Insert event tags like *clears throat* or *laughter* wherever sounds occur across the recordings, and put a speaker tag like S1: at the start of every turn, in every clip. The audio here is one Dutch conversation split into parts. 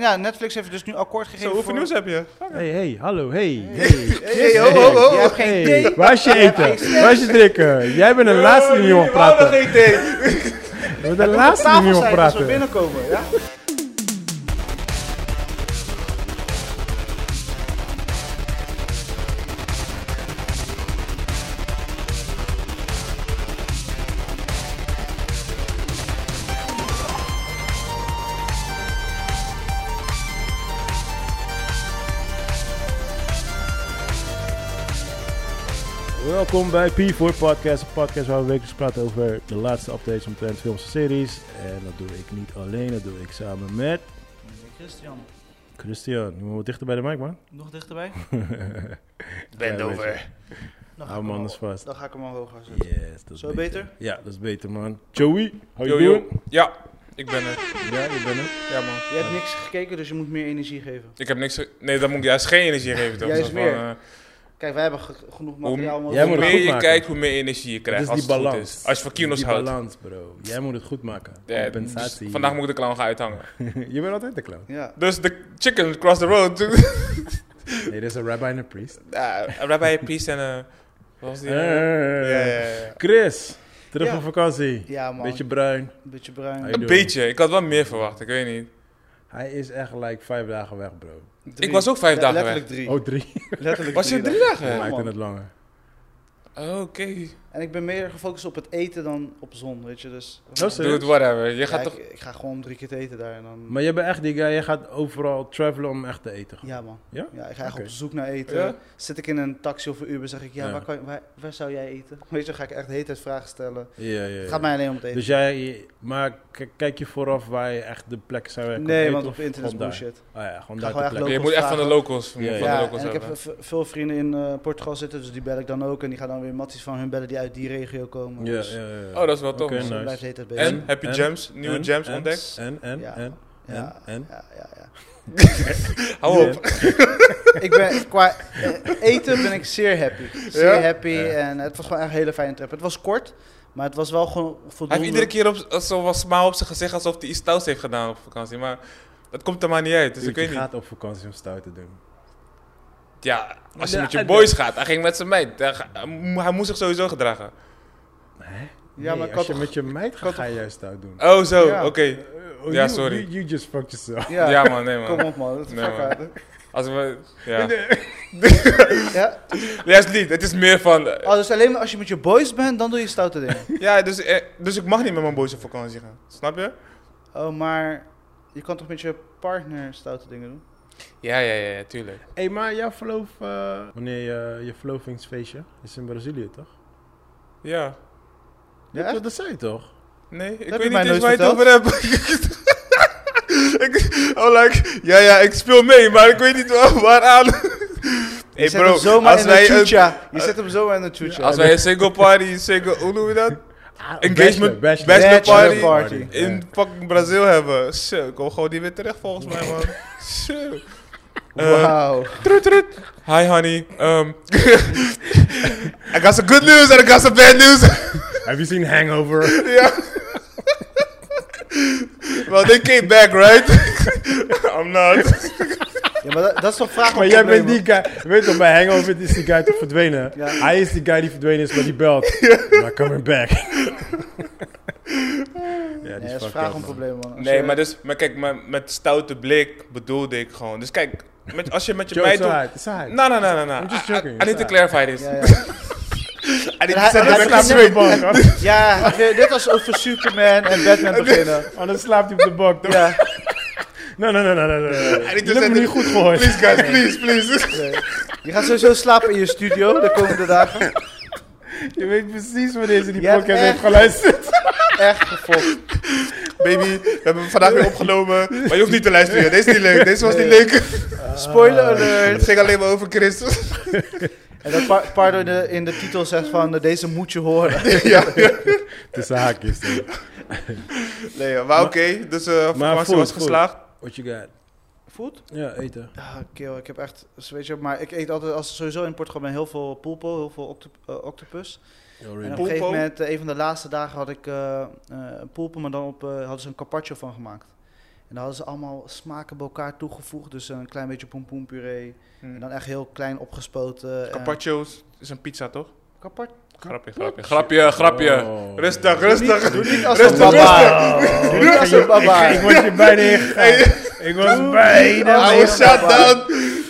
S1: Ja, Netflix heeft dus nu akkoord gegeven
S2: Zo, hoeveel
S1: voor...
S2: nieuws heb je?
S3: Hey, hey, hallo, hey.
S1: Hey,
S2: ho, ho, ho.
S1: Je hebt geen idee.
S3: Waar is je eten? Waar is je drinken? Jij
S1: Oh,
S3: bent de laatste die nu aan het praten.
S2: geen idee.
S3: Je bent de laatste die
S1: Tafel zijn
S3: nu aan het
S1: als we
S3: praten.
S1: binnenkomen, ja?
S3: Welkom bij P4 Podcast, een podcast waar we wekelijks praten over de laatste updates omtrent films en series. En dat doe ik niet alleen, dat doe ik samen met
S1: Christian,
S3: Christian. Je moet wat dichter bij de mic, *laughs* man.
S1: nog dichterbij?
S3: Bend over.
S1: Dan
S2: Nou,
S3: Hou hem anders vast.
S1: Dan ga ik hem omhoog zetten.
S3: Yes, dat is
S1: Zo beter?
S3: Ja, dat is beter, man. Joey, how
S2: Yo,
S3: you
S2: yo.
S3: doing?
S2: Ja, ik ben er.
S3: Ja, je bent er.
S2: Ja, man.
S1: Je hebt niks gekeken, dus je moet meer energie geven.
S2: Ik heb niks... ge- Nee, dat moet ik juist geen energie geven. toch?
S1: Juist
S2: Zo van,
S1: meer.
S2: eh,
S1: Kijk, wij hebben ge- genoeg
S2: hoe
S1: materiaal. om over
S3: Jij
S1: te
S2: hoe
S3: moet het
S1: praten.
S2: meer
S3: goed
S2: je
S3: maken.
S2: kijkt, hoe meer energie je krijgt.
S3: Dat
S2: als
S3: is die
S2: het goed
S3: balans.
S2: is. Als je van kilo's
S3: die
S2: houdt.
S3: balans, bro. Jij moet het goed maken.
S2: Ja,
S3: Compensatie.
S2: dus vandaag moet ik de clown gaan uithangen.
S3: *laughs* je bent altijd de clown.
S1: Ja.
S2: Dus de chicken cross the road. *laughs*
S3: Nee, dat is een rabbi en een priest.
S2: uh, Rabbi Priest en... eh, wat was die? eh?
S3: Eh,
S2: Ja, ja, ja.
S3: Chris, terug
S1: Ja.
S3: van vakantie.
S1: ja, man.
S3: Beetje bruin.
S1: Beetje bruin.
S3: Hij
S2: Een
S3: doet-
S2: beetje. Ik had wel meer verwacht. Ik weet niet.
S3: Hij is echt like vijf dagen weg, bro.
S1: Drie.
S2: Ik was ook vijf
S1: Le-
S2: dagen
S1: letterlijk Drie.
S3: Oh, drie.
S1: Letterlijk
S2: Was je drie dagen?
S1: Ja,
S3: Hij maakte
S1: man.
S3: het langer.
S2: Oh, Oké.
S1: En ik ben meer gefocust op het eten dan op zon, weet je. Dus
S3: serieus?
S2: Doe het whatever. Je
S1: Ja,
S2: gaat
S1: ik,
S2: toch...
S1: ik ga gewoon drie keer het eten daar. En dan...
S3: Maar jij bent echt die guy, jij gaat overal travelen om echt te eten.
S1: Ja, man.
S3: Ja?
S1: ik ga echt
S3: Oké.
S1: op zoek naar eten.
S2: Ja?
S1: Zit ik in een taxi of een Uber, zeg ik, ja,
S3: Ja.
S1: Waar, kan, waar, waar zou jij eten? *laughs* Weet je, dan ga ik echt de hele tijd vragen stellen.
S3: Ja, ja,
S1: Het
S3: ja.
S1: gaat mij alleen om het eten.
S3: Dus jij, maar k- kijk je vooraf waar je echt de plek zou werken?
S1: nee,
S3: eten
S1: want op
S3: of
S1: internet is
S3: gewoon daar?
S1: bullshit.
S3: Ah ja, gewoon
S1: Ga
S3: daar
S1: gewoon
S3: de
S1: echt
S3: plek.
S1: lopen.
S2: Je moet echt van de
S1: vragen.
S2: locals. je moet
S3: Ja,
S2: van de
S1: Ja,
S2: locals
S1: en ik heb
S2: hebben.
S1: v- veel vrienden in eh, Portugal zitten, dus die bel ik dan ook. En die gaan dan weer matties van hun bellen die uit die regio komen.
S3: Ja,
S1: Dus
S3: ja, ja, ja.
S2: Oh, dat is wel tof.
S3: Oké,
S1: zo
S3: nice.
S1: blijft de hele tijd bezig.
S2: En? Heb je
S3: En?
S2: gems? Nieuwe
S3: En?
S2: gems
S3: En?
S2: ontdekt? Dus
S3: En, en,
S1: Ja.
S3: en.
S1: Ja,
S3: En? En?
S1: ja, ja, *laughs* ja.
S2: Hou op.
S1: ik ben, qua eh, eten ben ik zeer happy. Zeer
S2: Ja?
S1: happy
S3: Ja.
S1: en het was gewoon echt een hele fijne trip. Het was kort, maar het was wel gewoon
S2: Hij
S1: voldoende.
S2: heeft iedere keer op, zo wat smaal op zijn gezicht alsof hij iets stouts heeft gedaan op vakantie. Maar dat komt er maar niet uit. Dus ik
S3: Uurtje
S2: weet niet.
S3: gaat op vakantie om stout te doen.
S2: Ja, als je
S3: Ja,
S2: met je
S3: en-
S2: boys gaat. Hij ging met zijn meid. Hij, ga- hij mo- hij moest zich sowieso gedragen.
S1: Ja, maar ik had
S3: als je
S1: toch-
S3: met je meid
S1: had
S3: gaat, ga je juist stout doen.
S2: Oh, zo.
S1: Ja.
S2: Oké.
S3: Oh,
S2: Ja,
S3: you-
S2: sorry.
S3: You, you just fucked yourself.
S1: Ja,
S2: Ja.
S1: *laughs*
S2: man. Nee,
S1: kom
S2: man.
S1: op man. Dat
S2: Nee,
S1: fuck
S2: man.
S1: uit, hè.
S2: Als we, ja.
S1: Ja?
S2: Juist niet. Het is meer van... eh,
S1: Oh, dus alleen maar als je met je boys bent, dan doe je stoute dingen. *laughs*
S2: Ja, dus, eh, dus ik mag niet met mijn boys op vakantie gaan. Snap je?
S1: Oh, maar je kan toch met je partner stoute dingen doen?
S2: Ja, ja, ja. ja, Tuurlijk.
S3: Hé, *laughs* hey, maar jouw verloof... eh, wanneer je, je verlovingsfeestje is in Brazilië, toch?
S2: Ja.
S1: Ja,
S3: Dat,
S1: echt?
S3: dat zei je toch?
S2: Nee, ik
S1: je
S2: weet
S1: mij
S2: niet eens
S1: nooit
S2: waar je het over
S1: verteld.
S2: hebt. *laughs* ik, oh, like, ja, ja, ik speel mee, maar ik weet niet waar- waaraan.
S1: Je
S2: *laughs* hey
S1: zet
S2: bro,
S1: hem zomaar
S2: als
S1: in een
S2: wij, een,
S1: tjoetja. Je zet hem zomaar in een tjoetja.
S2: als wij een single party, single, hoe noemen we dat? Engagement-
S3: Ah, Bachelor, bachelor.
S2: bachelor
S1: Bachelor party.
S3: party.
S2: In fucking Brazil hebben. Zo, ik kom gewoon niet weer terecht volgens mij, man. Zo. Eh, *laughs*
S1: Wauw.
S2: trut, trut. Hi honey, um, *laughs* I got some good news and I got some bad news. *laughs*
S3: Have you seen *laughs* Hangover?
S2: well, they came back, right? *laughs* I'm not.
S1: Ja, maar dat, dat is toch vraag
S3: maar
S1: om
S3: jij bent
S1: problemen.
S3: die guy... Weet toch, bij Hangover is die guy toch verdwenen?
S1: Ja.
S3: Hij is die guy die verdwenen is, maar die belt.
S1: *laughs*
S3: I'm not coming back. ja,
S1: Nee,
S3: die
S1: dat
S3: is
S1: is vraag
S3: fucked
S1: om
S3: up, man.
S1: problemen, man. Als
S2: Nee,
S1: je-
S2: maar, dus, maar kijk, maar met stoute blik bedoelde ik gewoon. Dus kijk, met, als je met je
S3: Joe,
S2: meid
S3: it's
S2: doet...
S3: alright, it's alright.
S2: Nou, nou, nou, nou, nou.
S3: I'm just
S2: I- I-
S3: joking,
S2: I,
S3: it's
S2: need to
S3: alright.
S2: clarify this.
S1: Ja, ja.
S2: *laughs* I
S1: Hij-
S2: need to set
S1: hij
S2: it
S1: gaat
S2: back
S1: straight.
S2: straight. *laughs*
S1: ja, dit was over Superman en Batman
S2: *laughs*
S1: beginnen.
S3: Anders slaapt hij op de bank.
S1: Ja. dus
S3: Nee, nee, nee, nee, nee. nee.
S2: Hij niet
S3: Jullie hebben me
S2: te
S3: niet goed
S1: *laughs*
S3: gehoord.
S2: Please, guys, please, please.
S1: Nee. Je gaat sowieso slapen in je studio de komende dagen.
S3: Je weet precies wanneer ze die
S1: Je hebt
S3: podcast heeft
S1: echt-
S3: geluisterd.
S1: Echt gefokt.
S2: Baby, we hebben hem vandaag weer opgenomen. Maar je hoeft niet te luisteren. joh. Deze is niet leuk. Deze was niet leuk.
S1: Spoiler alert.
S2: Het ging alleen maar over Christus.
S1: En dat Pa- Pardo de- in de titel zegt van eh, deze moet je horen.
S2: *laughs* ja.
S3: Tussen haakjes.
S2: Nee, joh, maar oké. dus eh vakantie
S3: voel,
S2: was
S3: voel.
S2: geslaagd.
S3: What you got?
S1: Voet?
S3: Ja, eten.
S1: Ah, kill. Ik heb echt, dus weet je, maar ik eet altijd, als sowieso in Portugal ben heel veel pulpo, heel veel octo- eh, octopus. En op een gegeven
S2: Pulpo?
S1: moment, eh, een van de laatste dagen had ik eh eh, pulpo, maar dan op, eh, hadden ze een carpaccio van gemaakt. En En dan hadden ze allemaal smaken bij elkaar toegevoegd. Dus een klein beetje pompoenpuree.
S4: Hmm.
S1: En dan echt heel klein opgespoten. en-
S4: Carpaccio's is een pizza, toch?
S1: Kapart.
S4: Grapje, grapje, grapje, grapje.
S3: Oh.
S4: Rustig,
S1: Doe niet-
S4: rustig.
S1: Doe niet als een
S4: Rustig,
S1: baba.
S3: Oh.
S1: Doe niet als een baba.
S3: *laughs* Ik was je bijna ingegaan. Ik was bijna
S4: I was nou, shut down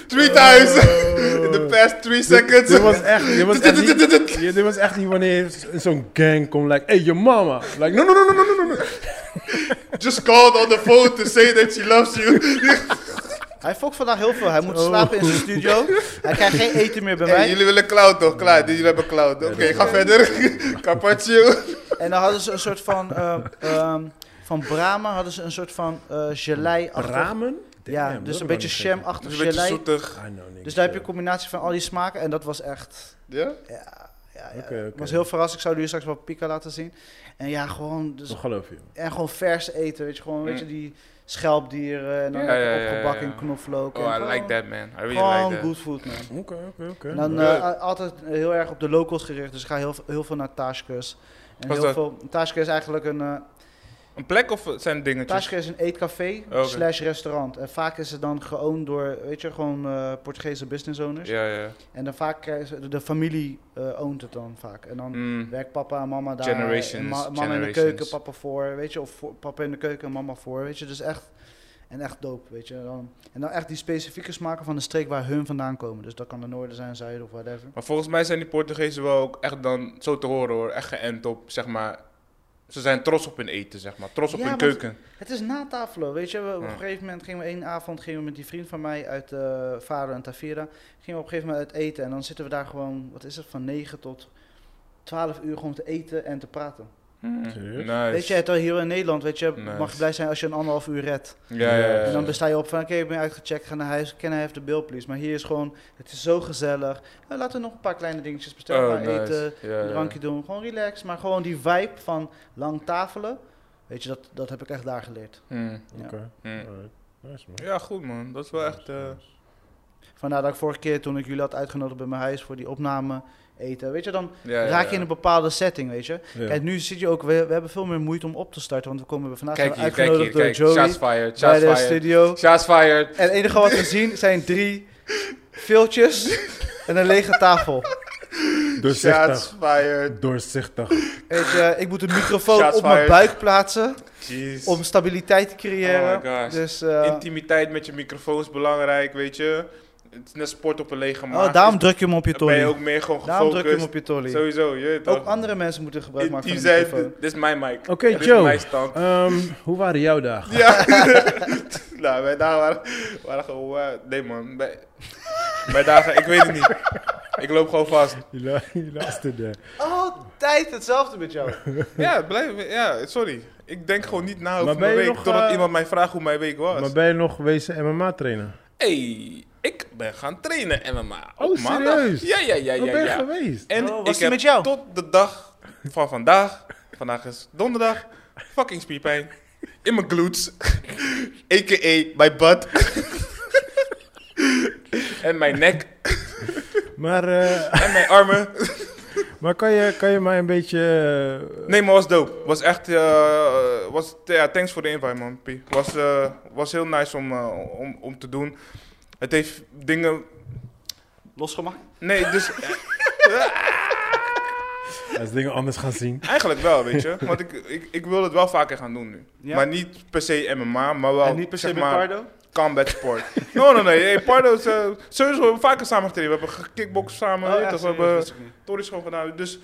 S4: three times *laughs*
S3: Oh.
S4: in the past three
S3: Dit,
S4: seconds.
S3: dit was echt, dit was echt niet, *laughs* Ja, dit was echt niet wanneer zo'n gang komt, like, hey, your mama. Like, no, no, no, no, no, no, no.
S4: *laughs* Just called on the phone to say that she loves you.
S3: *laughs*
S1: Hij fokt vandaag heel veel. Hij moet slapen in zijn
S4: *laughs*
S1: studio. Hij krijgt geen eten meer bij
S4: Oh. Hey,
S1: mij.
S4: jullie willen cloud toch? Klaar, jullie hebben cloud. Oké, ga verder. *laughs* Carpaccio.
S1: En dan hadden ze een soort van... eh, ehm, van Brahma hadden ze een soort van eh gelei
S3: Ramen?
S1: Ja,
S3: Damn,
S1: dus
S3: dat
S1: een
S3: heb
S1: beetje
S3: ik nog niet
S4: Het
S1: sham-achtig
S4: is een beetje
S1: gelei.
S4: zoetig.
S3: gegeten. I know niks,
S1: Dus daar heb je een
S3: eh.
S1: combinatie van al die smaken. En dat was echt...
S4: Ja?
S1: Ja, ja, ja.
S3: Oké, oké.
S1: was heel verrassend. Ik zou jullie straks wel pika laten zien. En ja, gewoon... Dus
S3: Dat geloof je.
S1: En gewoon vers eten, weet je, gewoon, weet je,
S4: Mm.
S1: die schelpdieren en dan
S4: Ja,
S1: lekker
S4: ja, ja, ja,
S1: opgebakken
S4: ja.
S1: in knoflook. en
S4: Oh, I
S1: gewoon-
S4: like that, man. I really
S1: Gewoon
S4: like that.
S1: good food, man.
S3: Oké, oké,
S1: En dan
S3: oké.
S1: eh,
S4: Ja.
S1: a- altijd heel erg op de locals gericht, dus ik ga heel, heel veel naar Taaskus. En
S4: Wat is
S1: heel
S4: dat?
S1: veel, Taaskus is eigenlijk een, eh
S4: Een plek of het zijn dingetjes?
S1: Taaskus is een eetcafé
S4: Oh, Oké.
S1: slash restaurant. En vaak is het dan geowned door, weet je, gewoon eh, Portugese business owners.
S4: Ja, ja.
S1: En dan vaak, krijgen ze- de, de familie eh ownt het dan vaak. En dan
S4: Mm.
S1: werkt papa en mama daar.
S4: Generations,
S1: en ma- mama in de
S4: generations.
S1: keuken, papa voor, weet je. Of voor- papa in de keuken en mama voor, weet je. Dus echt, en echt dope, weet je. En dan, en dan echt die specifieke smaken van de streek waar hun vandaan komen. Dus dat kan de noorden zijn, zuiden of whatever.
S4: Maar volgens mij zijn die Portugezen wel ook echt dan, zo te horen hoor, echt geënt op, zeg maar. Ze zijn trots op hun eten, zeg maar. Trots op
S1: Ja,
S4: hun
S1: want-
S4: keuken.
S1: Het is na tafelen, weet je. We, op
S4: Ja.
S1: een gegeven moment gingen we één avond gingen we met die vriend van mij uit eh Faro en Tavira. Gingen we op een gegeven moment uit eten. En dan zitten we daar gewoon, wat is het, van 9 tot 12 uur gewoon te eten en te praten.
S4: Mm.
S3: Serieus?
S4: Nice.
S1: Weet je, terwijl hier in Nederland, weet je,
S4: Nice. Eh.
S1: mag je blij zijn als je een anderhalf uur redt.
S4: Ja, ja, Oh, ja.
S1: En dan besta je op van, oké, ik ben uitgecheckt, ga naar huis, can I have the bill please? Maar hier is gewoon, het is zo gezellig. Nou, laten we nog een paar kleine dingetjes bestellen,
S4: Oh,
S1: maar
S4: nice.
S1: eten,
S4: Ja,
S1: een
S4: ja.
S1: drankje doen. Gewoon relaxed, maar gewoon die vibe van lang tafelen, weet je, dat, dat heb ik echt daar geleerd.
S4: Mm.
S1: Ja.
S3: Oké,
S4: Mm.
S3: alright. Nice man.
S4: Ja, goed man. Dat is wel echt. eh,
S1: Vandaar dat ik vorige keer, toen ik jullie had uitgenodigd bij mijn huis voor die opname, eten, weet je, dan
S4: ja, ja,
S1: raak
S4: ja.
S1: je in een bepaalde setting, weet je.
S3: Ja.
S1: Kijk, nu zit je ook, we, we hebben veel meer moeite om op te starten, want we komen vandaag
S4: Kijk hier, kijk hier,
S1: uitgenodigd
S4: kijk.
S1: door Joey
S4: Shots fired,
S1: bij
S4: shots
S1: de
S4: fired.
S1: studio.
S4: Shots fired.
S1: En het enige wat we zien zijn drie viltjes en een lege tafel.
S3: Doorzichtig.
S4: Shots fired.
S3: Doorzichtig.
S1: Weet je, ik moet een microfoon
S4: Shots
S1: op mijn
S4: fired.
S1: buik plaatsen
S4: Jeez.
S1: om stabiliteit te creëren.
S4: Oh my gosh.
S1: dus, eh,
S4: Intimiteit met je microfoon is belangrijk, weet je. Het is net sport op een lege maag. dus
S1: oh, daarom druk je hem op je
S4: Dan ben je
S1: tolly.
S4: ook meer gewoon
S1: Daarom druk je hem
S4: gefocust.
S1: op je tolly.
S4: Sowieso, je weet
S1: Ook
S4: toch.
S1: andere mensen moeten gebruik maken
S4: Intiem
S1: van de
S4: zijn,
S1: microfoon.
S4: dit is mijn mic.
S3: Oké,
S4: Dit is
S3: Joe.
S4: mijn stand.
S3: Ehm, hoe waren jouw *laughs* dagen?
S4: Ja. *laughs* nou, mijn dagen waren, waren gewoon... eh, nee man, mijn, mijn dagen, ik weet het niet. Ik loop gewoon vast.
S3: Je la- je luisterde.
S1: Altijd hetzelfde met jou.
S4: Ja, blijf, ja, sorry. Ik denk gewoon niet na over
S3: Maar ben
S4: mijn
S3: je
S4: week,
S3: nog,
S4: totdat
S3: eh,
S4: iemand mij vraagt hoe mijn week was.
S3: Maar ben je nog wezen MMA trainen?
S4: hey, ik ben gaan trainen MMA.
S3: Oh,
S4: Op maandag.
S3: serieus?
S4: Ja, ja, ja, ja.
S3: Waar ben je
S4: ja.
S3: geweest?
S1: Oh,
S4: En
S1: was
S4: ik
S1: die
S4: heb
S1: met jou?
S4: tot de dag van vandaag, vandaag is donderdag, fucking spierpijn in mijn glutes, *laughs* a.k.a. mijn
S1: *laughs*
S4: butt en mijn nek
S3: Maar, eh, *laughs*
S4: en mijn armen.
S3: maar kan, je, kan je mij een beetje... eh,
S4: Nee, maar was dope. Was echt, eh, was, ja, thanks voor de invite man, P. Was, eh, was heel nice om, eh, om, om te doen. Het heeft dingen,
S1: Losgemaakt.
S4: nee, dus *laughs*
S3: eh, Als dingen anders gaan zien.
S4: eigenlijk wel, weet je. Want ik, ik, ik wil het wel vaker gaan doen nu.
S1: Ja.
S4: Maar niet per se MMA, maar wel
S1: en niet per se
S4: zeg
S1: met
S4: maar,
S1: Pardo.
S4: combat sport. *laughs* no, no, nee. Hey, Pardo is, eh, sowieso hebben we vaker samen getraind. We hebben kickbox samen.
S1: Oh,
S4: weet
S1: echt,
S4: toch, we
S1: serieus,
S4: hebben
S1: wist ik niet.
S4: torenschool gedaan. Dus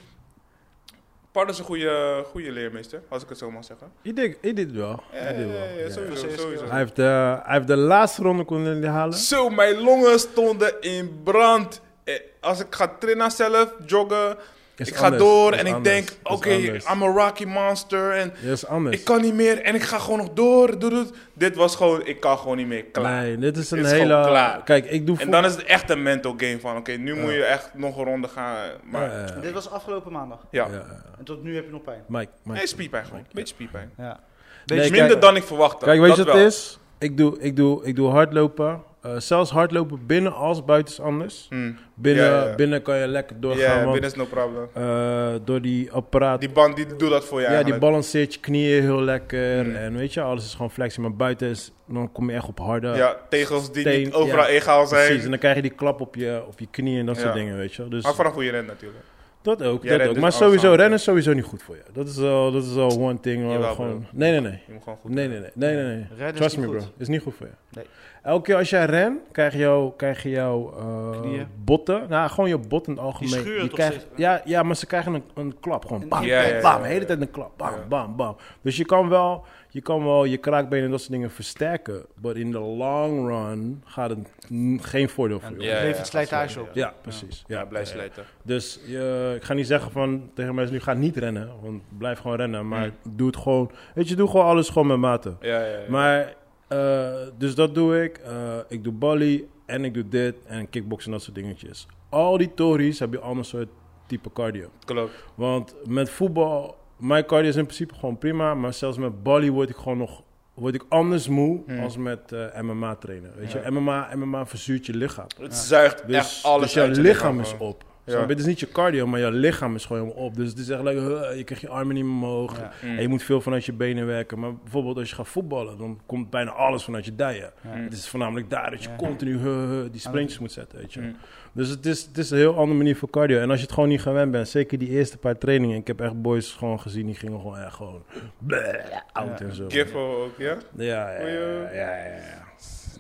S4: Pardo is een goede, goede leermeester, als ik het zo mag zeggen.
S3: Ik denk, ik dit wel.
S4: Ja,
S3: Ik
S4: ja,
S3: dit wel.
S4: ja, ja,
S3: ja.
S4: sowieso,
S1: Ja.
S4: sowieso.
S3: Hij heeft, de, hij heeft de laatste ronde kunnen halen.
S4: Zo, mijn longen stonden in brand. Eh, Als ik ga trainen zelf, joggen,
S3: Is
S4: ik ga
S3: anders,
S4: door
S3: is
S4: en ik
S3: anders,
S4: denk,
S3: is
S4: oké,
S3: anders.
S4: I'm a Rocky Monster en
S3: Dat is anders.
S4: ik kan niet meer en ik ga gewoon nog door. Doe, doe. Dit was gewoon, ik kan gewoon niet meer, klaar.
S3: Nee, dit is een
S4: Dit is
S3: hele...
S4: gewoon klaar.
S3: Kijk, ik doe...
S4: En
S3: vo-
S4: dan is het echt een mental game van, oké, nu moet je echt nog een ronde gaan. Maar ja,
S3: Ja, ja,
S1: Dit was afgelopen maandag.
S4: ja.
S3: ja, ja.
S1: En tot nu heb je nog pijn.
S3: Mike, Mike.
S4: nee, spierpijn gewoon. Beetje spierpijn.
S1: Ja.
S3: Nee, kijk-
S4: Minder dan ik verwachtte.
S3: Kijk, weet je
S4: dat
S3: wat
S4: wel.
S3: het is? Ik doe, ik, doe, ik doe hardlopen. eh, zelfs hardlopen binnen als buiten is anders.
S4: Hmm.
S3: Binnen,
S4: Ja, ja, ja.
S3: binnen kan je lekker
S4: Ja,
S3: doorgaan, want
S4: binnen is no problem.
S3: eh, door die apparaat...
S4: Die band die doet dat voor je
S3: ja, die
S4: eigenlijk.
S3: balanceert je knieën heel lekker.
S4: Mm.
S3: En weet je, alles is gewoon flexie. Maar buiten is, dan kom je echt op harde...
S4: Ja, tegels die
S3: Steen,
S4: niet overal
S3: ja,
S4: egaal zijn.
S3: Precies, en dan krijg je die klap op je, op je knieën en dat
S4: Ja.
S3: soort dingen, weet je. wel. Dus
S4: Maar vanaf hoe je rent natuurlijk.
S3: dat ook, dat
S4: Jij rent
S3: ook. Maar
S4: dus alles
S3: sowieso,
S4: aan.
S3: rennen is sowieso niet goed voor je. Dat is al, dat is al one thing. waar we
S4: Jawel,
S3: gewoon...
S4: bro.
S3: Nee, nee, nee.
S4: Je moet gewoon goed
S3: Nee, nee, nee. nee, nee, nee.
S1: Redden is
S3: Trust
S1: niet
S3: me, bro.
S1: goed.
S3: Is niet goed voor je.
S1: Nee.
S3: Elke keer als jij rent, krijg je jouw krijg je jou, eh,
S1: Knieën.
S3: botten. Nou, gewoon je botten in het algemeen.
S2: Die schuren toch
S3: krijgen,
S2: steeds?
S3: ja, ja, maar ze krijgen een, een klap. Gewoon bam,
S4: Ja,
S3: bam,
S4: ja, ja,
S3: bam.
S4: ja.
S3: De hele tijd een klap. Bam,
S4: Ja.
S3: bam, bam. Dus je kan wel je, kan wel je kraakbenen en dat soort dingen versterken. Maar in de long run gaat het n- geen voordeel voor je.
S4: Ja,
S3: Ja,
S4: ja,
S1: levert
S4: ja,
S1: slijtage
S4: absoluut,
S1: op.
S4: Ja,
S3: precies.
S4: ja.
S3: Ja,
S4: blijf
S3: ja.
S4: slijten.
S3: Dus je, ik ga niet zeggen van tegen mensen nu ga niet rennen, want blijf gewoon rennen, maar
S4: Mm.
S3: doe het gewoon. Weet je, doe gewoon alles gewoon met mate.
S4: Ja, ja, ja.
S3: Maar eh, dus dat doe ik. Eh, ik doe volley en ik doe dit en kickboksen en dat soort dingetjes. Al die tories heb je ander soort type cardio.
S4: Klopt.
S3: Want met voetbal, mijn cardio is in principe gewoon prima, maar zelfs met volley word ik gewoon nog word ik anders moe
S4: Hmm.
S3: als met eh, MMA trainen. Weet
S4: Ja.
S3: je, MMA, MMA verzuurt je lichaam.
S4: Het zuigt
S3: Dus,
S4: echt alles
S3: dus jouw
S4: uit je
S3: lichaam, is
S4: gewoon.
S3: op.
S4: Ja.
S3: Snap je? Het is niet je cardio, maar jouw lichaam is gewoon helemaal op. Dus het is echt lekker, huh, je krijgt je armen niet meer omhoog.
S1: Ja.
S4: Mm.
S3: En je moet veel vanuit je benen werken. Maar bijvoorbeeld als je gaat voetballen, dan komt bijna alles vanuit je dijen.
S1: Ja.
S3: Het is voornamelijk daar dat je
S1: Ja.
S3: continu huh, huh, die sprintjes moet zetten. Weet je.
S4: Mm.
S3: Dus het is, het is een heel andere manier voor cardio. En als je het gewoon niet gewend bent, zeker die eerste paar trainingen. Ik heb echt boys gewoon gezien, die gingen gewoon echt gewoon bleh, oud
S1: Ja.
S3: en zo. Ja,
S4: Giffel ook, ja?
S3: ja, ja, ja, ja, ja.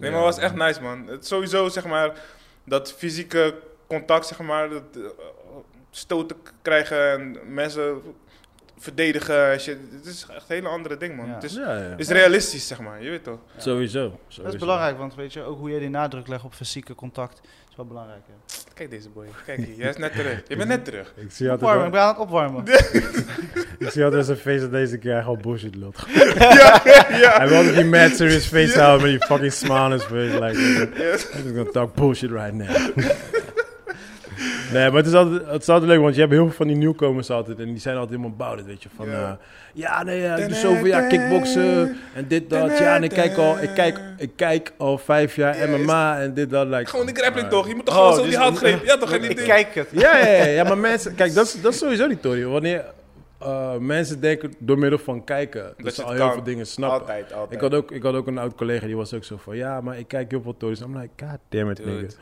S4: Nee, maar het was echt nice, man. Het, sowieso, zeg maar, dat fysieke contact, zeg maar, dat, eh, stoten k- krijgen en mensen verdedigen en shit. Het is echt een hele andere ding, man.
S1: Ja.
S4: Het is,
S3: Ja, ja.
S4: is realistisch, zeg maar. Je weet toch?
S3: Sowieso.
S1: Dat
S3: sowieso.
S1: is belangrijk, want weet je, ook hoe jij die nadruk legt op fysieke contact is wel belangrijk. Hè.
S4: Kijk deze boy. Kijk hier, jij is net terug. Je bent net terug.
S3: Ik zie altijd
S1: Opwarmen,
S3: wel-
S1: ik ben aan het opwarmen.
S3: Ik zie altijd zijn face dat deze keer gewoon bullshit lult.
S4: ja,
S3: Hij
S4: ja.
S3: wil altijd die mad serious face houden met die fucking smile on his face. Like,
S4: Yes.
S3: I'm just gonna talk bullshit right now. Nee, maar het is, altijd, het is altijd leuk, want je hebt heel veel van die nieuwkomers altijd. En die zijn altijd helemaal bouwd, weet je. Van,
S4: Ja.
S3: ja, ja nee, ja, ik doe zoveel jaar kickboksen en dit, dat. Ja, en ik kijk al, ik kijk, ik kijk al vijf jaar
S4: Ja, is-
S3: MMA en dit, dat. Like,
S4: Gewoon die grappling
S3: oh,
S4: toch? Je moet toch
S3: oh,
S4: gewoon zo
S3: dus-
S4: die handgreep. Ja, toch? En die
S1: Ik
S4: ding.
S1: kijk het.
S3: ja, ja, ja, ja, maar mensen, kijk, dat is, dat is sowieso die theorie. Wanneer eh, mensen denken door middel van kijken, dat,
S4: Dat
S3: ze
S4: je
S3: al
S4: het
S3: heel
S4: kan.
S3: veel dingen snappen.
S4: Altijd, altijd.
S3: Ik had, ook, ik had ook een oud collega die was ook zo van: Ja, maar ik kijk heel veel tories. I'm like, God damn it,
S4: Dude.
S3: nigga.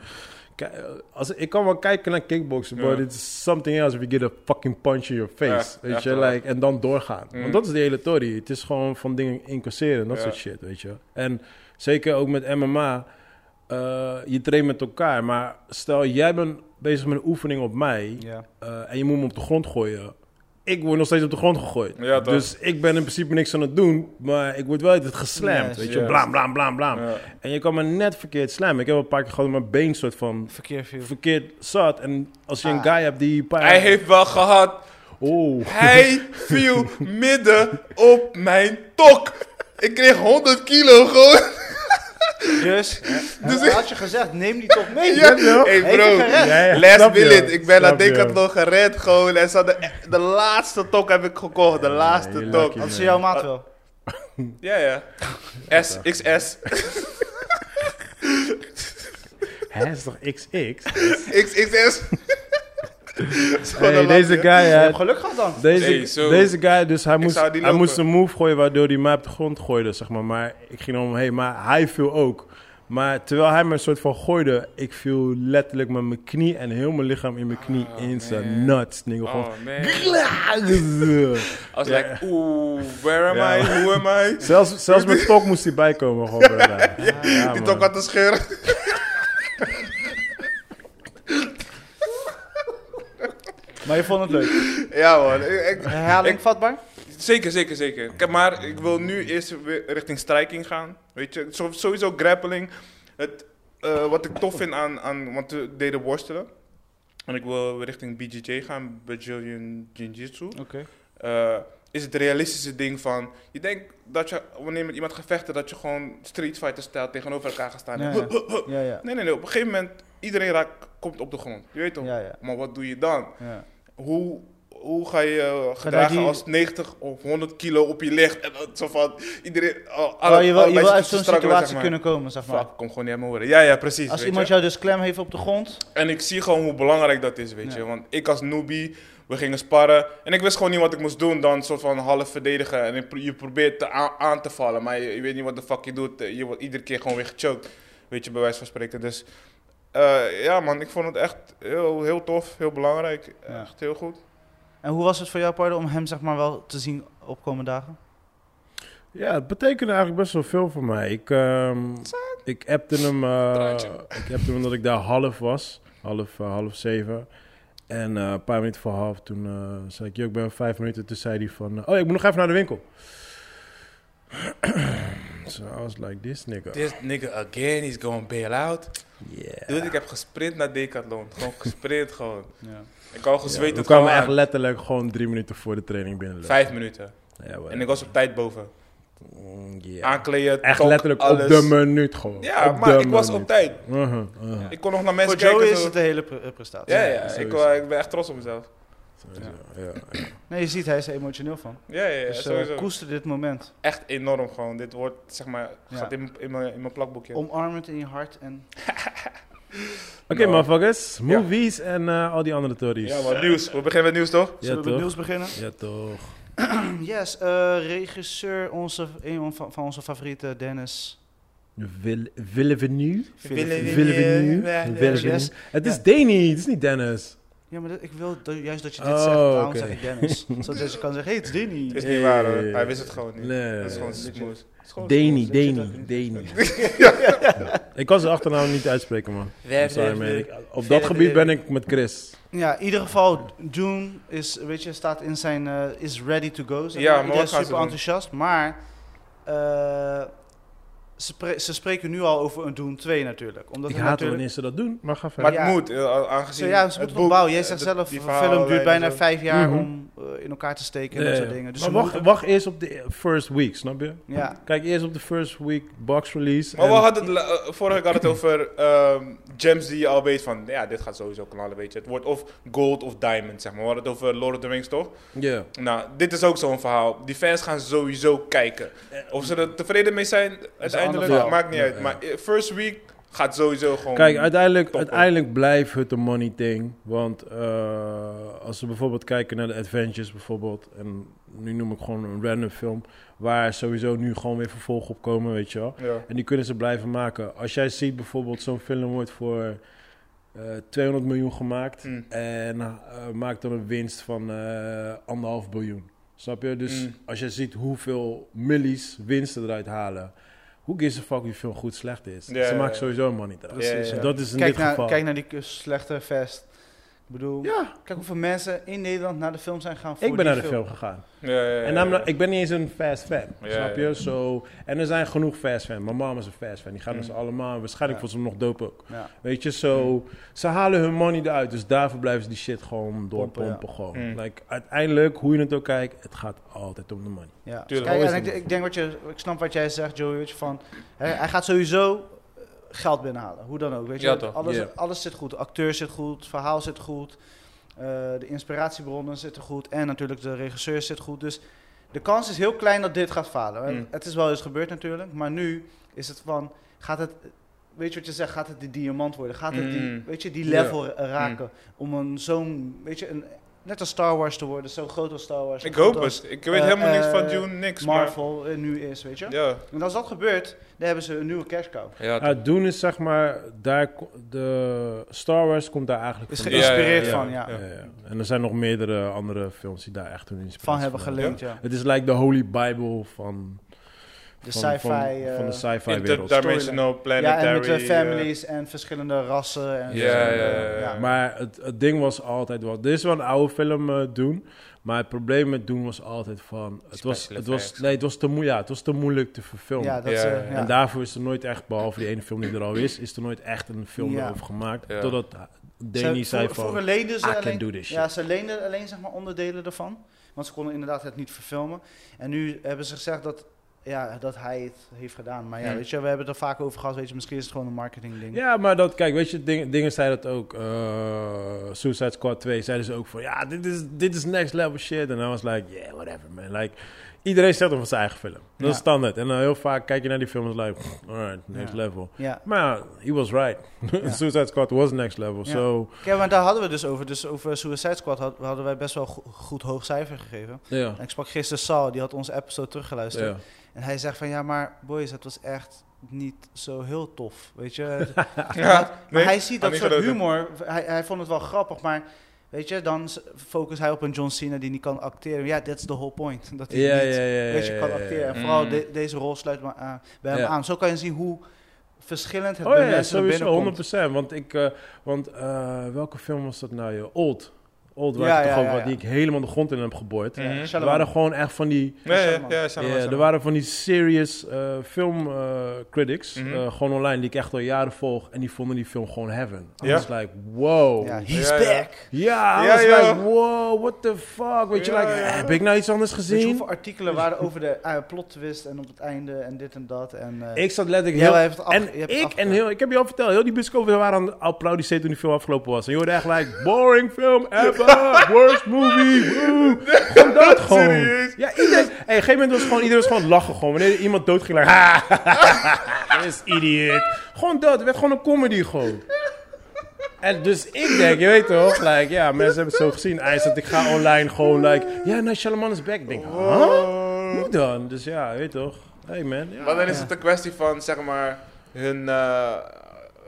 S3: Kijk, eh, als, ik kan wel kijken naar kickboksen,
S4: Ja.
S3: but it's something else if you get a fucking punch in your face.
S4: Echt,
S3: weet
S4: echt
S3: je,
S4: waar.
S3: like, en dan doorgaan.
S4: Mm.
S3: Want dat is de hele tory. Het is gewoon van dingen incasseren, dat
S4: Ja.
S3: soort shit, weet je. En zeker ook met MMA, eh, je traint met elkaar. Maar stel, jij bent bezig met een oefening op mij
S1: Ja.
S3: eh, en je moet hem op de grond gooien. Ik word nog steeds op de grond gegooid.
S4: Ja, toch?
S3: dus ik ben in principe niks aan het doen, maar ik word wel altijd geslamd.
S1: Yes,
S3: weet je,
S4: yes.
S3: blaam, blaam, blaam, blaam.
S4: Ja.
S3: En je kan me net verkeerd slammen. Ik heb een paar keer gewoon mijn been soort van
S1: Verkeer viel.
S3: verkeerd zat. En als je een
S1: Ah.
S3: guy hebt die... een Paar...
S4: Hij heeft wel gehad.
S3: Oh.
S4: Hij viel midden op mijn tok. Ik kreeg 100 kilo gewoon.
S1: Dus, dus had je gezegd, neem die toch mee.
S4: Ja.
S3: toch?
S4: Hey
S1: Heeft je
S4: bro,
S1: gered?
S3: Ja, ja,
S4: last
S3: snap je,
S4: minute. Ik ben naar
S3: snap je.
S4: Decathlon gered gewoon. En ze hadden e- de laatste tok heb ik gekocht. De
S3: Ja,
S4: laatste
S3: je
S4: tok.
S3: lucky.
S1: Had ze jouw maat wel?
S4: Ja, ja. S, XS.
S3: Hij is toch XX?
S4: *laughs* XXS.
S3: Hey, deze guy... eh,
S1: Je
S3: hij-
S1: hebt geluk gehad dan.
S3: Deze,
S4: Hey, zo.
S3: deze guy, dus hij moest,
S4: zou die
S3: hij
S4: lopen.
S3: moest een move gooien waardoor hij mij op de grond gooide, zeg maar. Maar ik ging omheen, maar hij viel ook. Maar terwijl hij me een soort van gooide, ik viel letterlijk met mijn knie en heel mijn lichaam in mijn knie
S4: Oh,
S3: in zijn
S4: man.
S3: nuts. Nigga,
S4: Oh
S3: gewoon...
S4: man. *laughs*
S3: Glaag!
S4: I was
S3: Ja.
S4: like, oeh, where am
S3: Ja.
S4: I? Who am I?
S3: zelfs,
S4: *laughs*
S3: zelfs met tok moest hij bijkomen, gewoon. bro, daar. Ja,
S4: Die
S3: man.
S4: tok had een scheur.
S1: Maar je vond het leuk.
S4: Ja man. Ik, ik-
S1: Herhaling vatbaar?
S4: Zeker, zeker, zeker. Kijk, maar ik wil nu eerst weer richting striking gaan. Weet je, Zo- sowieso grappling. Het, eh, wat ik tof vind aan, aan, want we deden worstelen. En ik wil weer richting BJJ gaan, Brazilian Jiu-Jitsu.
S1: Oké.
S4: Eh, is het realistische ding van, je denkt dat je, wanneer je met iemand gaat vechten, dat je gewoon street fighter stijl tegenover elkaar gaat staan. en
S1: Ja,
S4: huh,
S1: ja.
S4: huh, huh.
S1: Ja, ja.
S4: Nee, nee, nee. Op een gegeven moment, iedereen raakt, komt op de grond. Je weet toch?
S1: Ja, ja.
S4: Maar wat doe je dan?
S1: Ja.
S4: hoe, hoe ga je eh, gedragen
S1: die-
S4: als 90 of 100 kilo op je ligt en dat zo van iedereen. al- alle-
S1: Oh, je wil, je wil
S4: allebei zitten
S1: uit
S4: te
S1: zo'n
S4: struggelen,
S1: situatie
S4: zeg maar.
S1: kunnen komen, zeg maar.
S4: Fuck, kom gewoon niet aan mijn horen. Ja, ja, precies.
S1: Als
S4: weet
S1: iemand
S4: je.
S1: jou dus klem heeft op de grond,
S4: En ik zie gewoon hoe belangrijk dat is, weet
S1: Ja.
S4: je. Want ik als newbie, we gingen sparren. En ik wist gewoon niet wat ik moest doen dan een soort van half verdedigen. En ik pro- je probeert te aan, aan te vallen, maar je, je weet niet wat de fuck je doet. Eh, Je wordt iedere keer gewoon weer gechoked, weet je, bij wijze van spreken. Dus eh, ja man, ik vond het echt heel, heel tof, heel belangrijk.
S1: Ja.
S4: Echt heel goed.
S1: En hoe was het voor jou, Pardo, om hem zeg maar wel te zien opkomende dagen?
S3: Ja, het betekende eigenlijk best wel veel voor mij. Ik, ehm, ik appte hem. eh,
S4: Draadje.
S3: ik appte hem dat ik daar half was. Half, eh, half zeven. En eh, een paar minuten voor half, toen eh, zei ik, "Yo, ik ben vijf minuten. Toen zei hij van, eh, oh, ik moet nog even naar de winkel. *clears throat* so I was like, this nigga.
S4: This nigga again, he's going bail out.
S3: Yeah.
S4: Dude, ik heb gesprint naar Decathlon. Gewoon gesprint, gewoon.
S1: Ja.
S4: Ik had al
S3: Ja,
S4: gezweet
S3: we
S4: het
S3: kwamen
S4: gewoon
S3: echt
S4: aan.
S3: letterlijk gewoon drie minuten voor de training binnen.
S4: Vijf minuten.
S3: Ja, wel.
S4: En ik was op tijd boven.
S3: Mm, yeah.
S4: Aankleden,
S3: Echt
S4: tok,
S3: letterlijk
S4: alles.
S3: op de minuut gewoon.
S4: Ja,
S3: Op
S4: maar
S3: de
S4: ik was op
S3: minuut.
S4: tijd.
S3: Mhm, mhm.
S1: Ja.
S4: Ik kon nog naar mensen
S1: voor Joe
S4: kijken.
S1: is
S4: zo.
S1: het de hele pre- eh, prestatie.
S4: Ja, ja,
S3: Ja,
S4: Ik,
S3: sowieso.
S4: eh, ik ben echt trots op mezelf.
S3: Sowieso, ja, ja.
S1: Nee, je ziet, hij is er emotioneel van.
S4: Ja, ja, ja
S1: dus eh,
S4: sowieso.
S1: koester dit moment.
S4: Echt enorm gewoon. Dit wordt, zeg maar,
S1: Ja.
S4: gaat in, in, mijn, in mijn plakboekje.
S1: Omarm het in je hart en...
S3: Oké,
S4: Nou.
S3: motherfuckers. Movies en eh, al die andere tories.
S4: Ja, wat nieuws. We beginnen met nieuws, toch?
S1: Zullen we
S3: toch?
S1: met nieuws beginnen?
S3: Ja, toch.
S1: yes, eh, regisseur onze, een van, van onze favorieten, Dennis.
S3: Will- Willen we nu?
S4: Willen
S3: Willen we nu?
S4: Ja,
S3: Willen we
S1: yes.
S3: nu? Het
S1: Ja.
S3: is Danny, het is niet Dennis.
S1: Ja, maar dat- ik wil dat- juist dat je dit
S3: Oh,
S1: zegt, daarom
S3: oké.
S1: zeg ik Dennis. Zodat je kan zeggen, hey, het is Danny.
S4: Het is
S3: Nee.
S4: niet waar hoor. Hij wist het gewoon niet.
S3: Nee.
S4: Dat is gewoon
S1: Nee.
S4: smooth. Het is gewoon
S3: Danny,
S1: dat zit
S3: Danny,
S1: ook
S3: Danny. *laughs* Ik kan zijn achternaam niet uitspreken, man.
S4: Willen
S3: I'm sorry,
S4: we
S3: man.
S4: nu?
S3: Ik- Op dat gebied ben ik met Chris.
S1: Ja, in ieder geval, Dune is, weet je, staat in zijn, eh, is ready to go. Zeg
S4: Ja,
S1: maar.
S4: maar
S1: Iedereen
S4: wat
S1: is
S4: gaan ze
S1: super
S4: doen?
S1: enthousiast, maar eh, ze, pre- ze spreken nu al over een Dune 2 natuurlijk. Omdat
S3: Ik
S1: het
S3: haat
S1: natuurlijk...
S3: wanneer ze dat doen, maar ga
S4: Maar
S3: verder.
S1: Ja.
S4: het moet, eh, aangezien.
S1: Zo, ja, ze
S4: het
S1: moeten
S4: boek,
S1: nog bouwen. Jij
S4: eh,
S1: zegt
S4: de-
S1: zelf,
S4: die
S1: een film duurt bijna
S4: verhaallijn en zo.
S1: vijf jaar
S3: Mhm.
S1: om eh, in elkaar te steken en
S3: Ja,
S1: dat
S3: ja.
S1: soort dingen. Dus
S3: maar
S1: ze
S3: wacht,
S1: moeten-
S3: wacht eerst op de first week, snap je?
S1: ja.
S3: Kijk eerst op de first week box release.
S4: Maar
S3: en-
S4: we hadden het, la- eh, vorige keer had het over ehm, gems die je al weet van, ja, dit gaat sowieso knallen, weet je. Het wordt of gold of diamond, zeg maar. We hadden het over Lord of the Rings, toch?
S3: Ja.
S4: Nou, dit is ook zo'n verhaal. Die fans gaan sowieso kijken. Of ze er tevreden mee zijn,
S1: ander
S4: uiteindelijk,
S1: verhaal.
S4: maakt niet
S3: Ja,
S4: uit.
S3: ja.
S4: Maar eh, first week gaat sowieso gewoon...
S3: Kijk, uiteindelijk,
S4: top, hoor.
S3: uiteindelijk blijft het een money thing. Want eh, als we bijvoorbeeld kijken naar de Adventures bijvoorbeeld. En nu noem ik gewoon een random film. Waar sowieso nu gewoon weer vervolgen op komen, weet je wel.
S4: Ja.
S3: En die kunnen ze blijven maken. Als jij ziet bijvoorbeeld zo'n film wordt voor eh 200 miljoen gemaakt.
S4: Mm.
S3: En eh, maakt dan een winst van eh, anderhalf biljoen. Snap je? Dus
S4: Mm.
S3: als je ziet hoeveel millies winsten eruit halen. Hoe gives a fuck wie film goed slecht is?
S4: Ja,
S3: ze
S4: ja,
S3: maakt
S4: ja.
S3: sowieso money eruit.
S4: Ja, ja,
S3: Dus
S4: ja.
S3: dat is in
S1: Kijk,
S3: dit
S1: naar,
S3: geval.
S1: kijk naar die k- slechte vest. Ik bedoel,
S3: ja,
S1: kijk hoeveel mensen in Nederland naar de film zijn gaan voor
S3: ik ben
S1: die
S3: naar de film gegaan.
S4: Ja, ja, ja,
S3: En
S4: ja.
S3: I'm not- ik ben niet eens een fast fan.
S4: Ja,
S3: snap je?
S4: ja.
S3: So, en er zijn genoeg fast fan. Mijn mama is een fast fan. Die gaan
S4: Mm.
S3: dus allemaal. Waarschijnlijk
S1: Ja.
S3: voor ze hem nog dope ook.
S1: Ja.
S3: Weet je, zo. Ze halen hun money eruit. Dus daarvoor blijven ze die shit gewoon doorpompen.
S1: Pompen,
S3: gewoon.
S4: Mm.
S3: Like, uiteindelijk, hoe je het ook kijkt, het gaat altijd om de money.
S1: Ja.
S4: Tuurlijk.
S1: Kijk, en
S3: Always
S1: ik, ik denk wat je, ik snap wat jij zegt, Joey, weet je, van, hè, hij gaat sowieso eh, geld binnenhalen, hoe dan ook, weet je.
S4: Ja, toch?
S1: Alles,
S3: Ja.
S1: alles zit goed, de acteur zit goed, het verhaal zit goed, eh, de inspiratiebronnen zitten goed en natuurlijk de regisseur zit goed. Dus de kans is heel klein dat dit gaat falen. En
S4: Mm.
S1: Het is wel eens gebeurd natuurlijk, maar nu is het van, gaat het, weet je wat je zegt, gaat het die diamant worden? Gaat het die,
S4: Mm.
S1: weet je, die
S3: Ja.
S1: level ra- raken om een zo'n, weet je, een, net als Star Wars te worden, zo groot als Star Wars.
S4: Ik
S1: groot
S4: hoop
S1: als-
S4: het. Ik weet
S1: eh,
S4: helemaal niks
S1: eh,
S4: van Dune, niks.
S1: Marvel eh, nu is, weet je.
S4: Maar, ja.
S1: En als dat gebeurt, dan hebben ze een nieuwe cash cow.
S4: Ja,
S3: Ja, Nou, doen is zeg maar, daar, ko- de Star Wars komt daar eigenlijk
S1: Is
S3: vandaan.
S1: geïnspireerd
S4: Ja, ja, ja,
S1: van, ja.
S4: ja.
S3: Ja, ja. En er zijn nog meerdere andere films die daar echt hun inspiratie
S1: Van hebben geleend, ja.
S3: Het is like de holy bible van
S1: De
S3: van,
S1: sci-fi.
S3: van,
S1: eh,
S3: van de sci-fi wereld.
S4: Interdimensional,
S1: ja,
S4: planetary...
S1: en met eh,
S4: eh,
S1: families en verschillende rassen. En
S4: Ja,
S1: zo.
S4: ja, ja, ja.
S3: Maar het, het ding was altijd wel. Dit is wel een oude film eh, doen. Maar het probleem met doen was altijd van. Het was,
S4: Special
S3: het was,
S4: effects.
S3: nee, het was te moe, ja, het was te moeilijk te verfilmen.
S1: Ja, dat,
S4: Ja,
S1: eh,
S4: ja, ja.
S1: ja.
S3: En daarvoor is er nooit echt, behalve die ene film die er al is, is er nooit echt een film
S1: Ja.
S3: over gemaakt.
S4: Ja.
S3: Totdat Danny
S1: Ze-
S3: zei
S1: vro-
S3: van.
S1: Vroeger leenden
S3: "I
S1: ze
S3: can do
S1: alleen,
S3: this
S1: ja, ze leenden alleen zeg maar, onderdelen ervan. Want ze konden inderdaad het niet verfilmen. En nu hebben ze gezegd dat ja, dat hij het heeft gedaan. Maar ja,
S4: Ja.
S1: weet je, we hebben het er vaak over gehad. Weet je, misschien is het gewoon een marketing ding.
S3: Ja, maar dat, kijk, weet je, ding, dingen zeiden dat ook. eh, Suicide Squad 2 zeiden ze ook van, ja, dit is, dit is next level shit. En I was like, yeah, whatever, man. Like, iedereen zegt over zijn eigen film. Dat
S1: Ja.
S3: is standaard. En dan heel vaak kijk je naar die film en is like, pff, alright, next
S1: Ja.
S3: level.
S1: Ja.
S3: Maar ja, he was right.
S1: Ja.
S3: *laughs* Suicide Squad was next level.
S1: Ja.
S3: So,
S1: Kijk, maar daar hadden we dus over. Dus over Suicide Squad had- hadden wij best wel go- goed hoog cijfer gegeven.
S3: ja.
S1: En ik sprak gisteren Sal, die had onze episode teruggeluisterd.
S3: ja.
S1: En hij zegt van, ja, maar boys, het was echt niet zo heel tof, weet
S3: *laughs*
S1: je.
S4: Ja,
S1: Maar
S4: nee,
S1: hij ziet
S4: had
S1: dat
S4: niet
S1: soort
S4: geroken.
S1: humor. Hij, hij vond het wel grappig, maar weet je, dan s- focust hij op een John Cena die niet kan acteren. Ja, that's the whole point. Dat hij
S3: Ja,
S1: niet,
S3: ja, ja,
S1: weet je,
S3: ja,
S1: kan
S3: ja, ja.
S1: acteren. En
S4: Mm.
S1: vooral de- deze rol sluit maar aan, bij hem
S3: Ja.
S1: aan. Zo kan je zien hoe verschillend het
S3: Oh
S1: bij
S3: ja,
S1: mensen naar binnen
S3: sowieso,
S1: komt.
S3: 100%. Want ik, eh, want eh, welke film was dat nou, joh? Old. Old, waar
S1: Ja,
S3: ik toch
S1: ja,
S3: ook
S1: ja,
S3: wat
S1: ja.
S3: die ik helemaal de grond in heb geboord.
S4: Mhm.
S1: Ja,
S3: Er
S1: Shyamalan.
S3: waren gewoon echt van die...
S4: Nee, ja,
S1: Shyamalan.
S4: ja,
S3: Ja,
S4: Shyamalan,
S3: er
S4: Shyamalan.
S3: waren van die serious eh, film filmcritics,
S4: Mhm.
S3: gewoon online, die ik echt al jaren volg. En die vonden die film gewoon heaven. I
S4: Ja.
S3: was like, wow.
S1: Ja,
S3: Ja,
S1: he's
S4: Ja, ja.
S1: back.
S3: I
S4: Ja,
S3: was
S4: ja.
S3: like, wow, what the fuck. Weet je,
S4: Ja,
S3: like,
S4: ja.
S3: heb ik nou iets anders
S1: Weet je
S3: gezien?
S1: hoeveel artikelen waren over de eh, plot twist en op het einde en dit en dat. En, eh,
S3: Ik zat letterlijk
S1: Jelle
S3: heel...
S1: heeft het af- je
S3: en
S1: hebt het
S3: ik, en
S1: afgekeurd.
S3: heel, ik heb je al verteld, heel die busco waren aan het applaudisseren toen die film afgelopen was. En je hoorde echt like, boring film
S1: *laughs*
S3: ever, worst movie, woe. Gewoon dat gewoon.
S4: Serieus?
S3: Ja, iedereen, hey, op een gegeven moment was gewoon, iedereen was gewoon aan het lachen gewoon. Wanneer iemand dood ging, like, ha, dit is idiot. Gewoon dat, het werd gewoon een comedy gewoon. En dus ik denk, je weet toch, like, ja, mensen hebben het zo gezien. Hij zegt, ik ga online gewoon, like, ja, nou, Shalaman is back. Ik denk, huh?
S4: Oh.
S3: Hoe dan? Dus ja, je weet toch. Hey man, ja.
S4: Maar dan is
S1: Ja.
S4: het een kwestie van, zeg maar, hun, eh,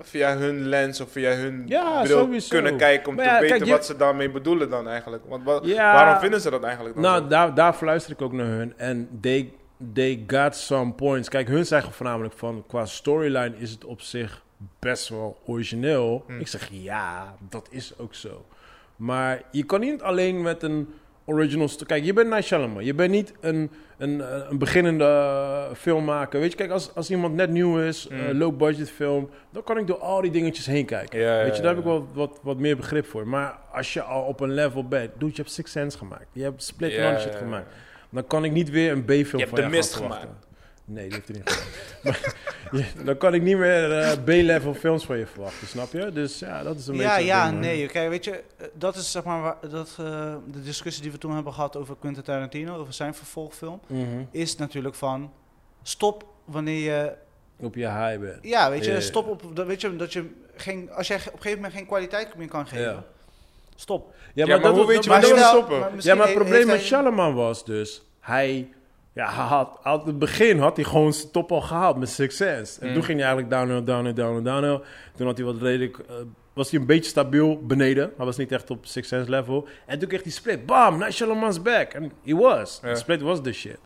S4: via hun lens of via hun
S3: Ja,
S4: bril
S3: sowieso.
S4: kunnen kijken om
S3: Maar
S4: te
S3: ja,
S4: weten
S3: kijk, je-
S4: wat ze daarmee bedoelen dan eigenlijk. Want wa-
S3: Ja.
S4: waarom vinden ze dat eigenlijk dan?
S3: Nou,
S4: zo?
S3: daar, daar fluister ik ook naar hun. En they, they got some points. Kijk, hun zeggen voornamelijk van... qua storyline is het op zich best wel origineel.
S4: Hmm.
S3: Ik zeg ja, dat is ook zo. Maar je kan niet alleen met een original... sto- Kijk, je bent Night Shyamalan. Je bent niet een, een, eh, een beginnende eh, filmmaker. Weet je, kijk, als, als iemand net nieuw is...
S4: Hmm.
S3: eh, low-budget film... dan kan ik door al die dingetjes heen kijken.
S4: Ja, ja,
S3: Weet je, daar heb ik
S4: ja.
S3: wel wat, wat meer begrip voor. Maar als je al op een level bent... Dude, je hebt Six Sense gemaakt. Je hebt Split
S4: Ja,
S3: en al die shit
S4: ja, ja.
S3: gemaakt. Dan kan ik niet weer een B-film van
S4: Je hebt de
S3: jou gaan
S4: mist
S3: verwachten. Nee, die heeft hij niet gemaakt. *laughs* maar, je- dan kan ik niet meer eh, B-level films van je verwachten, snap je? Dus ja, dat is een
S1: ja,
S3: beetje...
S1: ja,
S3: ding, man.
S1: nee. Oké, weet je, eh, dat is zeg maar waar- dat, eh, de discussie die we toen hebben gehad over Quentin Tarantino, over zijn vervolgfilm,
S3: Mhm.
S1: is natuurlijk van stop wanneer je,
S3: Op je high bed.
S1: ja, weet je,
S3: Ja, ja, ja.
S1: stop op, dat- weet je, dat je geen, als jij op een gegeven moment geen kwaliteit meer kan geven,
S3: Ja.
S1: stop.
S3: Ja,
S4: maar hoe weet je
S3: maar
S4: wat
S3: dat
S4: je
S3: was-
S4: wil
S1: stel-
S4: stoppen.
S1: misschien
S3: Ja, maar het
S1: he-
S3: probleem
S1: heeft
S3: met
S1: hij-
S3: Shalaman was dus... Hij... Ja, hij had, had, het begin had hij gewoon zijn top al gehaald met succes. En
S4: Mm.
S3: toen ging hij eigenlijk downhill, downhill, downhill, downhill. Toen had hij wat redelijk... eh, was hij een beetje stabiel beneden. Hij was niet echt op succes level. En toen kreeg hij split. Bam, now Shalaman's back. En he was.
S4: Ja.
S3: Split was the shit.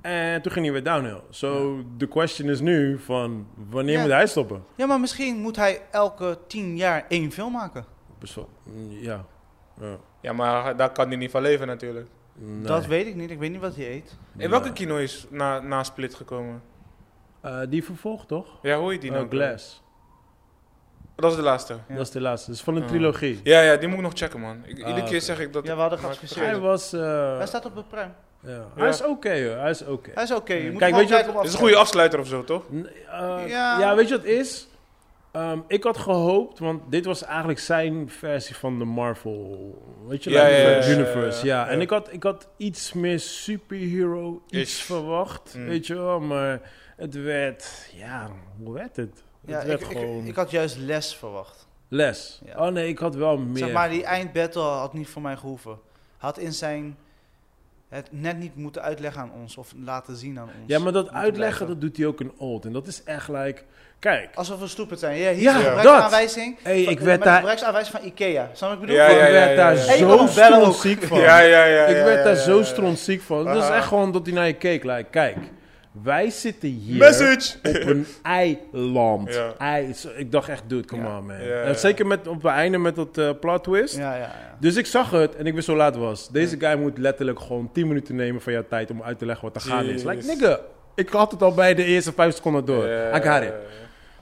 S3: En toen ging hij weer downhill. So, the question is nu van... Wanneer
S1: Ja.
S3: moet hij stoppen?
S1: Ja, maar misschien moet hij elke tien jaar één film maken.
S3: Dus, mm, ja. ja.
S4: Ja, maar daar kan hij niet van leven natuurlijk.
S3: Nee.
S1: Dat weet ik niet. Ik weet niet wat hij eet.
S4: In welke kino is na, na Split gekomen?
S3: Eh, die vervolgt, toch?
S4: Ja, hoe heet die
S3: Eh,
S4: nou?
S3: Glass.
S4: Dat is de laatste.
S1: Ja.
S3: Dat is de laatste. Dat is van de
S4: Ah.
S3: trilogie.
S4: Ja, ja, die moet ik nog checken, man. Ik,
S3: Ah,
S4: iedere
S3: oké.
S4: keer zeg ik dat...
S1: Ja, we hadden
S4: maar ik
S1: geadviseerd.
S4: vergeet
S3: Hij
S4: het.
S3: was... eh,
S1: Hij staat op de prem.
S3: ja.
S4: Ja.
S3: Hij is oké, hoor. Hij is oké.
S1: Hij is oké. Je moet
S3: Kijk,
S1: gewoon
S3: weet je wat-
S1: kijken
S4: Dit
S1: of
S4: is een goede afsluiter of zo, toch?
S3: N- eh,
S1: Ja.
S3: ja. weet je wat het is? Ehm, ik had gehoopt, want dit was eigenlijk zijn versie van de Marvel weet je,
S4: Ja,
S3: like,
S4: ja, ja,
S3: eh,
S4: ja, ja,
S3: Universe. Ja,
S4: ja.
S3: En
S4: Ja.
S3: ik had, ik had iets meer superhero iets
S4: Is.
S3: verwacht,
S4: Mm.
S3: weet je wel. Maar het werd, ja, hoe werd het?
S1: Ja,
S3: het werd
S1: ik, ik,
S3: gewoon
S1: ik had juist les verwacht.
S3: les.
S1: Ja.
S3: Oh nee, ik had wel meer.
S1: Zeg maar, die eindbattle had niet voor mij gehoeven. Had in zijn... Het net niet moeten uitleggen aan ons. Of laten zien aan ons.
S3: ja, maar dat
S1: Moeten
S3: uitleggen,
S1: blijven.
S3: dat doet hij ook in Old. En dat is echt like, kijk,
S1: Alsof we stoeperd zijn. Ja, hier
S3: Ja,
S1: is een
S4: dat.
S1: gebruiksaanwijzing.
S3: hey,
S1: Van-
S3: ik werd
S1: met een
S3: daar
S1: gebruiksaanwijzing van Ikea. Snap je wat ik bedoel?
S4: Ja,
S1: Van-
S3: ik werd daar
S4: ja, ja.
S1: En je kon
S3: zo
S1: hem bellen ook.
S3: strontziek van.
S4: Ja, ja, ja.
S3: ik
S4: ja,
S3: werd
S4: ja,
S3: daar
S4: ja,
S3: zo
S4: ja. Ah.
S3: strontziek van. Dat is
S4: Aha.
S3: echt gewoon dat hij naar je keek. Like, kijk, wij zitten hier
S4: Message!
S3: op een eiland.
S4: Ja.
S3: Ei- ik dacht echt, dude, come
S1: Ja.
S3: on man.
S4: Ja, ja,
S3: En
S4: ja.
S3: Zeker met, op het einde met dat eh, plot twist.
S1: Ja, ja, ja.
S3: Dus ik zag het en ik wist hoe laat het was. Deze guy moet letterlijk gewoon 10 minuten nemen van jouw tijd om uit te leggen wat er gaande is. Like,
S4: Jeez.
S3: nigga, ik had het al bij de eerste 5 seconden door.
S4: Ja,
S3: I got it.
S4: ja, ja.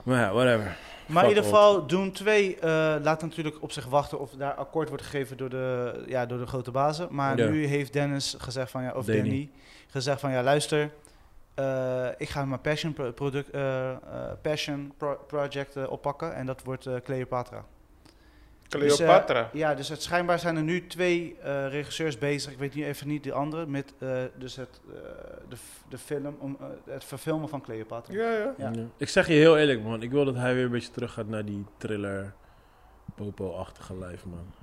S3: Maar ja, whatever.
S1: Maar in
S3: Fuck
S1: ieder geval, Doom 2 eh, laat natuurlijk op zich wachten of daar akkoord wordt gegeven door de, ja, door de grote bazen. Maar
S3: Ja.
S1: nu heeft Dennis gezegd van ja, of Danny.
S3: Danny.
S1: gezegd van ja, luister, eh, ik ga mijn passion, pro- product, eh, eh, passion pro- project eh, oppakken en dat wordt eh, Cleopatra. Dus, eh,
S4: Cleopatra.
S1: ja, dus het, schijnbaar zijn er nu twee eh, regisseurs bezig. Ik weet nu even niet de andere. Met eh, dus het, eh, de, f- de film, om, eh, het verfilmen van Cleopatra.
S4: ja, ja.
S1: Ja.
S3: Ja. Ik zeg je heel eerlijk, man. Ik wil dat hij weer een beetje terug gaat naar die thriller popo-achtige lijf, man.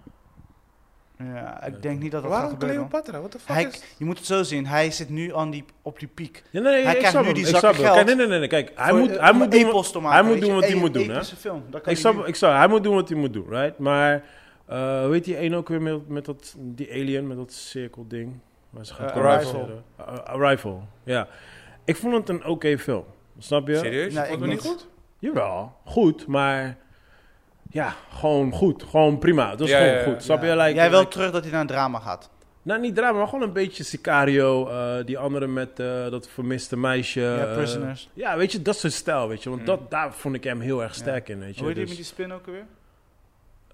S1: Ja, ik denk niet dat dat gaat
S4: Waarom
S1: gebeuren. hoor.
S4: Cleopatra? Wat de fuck
S1: Hij,
S4: is...
S1: je moet het zo zien. Hij zit nu aan die, op die piek.
S3: Ja, nee, nee,
S1: Hij
S3: ik
S1: krijgt
S3: snap
S1: nu
S3: hem,
S1: die
S3: ik
S1: zakken
S3: snap hem.
S1: geld.
S3: Kijk, nee, nee, nee, kijk. Hij
S1: Voor-
S3: moet,
S1: eh,
S3: hij
S1: om
S3: moet
S1: een
S3: doen wat,
S1: epos te maken,
S3: hij moet
S1: weet
S3: doen
S1: je.
S3: wat hij
S1: Eén
S3: moet doen, hè?
S1: epische film. Dat kan
S3: ik,
S1: hij
S3: snap,
S1: niet.
S3: ik snap, hij moet doen wat hij moet doen, right? Maar, eh weet die één ook weer met, met dat, die alien, met dat cirkelding? Waar ze gaat
S1: Eh,
S3: communiceren.
S1: Arrival.
S3: Eh, Arrival, ja. Ik vond het een oké film, snap je?
S4: Serieus?
S1: Nee,
S4: Vond
S1: ik
S4: me niet
S1: niet.
S4: goed?
S3: Jawel, goed, maar ja, gewoon goed. Gewoon prima. Dat is
S4: Ja,
S3: gewoon
S4: ja, ja.
S3: goed. Snap
S1: Ja.
S3: je? Like,
S1: Jij wil
S3: like-
S1: terug dat hij naar een drama gaat.
S3: nou, niet drama, maar gewoon een beetje Sicario. eh, die andere met eh, dat vermiste meisje.
S1: Ja,
S3: eh,
S1: Prisoners.
S3: ja, weet je, dat is zijn stijl, weet je. Want
S4: Mm.
S3: dat, daar vond ik hem heel erg sterk in, weet je.
S1: Hoe heet die
S3: Dus,
S1: met die spin ook alweer?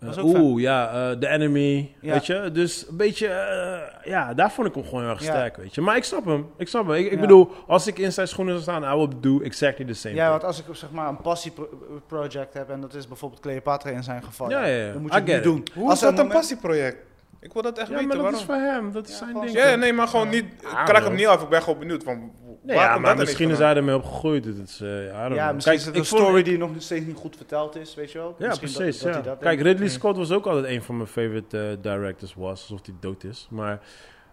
S3: eh,
S1: was ook
S3: Oeh, ja, eh, The Enemy,
S1: Ja.
S3: weet je. Dus een beetje, eh, ja, daar vond ik hem gewoon heel erg
S1: Ja.
S3: sterk, weet je. Maar ik snap hem, ik snap hem. Ik, ik
S1: Ja.
S3: bedoel, als ik in zijn schoenen zou staan, I would do exactly the same
S1: Ja,
S3: thing.
S1: want als ik zeg maar een passieproject heb en dat is bijvoorbeeld Cleopatra in zijn geval,
S3: Ja, ja, ja.
S1: dan moet
S3: I
S1: je het
S3: get
S1: niet
S3: it.
S1: doen.
S4: Hoe
S1: Als
S4: is dat
S1: er
S4: een passieproject? Ik wil dat echt
S3: Ja,
S4: weten,
S3: maar dat
S4: waarom?
S3: is voor hem, dat is
S1: Ja,
S3: zijn
S1: gewoon-
S3: ding.
S4: Ja, nee, maar gewoon niet... Ik
S3: Ah,
S4: krak
S3: man.
S4: hem niet af, ik ben gewoon benieuwd van...
S3: Nee,
S4: waar
S3: ja,
S4: komt
S3: maar
S4: dat
S3: misschien is
S4: ineens
S3: hij ermee opgegroeid. Het is, eh, I don't
S1: Ja,
S3: know.
S1: misschien
S3: Kijk,
S1: is het
S3: ik
S1: een
S3: vond-
S1: story die nog steeds niet goed verteld is, weet je wel?
S3: Ja,
S1: Misschien dat-
S3: precies.
S1: dat
S3: ja.
S1: hij dat
S3: Kijk,
S1: denkt.
S3: Ridley Scott was ook altijd een van mijn favorite eh, directors was. Alsof hij dood is. Maar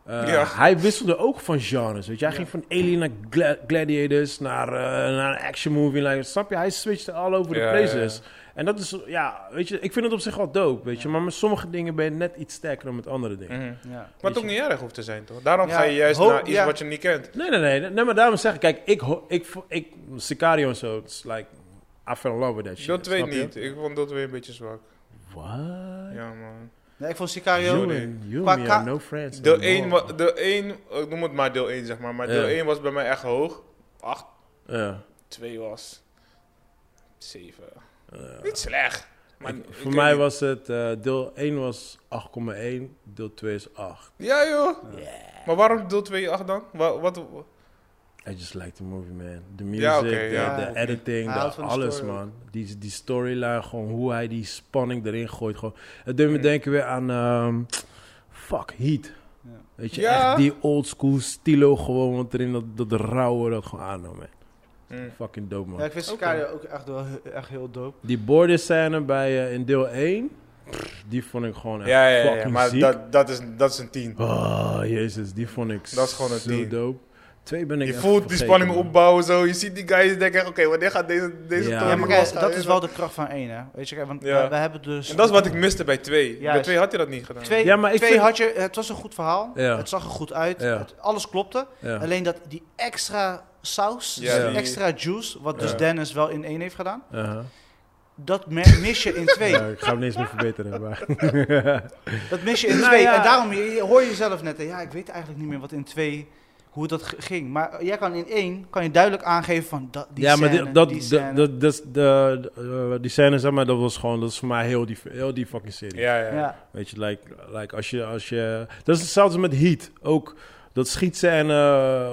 S3: eh,
S4: Ja.
S3: hij wisselde ook van genres. Weet je? Hij
S1: Ja.
S3: ging van Alien naar gla- Gladiators, naar, eh, naar een action movie. Like, snap je? Hij switchte all over
S4: Ja,
S3: the places.
S4: ja,
S3: En dat is, ja, weet je, ik vind het op zich wel dope, weet je. Maar met sommige dingen ben je net iets sterker dan met andere dingen.
S4: Mhm.
S1: Ja.
S4: Maar het
S3: Weet
S4: ook niet erg hoeft te zijn, toch? Daarom
S1: Ja,
S4: ga je juist
S1: hoop-
S4: naar iets
S1: ja.
S4: wat je niet kent.
S3: Nee, nee, nee, nee. Nee, maar daarom zeg ik, kijk, ik, ho- ik, vo- ik, Sicario en zo, it's like, I fell in love with that shit.
S4: Dat weet
S3: snap je?
S4: niet. Ik vond dat weer een beetje zwak.
S3: What?
S4: Ja, man.
S1: Nee, ik vond
S3: You,
S1: Sicario...
S4: Sorry.
S3: and, you
S1: Qua
S3: and me
S1: ka-
S3: are no friends.
S4: Deel
S3: anymore.
S4: 1, wa- deel 1, ik noem het maar deel 1, zeg maar. Maar deel
S3: Ja.
S4: 1 was bij mij echt hoog. 8,
S3: Ja.
S4: 2 was 7.
S3: ja.
S4: Niet slecht. Maar
S3: Ik-
S4: ik
S3: voor
S4: weet
S3: mij
S4: niet.
S3: was het, eh, deel 1 was 8,1, deel 2 is 8.
S4: Ja, joh. Maar waarom deel 2 8 dan? Wat, wat,
S3: I just like the movie, man. The music,
S4: Ja, oké,
S3: the,
S4: ja.
S3: the editing,
S1: Hij
S3: de-
S1: houdt van de
S3: alles,
S1: story
S3: man. Die, die storyline, gewoon hoe hij die spanning erin gooit. Gewoon. Het deed me denken weer aan, ehm, fuck, Heat.
S1: Ja.
S3: Weet je,
S4: Ja.
S3: echt die old school stilo gewoon, want erin dat, dat rauwe dat gewoon aannam, man.
S4: Hm.
S3: Fucking dope, man.
S1: Ja, ik vind Sicario ook echt, wel, he- echt heel dope.
S3: Die borderscène bij, eh, in deel 1, pff, die vond ik gewoon echt
S4: Ja, ja, ja,
S3: fucking
S4: maar
S3: ziek.
S4: dat, dat, is, dat is een 10.
S3: Oh, jezus, die vond ik
S4: Dat is gewoon het
S3: zo
S4: ding.
S3: dope. Twee ben ik
S4: Je
S3: echt
S4: voelt die
S3: vergeten,
S4: spanning
S3: man.
S4: opbouwen zo. Je ziet die guys denken, oké, wanneer gaat deze, deze
S3: Ja.
S4: toren
S1: Ja, maar kijk,
S4: losgaan?
S1: dat is wel de kracht van één, hè? Weet je, kijk, want
S4: Ja.
S1: we, we hebben dus...
S4: En dat is wat ik miste bij 2. Bij
S1: Juist.
S4: 2 had hij dat niet gedaan.
S1: Twee,
S3: Ja, maar ik
S1: twee
S3: vind-
S1: had je... Het was een goed verhaal.
S3: Ja.
S1: Het zag er goed uit.
S3: Ja.
S1: Het- alles klopte.
S3: Ja.
S1: Alleen dat die extra saus,
S4: Ja,
S1: die
S4: die-
S1: extra juice, wat dus
S4: Ja.
S1: Dennis wel in één heeft gedaan,
S3: Uh-huh.
S1: dat me- mis je in twee.
S3: Ja, ik ga hem niet eens meer verbeteren. Maar.
S1: Dat mis je in
S3: Nou
S1: twee.
S3: ja.
S1: En daarom je- je hoor je zelf net, hè, ja, ik weet eigenlijk niet meer wat in twee, hoe dat g- ging. Maar jij kan in één, kan je duidelijk aangeven van dat, die
S3: ja, maar
S1: scène,
S3: die, dat,
S1: die
S3: dat-
S1: scène.
S3: dat, dat, is de, de- eh, die scène, zeg maar, dat was gewoon, dat is voor mij heel die, heel die fucking serie.
S4: Ja, ja. ja.
S1: ja.
S3: Weet je, like, like als je, als je, dat is hetzelfde met Heat. Ook dat schietscène, eh,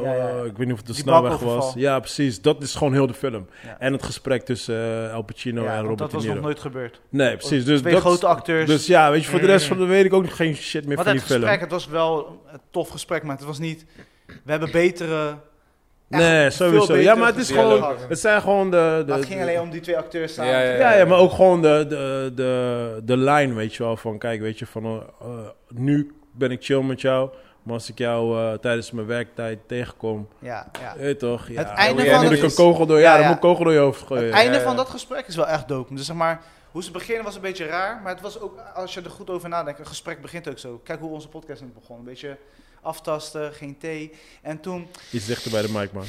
S1: Ja, ja, ja.
S3: eh, ik weet niet of het de
S1: Die
S3: snelweg
S1: bakoverval.
S3: was. Ja, precies. Dat is gewoon heel de film.
S1: Ja.
S3: En het gesprek tussen eh, Al Pacino
S1: Ja,
S3: en
S1: want
S3: Robert
S1: dat
S3: De
S1: was
S3: Niro.
S1: nog nooit gebeurd.
S3: Nee, precies. Dus
S1: Twee
S3: dat,
S1: grote acteurs.
S3: Dus ja, weet je, voor de rest van de weet ik ook geen shit meer
S1: maar
S3: van
S1: dat
S3: die film.
S1: gesprek, het was wel een tof gesprek, maar het was niet, we hebben betere... echt
S3: Nee,
S1: veel
S3: sowieso. Ja,
S1: betere
S3: maar het is
S1: gesprekken
S4: gewoon-
S1: gehad.
S3: Het zijn gewoon de... de
S1: Maar het ging
S3: de-
S1: alleen om die twee acteurs samen.
S4: Ja, ja,
S3: Ja, ja, maar
S1: Eh,
S3: ook gewoon de, de, de, de lijn, weet je wel. Van kijk, weet je, van eh, eh, nu ben ik chill met jou. Maar als ik jou eh, tijdens mijn werktijd tegenkom,
S1: Ja, ja.
S3: eh, toch? Ja,
S1: Het
S3: dan
S1: einde
S3: moet jij
S4: van
S3: nu
S4: het-
S3: een kogel door, ja,
S1: Ja,
S3: dan
S1: ja.
S3: moet een kogel door je hoofd gooien.
S1: Het einde
S4: Oh, ja.
S1: van dat gesprek is wel echt dope. Dus zeg maar, hoe ze beginnen was een beetje raar. Maar het was ook, als je er goed over nadenkt, een gesprek begint ook zo. Kijk hoe onze podcast net begon. Een beetje aftasten, geen thee. En toen,
S3: Iets dichter bij de mic,
S1: *laughs*
S3: man.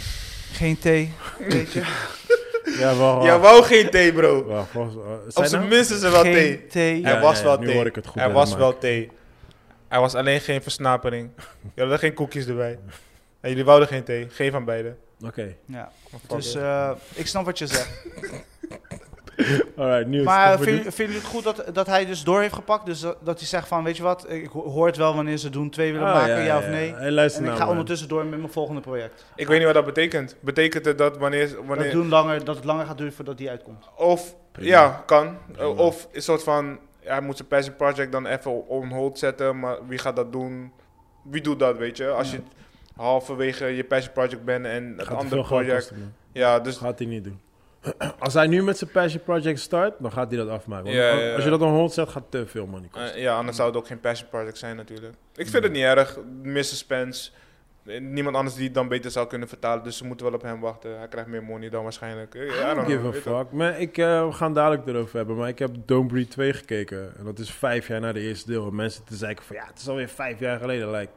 S1: geen thee, weet je.
S3: Ja, wel.
S4: Jij wou geen thee, bro.
S3: wel, volgens-
S1: Oh,
S3: eh, zijn
S4: Op zijn
S3: nou?
S4: minst is er *laughs* wel thee.
S1: geen thee.
S3: Ja.
S4: Hij was wel
S3: nu
S4: thee.
S3: hoor ik het goed
S4: Hij
S3: bij de
S4: was wel thee. Hij was alleen geen versnapering. Jullie hadden geen koekjes erbij. En jullie wouden geen thee. Geen van beide.
S3: Oké.
S1: Ja,
S4: Maar fuck
S1: dus
S4: it.
S1: eh, ik snap wat je zegt.
S3: Alright, nieuws.
S1: Maar
S3: Kom
S1: vinden
S3: dit.
S1: vinden jullie het goed dat, dat hij dus door heeft gepakt? Dus dat, dat hij zegt van, weet je wat, ik ho- hoor het wel wanneer ze doen twee willen
S3: Oh,
S1: maken, ja, of nee.
S3: Hey, luister
S1: En ik
S3: nou,
S1: ga
S3: man.
S1: ondertussen door met mijn volgende project.
S4: Ik weet niet wat dat betekent. Betekent het dat wanneer...
S1: Dat,
S4: wanneer
S1: doen langer, dat het langer gaat duren voordat die uitkomt.
S4: of,
S3: Prima.
S4: ja, kan.
S3: Prima.
S4: Of een soort van, ja, hij moet zijn passion project dan even on hold zetten. Maar wie gaat dat doen? Wie doet dat, weet je? Als
S1: Ja.
S4: je halverwege je passion project bent en
S3: Gaat
S4: het
S3: te
S4: andere
S3: veel geld
S4: project...
S3: kosten, man.
S4: Ja, dus
S3: Gaat hij niet doen. *clears throat* Als hij nu met zijn passion project start, dan gaat hij dat afmaken. Want
S4: Ja,
S3: als-
S4: ja, ja.
S3: Als je dat on hold zet, gaat te veel money kosten.
S4: Eh, ja, anders zou het ook geen passion project zijn natuurlijk. Ik vind het niet erg. Mrs. Spence. eh, Niemand anders die het dan beter zou kunnen vertalen. Dus ze moeten wel op hem wachten. Hij krijgt meer money dan waarschijnlijk. Eh, I
S3: I
S4: don't
S3: don't
S4: know,
S3: give a
S4: weet het.
S3: fuck. Maar ik, eh, we gaan dadelijk erover hebben. Maar ik heb Don't Breed 2 gekeken. En dat is vijf jaar na de eerste deel. En mensen te zeiken van ja, het is alweer vijf jaar geleden. Like,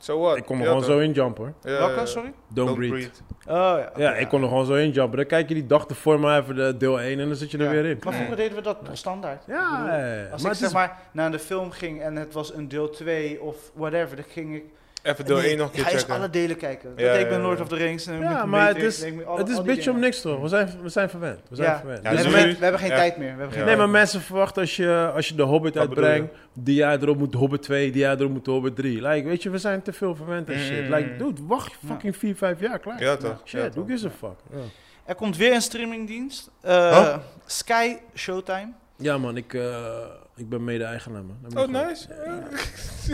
S4: So what?
S3: ik kon er
S4: Ja,
S3: gewoon
S4: toch?
S3: zo in jumpen. hoor.
S4: Ja, ja, ja.
S1: Welke, sorry?
S3: Don't, breed.
S1: Oh, ja, oké,
S3: Eh, Ja, ik kon er gewoon zo in jumpen. Dan kijk je die dag ervoor maar even de deel 1 en dan zit je er
S1: Ja.
S3: weer in.
S1: Maar vroeger deden we dat toch standaard? Ik
S3: Ja,
S1: bedoel,
S3: eh,
S1: Als
S3: maar
S1: ik
S3: het
S1: zeg
S3: is
S1: maar naar de film ging en het was een deel 2 of whatever, dan ging ik...
S4: Even deel
S1: Nee,
S4: 1 nog een keer
S1: Ga eens
S4: checken.
S1: alle delen kijken. Dat
S4: Ja,
S1: deed ik bij
S4: ja,
S1: Lord
S4: ja.
S1: of the Rings. En
S3: Ja,
S1: moet
S3: maar het
S1: Matrix,
S3: is-
S1: en ik moet alle-
S3: Het is
S1: al die
S3: beetje om
S1: dingen.
S3: niks toch? We zijn, we zijn verwend. We zijn
S1: Ja.
S3: verwend.
S4: Ja,
S1: we,
S3: Dus-
S4: zo-
S1: hebben, we hebben geen
S4: Ja.
S1: tijd meer. We hebben geen
S4: Ja.
S3: Nee,
S1: tijd
S3: maar mensen verwachten als je, als je de Hobbit
S4: Wat bedoel je?
S3: uitbrengt, die jaar erop moet de Hobbit 2, die jaar erop moet de Hobbit 3. Like, weet je, we zijn te veel verwend en shit.
S4: Mm.
S3: Like, dude, wacht fucking 4, 5 jaar, klaar.
S4: Ja, toch?
S3: Shit,
S4: Ja,
S3: who
S4: toch?
S3: gives a fuck? Ja,
S1: meer. Er komt weer een streamingdienst. Eh,
S4: Huh?
S1: Sky Showtime.
S3: Ja, man, ik, eh, ik ben mede-eigenaar, man. Dat moet
S4: Oh,
S3: gewoon.
S4: nice.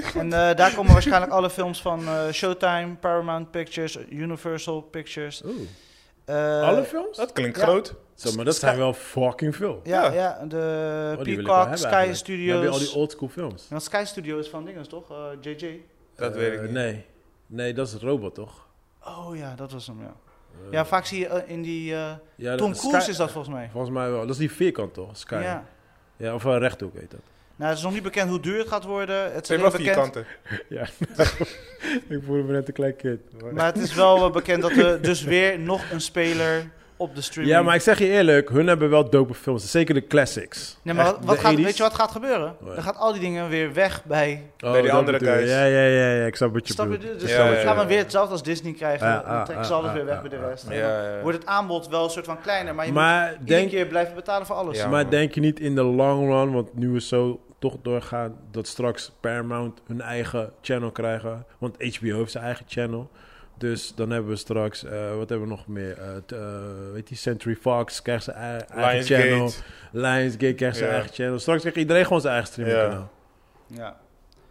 S4: Eh,
S1: En eh, daar komen waarschijnlijk alle films van eh, Showtime, Paramount Pictures, Universal Pictures.
S3: Oeh.
S1: eh,
S3: Alle films?
S4: Dat klinkt
S1: Ja.
S4: groot.
S3: Zo, maar dat zijn wel fucking veel.
S1: Ja,
S4: Ja.
S1: ja, de Eh,
S3: Oh, die wil ik wel
S1: Peacock,
S3: hebben
S1: Sky
S3: eigenlijk. Dan heb je al die
S1: Studios.
S3: oldschool films.
S1: Want Sky Studio is van dinges, toch? Eh, JJ.
S4: Dat
S3: Eh,
S4: weet ik niet.
S3: Nee. Nee, dat is Robot, toch?
S1: Oh ja, dat was hem, ja.
S3: Eh,
S1: Ja, vaak zie je eh, in die... eh,
S3: ja, dat-
S1: Tom
S3: Sky-
S1: Cruise is dat volgens mij.
S3: Volgens mij wel. Dat is die vierkant, toch? Sky. Ja.
S1: Ja.
S3: of een rechthoek heet dat.
S1: Nou, het is nog niet bekend hoe duur het gaat worden. Het
S4: Het
S1: is
S4: zijn
S1: alleen
S4: wel
S1: bekend...
S4: vierkanten.
S3: *laughs* ik voel me net een klein kind.
S1: Maar het is wel eh, bekend dat er dus weer nog een speler op de streaming...
S3: Ja, maar ik zeg je eerlijk, hun hebben wel dope films. Zeker de classics.
S1: Nee, maar
S3: Echt,
S1: wat,
S3: de
S1: wat gaat,
S3: 80s.
S1: weet je wat gaat gebeuren?
S3: Oh ja.
S1: Dan gaat al die dingen weer weg bij...
S3: Oh,
S4: Bij die
S3: dat
S4: andere
S3: bedoel je.
S4: guys.
S3: Ja, ja, ja, ja, ik snap wat je
S1: Snap je?
S3: bedoelt.
S1: Dus
S4: Ja,
S1: dan
S4: ja,
S1: gaan we
S4: ja.
S1: weer hetzelfde als Disney krijgen.
S3: Ja, ah,
S1: dan trekken ze
S3: ah,
S1: alles weer
S3: ah,
S1: weg
S3: ah,
S1: bij de
S3: ah,
S1: rest.
S3: ah.
S1: En dan
S4: Ja, ja.
S1: Wordt het aanbod wel een soort van kleiner, maar je moet
S3: Maar
S1: iedere
S3: denk,
S1: keer blijven betalen voor alles.
S4: Ja.
S3: maar
S4: man.
S3: denk je niet in de long run, want nu we zo toch doorgaan, dat straks Paramount hun eigen channel krijgen. Want HBO heeft zijn eigen channel. Dus dan hebben we straks, eh, wat hebben we nog meer? Eh, t- eh, weet je, Century Fox krijgt zijn ei- eigen channel.
S4: Lionsgate.
S3: Lionsgate krijgt zijn
S4: Ja.
S3: eigen channel. Straks krijgt iedereen gewoon zijn eigen streamingkanaal.
S1: Ja.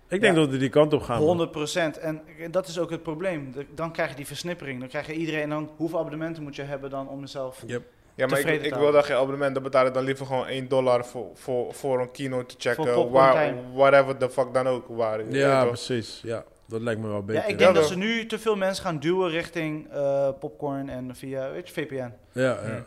S3: Ik denk
S1: Ja.
S3: dat we die kant op gaan. man.
S1: 100 En dat is ook het probleem. De- Dan krijg je die versnippering. Dan krijg je iedereen. En dan hoeveel abonnementen moet je hebben dan om jezelf.
S3: Yep.
S4: Ja, maar ik,
S1: Tevreden
S4: ik
S1: taal.
S4: wil dat geen abonnement. Dan betaal ik dan liever gewoon 1 dollar voor, voor, voor een kino te
S1: popcorn
S4: checken.
S1: time.
S4: Waar, whatever the fuck dan ook. Waar, je weet
S3: Ja,
S4: toch?
S3: precies. Ja, dat lijkt me wel beter.
S1: Ja, ik
S4: Ja,
S1: denk dat
S4: wel.
S1: ze nu te veel mensen gaan duwen richting eh, popcorn en via weet je, VPN.
S3: Ja, ja, ja, ja.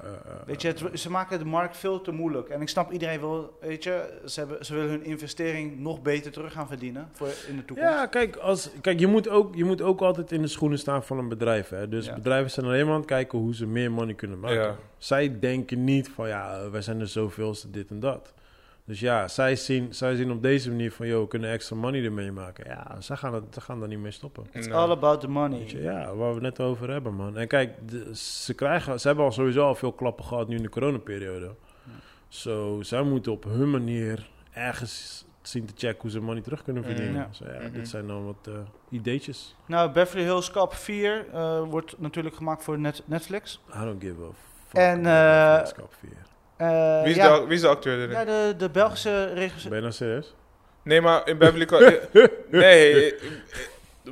S1: Weet je, het- ze maken de markt veel te moeilijk. En ik snap iedereen wel, weet je, ze, hebben, ze willen hun investering nog beter terug gaan verdienen voor in de toekomst.
S3: Ja, kijk, als, kijk je, moet ook, je moet ook altijd in de schoenen staan van een bedrijf. Hè? Dus
S1: Ja.
S3: bedrijven zijn alleen maar aan het kijken hoe ze meer money kunnen maken.
S4: Ja.
S3: Zij denken niet van, ja, eh, wij zijn er zoveelste dit en dat. Dus ja, zij zien, zij zien op deze manier van, joh, we kunnen extra money ermee maken. Ja, zij gaan, het, ze gaan daar niet mee stoppen.
S1: It's
S4: Nee.
S1: all about the money.
S3: Weet je, ja, waar we het net over hebben, man. En kijk, de- ze, krijgen, ze hebben al sowieso al veel klappen gehad nu in de coronaperiode. Zo, zij moeten op hun manier ergens zien te checken hoe ze money terug kunnen
S4: Mm.
S3: verdienen.
S1: Ja.
S3: Zo, ja,
S4: Mhm.
S3: dit zijn dan wat eh, ideetjes.
S1: Nou, Beverly Hills Cop 4 eh, wordt natuurlijk gemaakt voor net- Netflix.
S3: I don't give a fuck.
S1: En,
S3: about
S1: eh,
S3: Netflix, kap vier.
S1: Eh,
S4: Wie is,
S1: ja,
S4: de, wie is de acteur erin?
S1: ja, de, de Belgische regisseur.
S3: Ben je nou serieus?
S4: Nee, maar in Beverly
S3: *laughs*
S4: Hills... nee, eh,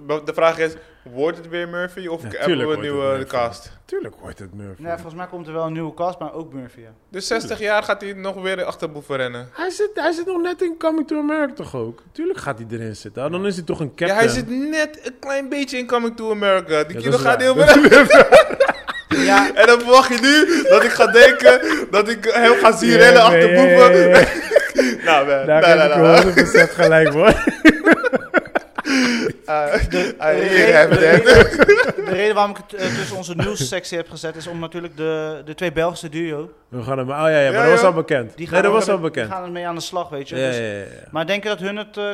S4: eh, de vraag is... Wordt het weer Murphy of
S3: Ja,
S4: hebben
S3: tuurlijk
S4: we een
S3: wordt het
S4: nieuwe
S3: Murphy.
S4: cast?
S3: Tuurlijk wordt het Murphy.
S1: Nou, volgens mij komt er wel een nieuwe cast, maar ook Murphy. ja.
S4: Dus 60 jaar gaat hij nog weer achter boeven rennen.
S3: hij, zit, hij zit nog net in Coming to America toch ook? Tuurlijk gaat hij erin zitten. Ah, Dan is hij toch een captain.
S4: Ja, hij zit net een klein beetje in Coming to America. Die
S3: Ja,
S4: kilo
S3: dat is
S4: gaat
S3: waar.
S4: heel ver. *laughs*
S1: Ja,
S4: En dan verwacht je nu dat ik ga denken dat ik hem ga zien rennen
S3: Ja,
S4: achter
S3: ja, ja,
S4: boeven.
S3: ja, ja.
S4: Nou, man.
S3: Daar
S4: Nou, nou, nou, nou.
S3: heb ik 100% gelijk, hoor.
S4: Ah, *laughs* ah,
S1: de,
S4: hier hebben we het.
S1: de reden waarom ik het eh, tussen onze nieuwssectie heb gezet is om natuurlijk de, de twee Belgische duo.
S3: We gaan hem... Oh ja, ja maar
S4: Ja,
S3: dat was
S4: joh.
S3: al bekend.
S1: Die
S3: nee, dat
S1: ook
S3: was
S1: er-
S3: al bekend.
S1: Die gaan ermee aan de slag, weet je.
S3: Ja,
S1: Dus-
S3: ja, ja, ja.
S1: Maar denk je dat hun het eh,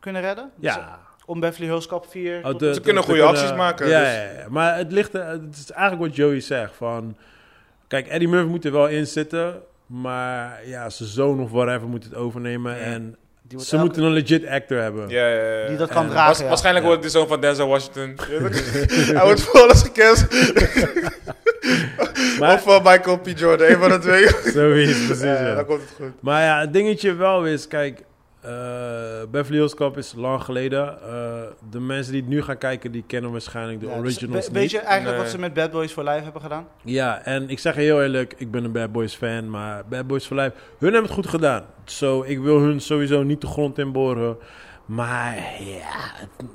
S1: kunnen redden? Dus
S3: Ja.
S1: om Beverly Hills Cop 4
S3: Oh,
S1: tot-
S3: de-
S4: Ze kunnen goede acties maken,
S3: Ja,
S4: dus-
S3: ja, ja. maar eh, het ligt... er- Het is eigenlijk wat Joey zegt, van... Kijk, Eddie Murphy moet er wel in zitten. Maar ja, zijn zoon of whatever moet het overnemen.
S4: Ja.
S3: En
S1: Die wordt
S3: ze
S1: elke-
S3: moeten een legit actor hebben.
S4: Ja, ja, ja.
S1: Die dat kan
S3: Eh,
S1: dragen.
S4: Waars-
S1: ja.
S4: Waarschijnlijk wordt het de zoon van Denzel *laughs* Washington. Hij wordt voor alles *laughs* gekend.
S3: Maar- *laughs*
S4: Of van Michael P. Jordan, een van de twee.
S3: Zo is het precies,
S4: Ja,
S3: ja.
S4: Dan komt het goed.
S3: Maar ja, het dingetje wel is, kijk, eh Beverly Hills Cop is lang geleden. Eh, de mensen die het nu gaan kijken, die kennen waarschijnlijk de
S1: Ja, dus
S3: originals
S1: we-
S3: niet.
S1: Weet je eigenlijk
S4: Nee.
S1: wat ze met Bad Boys for Life hebben gedaan?
S3: Ja, en ik zeg je heel eerlijk, ik ben een Bad Boys fan, maar Bad Boys for Life, hun hebben het goed gedaan. Zo, ik wil hun sowieso niet de grond in boren. Maar ja, het,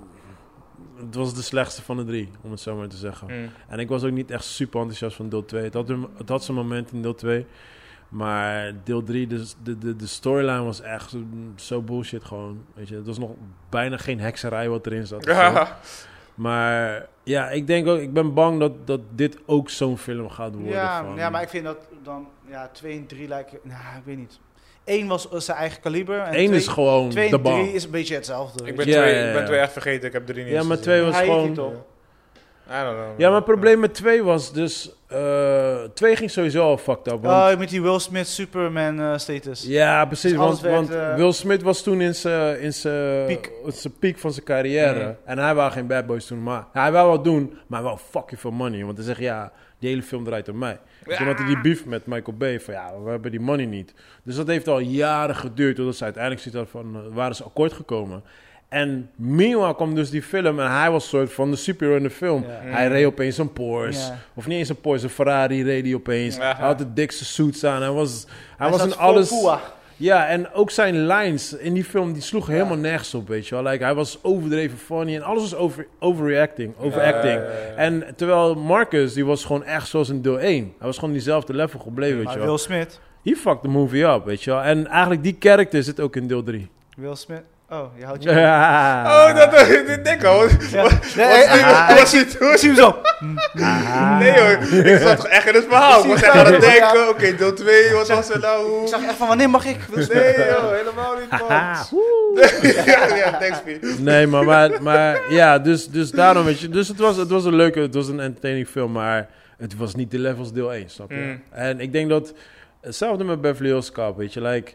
S3: het was de slechtste van de drie, om het zo maar te zeggen.
S4: Hmm.
S3: En ik was ook niet echt super enthousiast van deel 2. Het had, hun- het had zijn moment in deel 2. Maar deel 3, de, de, de, de storyline was echt zo, zo bullshit gewoon. Weet je, het was nog bijna geen hekserij wat erin zat. of zo.
S4: *laughs* Ja.
S3: Maar ja, ik denk ook, ik ben bang dat, dat dit ook zo'n film gaat worden.
S1: Ja,
S3: van,
S1: ja, maar ik vind dat dan ja, 2 en 3 lijken. Nou, ik weet niet. 1 was eh, zijn eigen kaliber. En
S3: Eén
S1: twee-
S3: is gewoon
S1: twee
S3: de
S1: en 3
S3: bang.
S1: is een beetje hetzelfde.
S4: Ik ben,
S3: Ja,
S4: twee,
S3: ja,
S4: ik
S3: ja.
S4: ben twee echt vergeten, ik heb drie niet
S3: Ja,
S4: eens
S3: maar
S4: gezien.
S3: twee was
S1: Hij heet
S3: gewoon...
S1: niet op.
S4: I don't know.
S3: Ja, maar het probleem met 2 was dus... eh 2 ging sowieso al fucked up. want-
S1: Oh, met die Will Smith Superman eh, status.
S3: Ja, precies.
S1: Dus
S3: want
S1: alles werd,
S3: want
S1: eh,
S3: Will Smith was toen in zijn in zijn-
S1: Piek.
S3: in zijn piek van zijn carrière.
S4: Mm.
S3: En hij wou geen Bad Boys toen maken. Hij wou wat doen, maar hij wou fucking veel money. Want hij zegt, ja, die hele film draait om mij. En Toen had hij die beef met Michael Bay van, ja, we hebben die money niet. Dus dat heeft al jaren geduurd. Totdat ze uiteindelijk zoiets hadden van, eh, waren ze akkoord gekomen. En meanwhile kwam dus die film en hij was soort van de superhero in de film.
S1: Ja. Mm.
S3: Hij reed opeens een Porsche.
S1: Ja.
S3: Of niet eens een Porsche, een Ferrari reed hij opeens.
S4: Aha.
S3: Hij had de dikste suits aan. Hij was, hij was
S1: zat
S3: in
S1: vol
S3: alles...
S1: poeha.
S3: Ja, en ook zijn lines in die film, die sloegen helemaal nergens op, weet je wel. Like, hij was overdreven funny en alles was over, overreacting, overacting.
S4: Ja, ja, ja, ja.
S3: En terwijl Marcus, die was gewoon echt zoals in deel 1. Hij was gewoon diezelfde level gebleven, weet
S1: Maar
S3: je
S1: Will
S3: wel.
S1: Smith.
S3: He fucked the movie up, weet je wel. En eigenlijk die character zit ook in deel 3.
S1: Will Smith. Oh, je houdt je.
S4: *laughs* Oh,
S3: oh,
S4: dat ik denk al. Wat
S1: Ja.
S3: *laughs*
S4: was die-
S3: ah.
S4: wat was die toen?
S1: Ik zie hem zo.
S4: Nee hoor, ik zat toch echt in het verhaal. Ik was echt aan het
S1: Ja.
S4: denken, oké, deel 2, wat was er nou?
S1: Ik
S4: Hoe?
S1: zag echt van wanneer mag
S4: *laughs*
S1: ik? Will Smith.
S4: Nee joh, helemaal niet man. Ja, ja, thanks Piet.
S3: Nee, maar, maar, maar ja, dus, dus daarom, weet je. Dus het was, het was een leuke, het was een entertaining film, maar het was niet de levels deel 1, snap je?
S4: Mm.
S3: En ik denk dat, hetzelfde met Beverly Hills Cop, weet je. Like,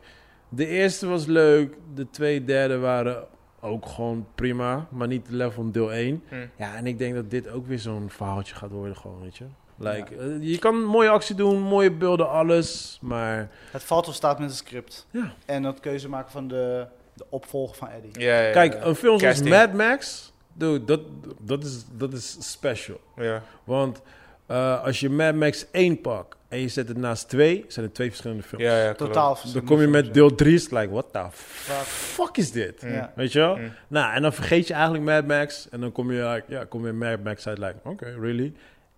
S3: de eerste was leuk, de twee derde waren ook gewoon prima, maar niet de level van deel 1.
S4: Mm.
S3: Ja, en ik denk dat dit ook weer zo'n verhaaltje gaat worden gewoon, weet je. Like, eh, je kan mooie actie doen, mooie beelden, alles, maar...
S1: Het valt of staat met het script.
S3: Ja.
S1: En dat keuze maken van de, de opvolger van Eddie.
S4: Ja, ja,
S3: Kijk, een film zoals
S4: Eh, Casting.
S3: Mad Max, dude, dat, dat, is, dat is special.
S4: ja.
S3: Want eh, als je Mad Max 1 pakt en je zet het naast 2, zijn het twee verschillende films.
S4: Ja, ja,
S1: Totaal verschillend.
S3: Dan kom je met deel 3, is het like, what the
S1: Fuck.
S3: fuck is dit?
S4: Mm.
S1: Ja.
S3: Weet je wel?
S4: Mm.
S3: Nou, en dan vergeet je eigenlijk Mad Max. En dan kom je, like, ja, kom je Mad Max uit, like, oké, really?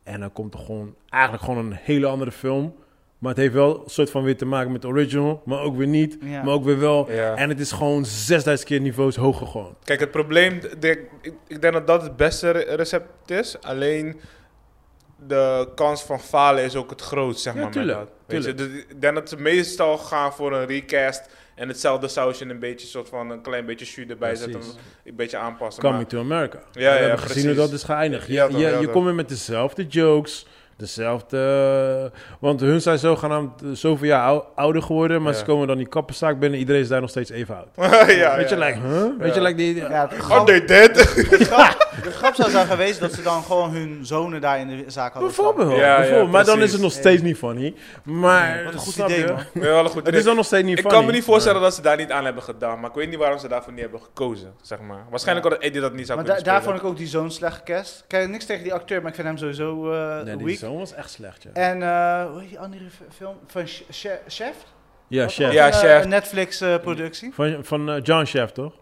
S3: En dan komt er gewoon, eigenlijk gewoon een hele andere film. Maar het heeft wel een soort van weer te maken met de original, maar ook weer niet.
S1: Ja.
S3: Maar ook weer wel.
S4: Ja.
S3: En het is gewoon 6000 keer niveaus hoger gewoon.
S4: Kijk, het probleem, de- ik, ik denk dat dat het beste re- recept is. Alleen de kans van falen is ook het grootst, zeg
S3: Ja,
S4: maar. met
S3: tuurlijk,
S4: dat. Weet je, dus ik denk dat ze meestal gaan voor een recast en hetzelfde sausje en een beetje soort van een klein beetje jus erbij zetten,
S3: Precies.
S4: een beetje aanpassen.
S3: Coming
S4: maar-
S3: to America.
S4: Ja,
S3: we
S4: ja,
S3: hebben
S4: precies.
S3: gezien hoe dat is geëindigd. Je,
S4: Ja, toch,
S3: je,
S4: ja,
S3: je
S4: toch.
S3: komt weer met dezelfde jokes, dezelfde... Want hun zijn zogenaamd eh, zoveel jaar ou- ouder geworden, maar
S4: Ja.
S3: ze komen dan die kapperszaak binnen. Iedereen is daar nog steeds even oud.
S4: *laughs* ja,
S3: Weet je,
S4: ja.
S3: like, huh? Weet je,
S4: Ja.
S3: like die...
S1: Ja, de
S4: Are
S1: grap,
S4: they
S3: *laughs*
S4: dead?
S1: de grap- de grap zou zijn geweest dat ze dan gewoon hun zonen daar in de zaak hadden.
S3: Bijvoorbeeld,
S4: Ja, ja,
S3: bijvoorbeeld. maar dan
S4: precies.
S3: is het nog steeds niet funny. Maar,
S1: Wat een goed
S3: snap
S1: idee,
S3: je?
S1: man.
S4: ja, wel een goed
S3: Het is dan nog steeds niet
S4: Ik
S3: funny.
S4: kan me niet voorstellen dat ze daar niet aan hebben gedaan, maar ik weet niet waarom ze daarvoor niet hebben gekozen, zeg maar. Waarschijnlijk had Eddie dat niet zou
S1: Maar da-
S4: kunnen
S1: daar vond
S4: spelen.
S1: ik ook die zoon slecht gecast. Ik heb niks tegen die acteur, maar ik vind hem sowieso eh
S3: Nee, die
S1: weak.
S3: zoon was echt slecht, ja.
S1: En eh, hoe heet die andere f- film? Van Sh- Sh- Chef?
S3: Ja,
S1: Wat
S3: Chef.
S1: was
S4: Ja,
S1: een, eh,
S4: Chef.
S1: Een Netflix-productie.
S3: Van, van eh, John Chef, toch?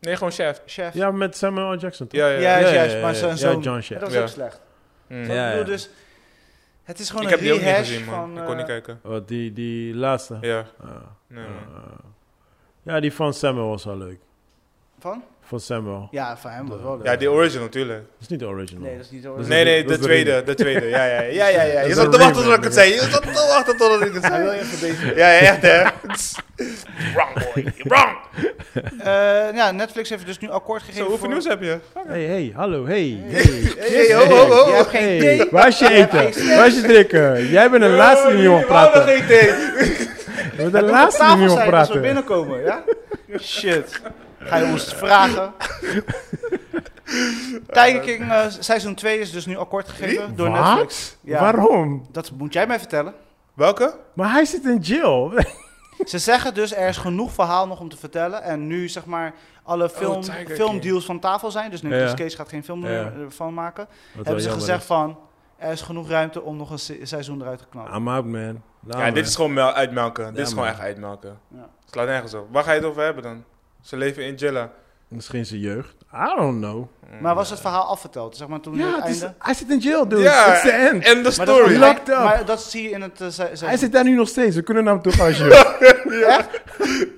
S4: Nee, gewoon chef.
S1: Chef.
S3: Ja, met Samuel L. Jackson, toch?
S4: Ja, ja.
S1: Ja,
S3: ja, ja,
S1: Chef, maar
S3: ja, ja,
S1: zijn zoon.
S3: John Chef.
S1: Dat was
S4: Ja.
S1: ook slecht.
S4: Mm.
S3: Ja,
S1: Ik bedoel,
S3: ja.
S1: dus het is gewoon
S4: Ik
S1: een
S4: heb die ook niet
S1: rehash
S4: gezien, man.
S1: van...
S4: ik kon niet
S1: eh,
S4: kijken.
S3: Wat, die, die laatste.
S4: Ja,
S3: Ah.
S4: nee, man.
S3: Eh, ja, die van Samuel was wel leuk.
S1: van?
S3: Van Samuel.
S1: Ja, van hem was wel leuk.
S4: ja, die original, natuurlijk.
S3: Dat is niet de original.
S1: Nee, dat is niet zo.
S3: Dat is
S4: Nee,
S3: de-
S4: nee,
S3: dat
S4: de
S3: is de
S4: tweede.
S3: remake.
S4: De tweede, ja, ja, ja, ja. ja.
S3: Dat
S4: Je
S3: is
S4: zat
S3: een
S4: te wachten tot ik
S3: remake,
S4: het zei. Je zat te wachten tot ik het
S1: Hij wil
S4: zei.
S1: je even bezig.
S4: Ja, ja, echt, hè. Wrong, boy. Wrong.
S1: *laughs* Eh, ja, Netflix heeft dus nu akkoord gegeven
S4: *laughs* Zo, hoeveel
S1: voor-
S4: nieuws heb je?
S3: Hey, hey, hallo, hey. Hey,
S4: Hey, hey, ho, ho, ho.
S1: Je hebt geen idee.
S3: Hey, waar is je eten? Waar is je drinken? Jij bent een laatste die niet mag
S4: Ik wou nog
S3: praten.
S4: geen idee.
S3: We de
S1: moet
S3: laatste
S1: op
S3: die
S1: tafel
S3: niet op
S1: zijn als we
S3: praten.
S1: binnenkomen, ja? Shit. Ga je ons vragen? Tiger King eh, seizoen 2 is dus nu akkoord gegeven door Netflix.
S3: Wat?
S1: Ja.
S3: Waarom?
S1: Dat moet jij mij vertellen.
S4: Welke?
S3: Maar hij zit in jail.
S1: Ze zeggen dus er is genoeg verhaal nog om te vertellen. En nu zeg maar alle film,
S4: Tiger King.
S1: filmdeals van tafel zijn. Dus Nicolas
S3: Ja.
S1: Cage gaat geen film
S3: Ja.
S1: meer eh, van maken. hebben ze gezegd van er is genoeg ruimte om nog een se- seizoen eruit te knallen.
S3: I'm out, man. Nou,
S4: ja, dit is gewoon mel- uitmelken. dit is gewoon
S3: man.
S4: echt uitmelken.
S1: Ja.
S4: Slaat nergens op. Waar ga je het over hebben dan? Ze leven in Jilla. Mm.
S3: Misschien zijn jeugd. I don't know.
S1: Maar was het verhaal afverteld? Zeg maar toen
S3: Ja,
S1: het
S3: het is-
S1: einde.
S3: hij zit in jail, dude.
S4: Ja,
S3: It's the end.
S4: *laughs* end the
S1: Maar dat, maar,
S3: Lock-
S4: story. *laughs*
S3: Locked up.
S1: maar dat zie je in het eh, se- seizoen.
S3: Hij zit daar nu nog steeds. We kunnen naar hem toe gaan als je...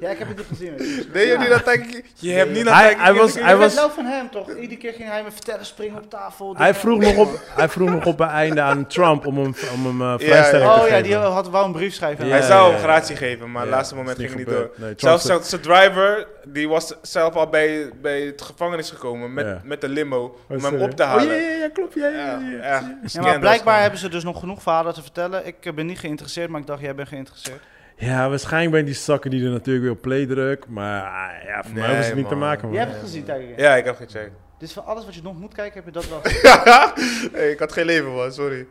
S1: Ja, ik heb het niet gezien.
S4: Deed je niet dat Tiger Je hebt niet naar
S3: Hij-
S4: Tiger
S3: hij
S4: King
S3: was-
S4: gekeken?
S3: hij
S1: Hij was
S3: was-
S1: wel van hem toch? Iedere keer ging hij me vertellen, springen op tafel. Oh dit
S3: hij,
S1: en-
S3: vroeg *laughs* nog op, hij vroeg nog op het einde aan Trump om hem, om hem eh,
S4: ja.
S3: vrijstelling te
S1: Oh ja,
S3: geven.
S1: die had wel een brief schrijven.
S3: Ja,
S4: Hij
S3: ja,
S4: zou
S3: ja,
S4: hem gratie geven, maar
S3: Ja,
S4: het laatste
S3: is
S4: moment
S3: niet
S4: ging niet door.
S3: gebeurd. Nee, Trump
S4: Zelfs
S3: zat-
S4: zijn- zijn driver, die was zelf al bij, bij het gevangenis gekomen met,
S3: Ja.
S4: met de limo om
S3: Oh,
S4: hem
S3: sorry.
S4: op te halen.
S3: Oh, ja, ja, ja, klopt. Ja, ja, ja, ja.
S4: Ja,
S1: Ja,
S4: scandals
S1: maar blijkbaar
S4: gewoon.
S1: hebben ze dus nog genoeg verhalen te vertellen. Ik eh, ben niet geïnteresseerd, maar ik dacht, jij bent geïnteresseerd.
S3: Ja, waarschijnlijk ben ik die zakken die er natuurlijk weer op play drukt. Maar ah, ja, voor mij
S4: Nee,
S3: hoeft het niet te
S4: man.
S3: maken,
S1: Jij
S3: man.
S1: hebt het gezien, Tiger.
S4: Ja, ik heb gecheckt.
S1: Dus van alles wat je nog moet kijken, heb je dat wel.
S4: Hey, ik had geen leven, man, sorry.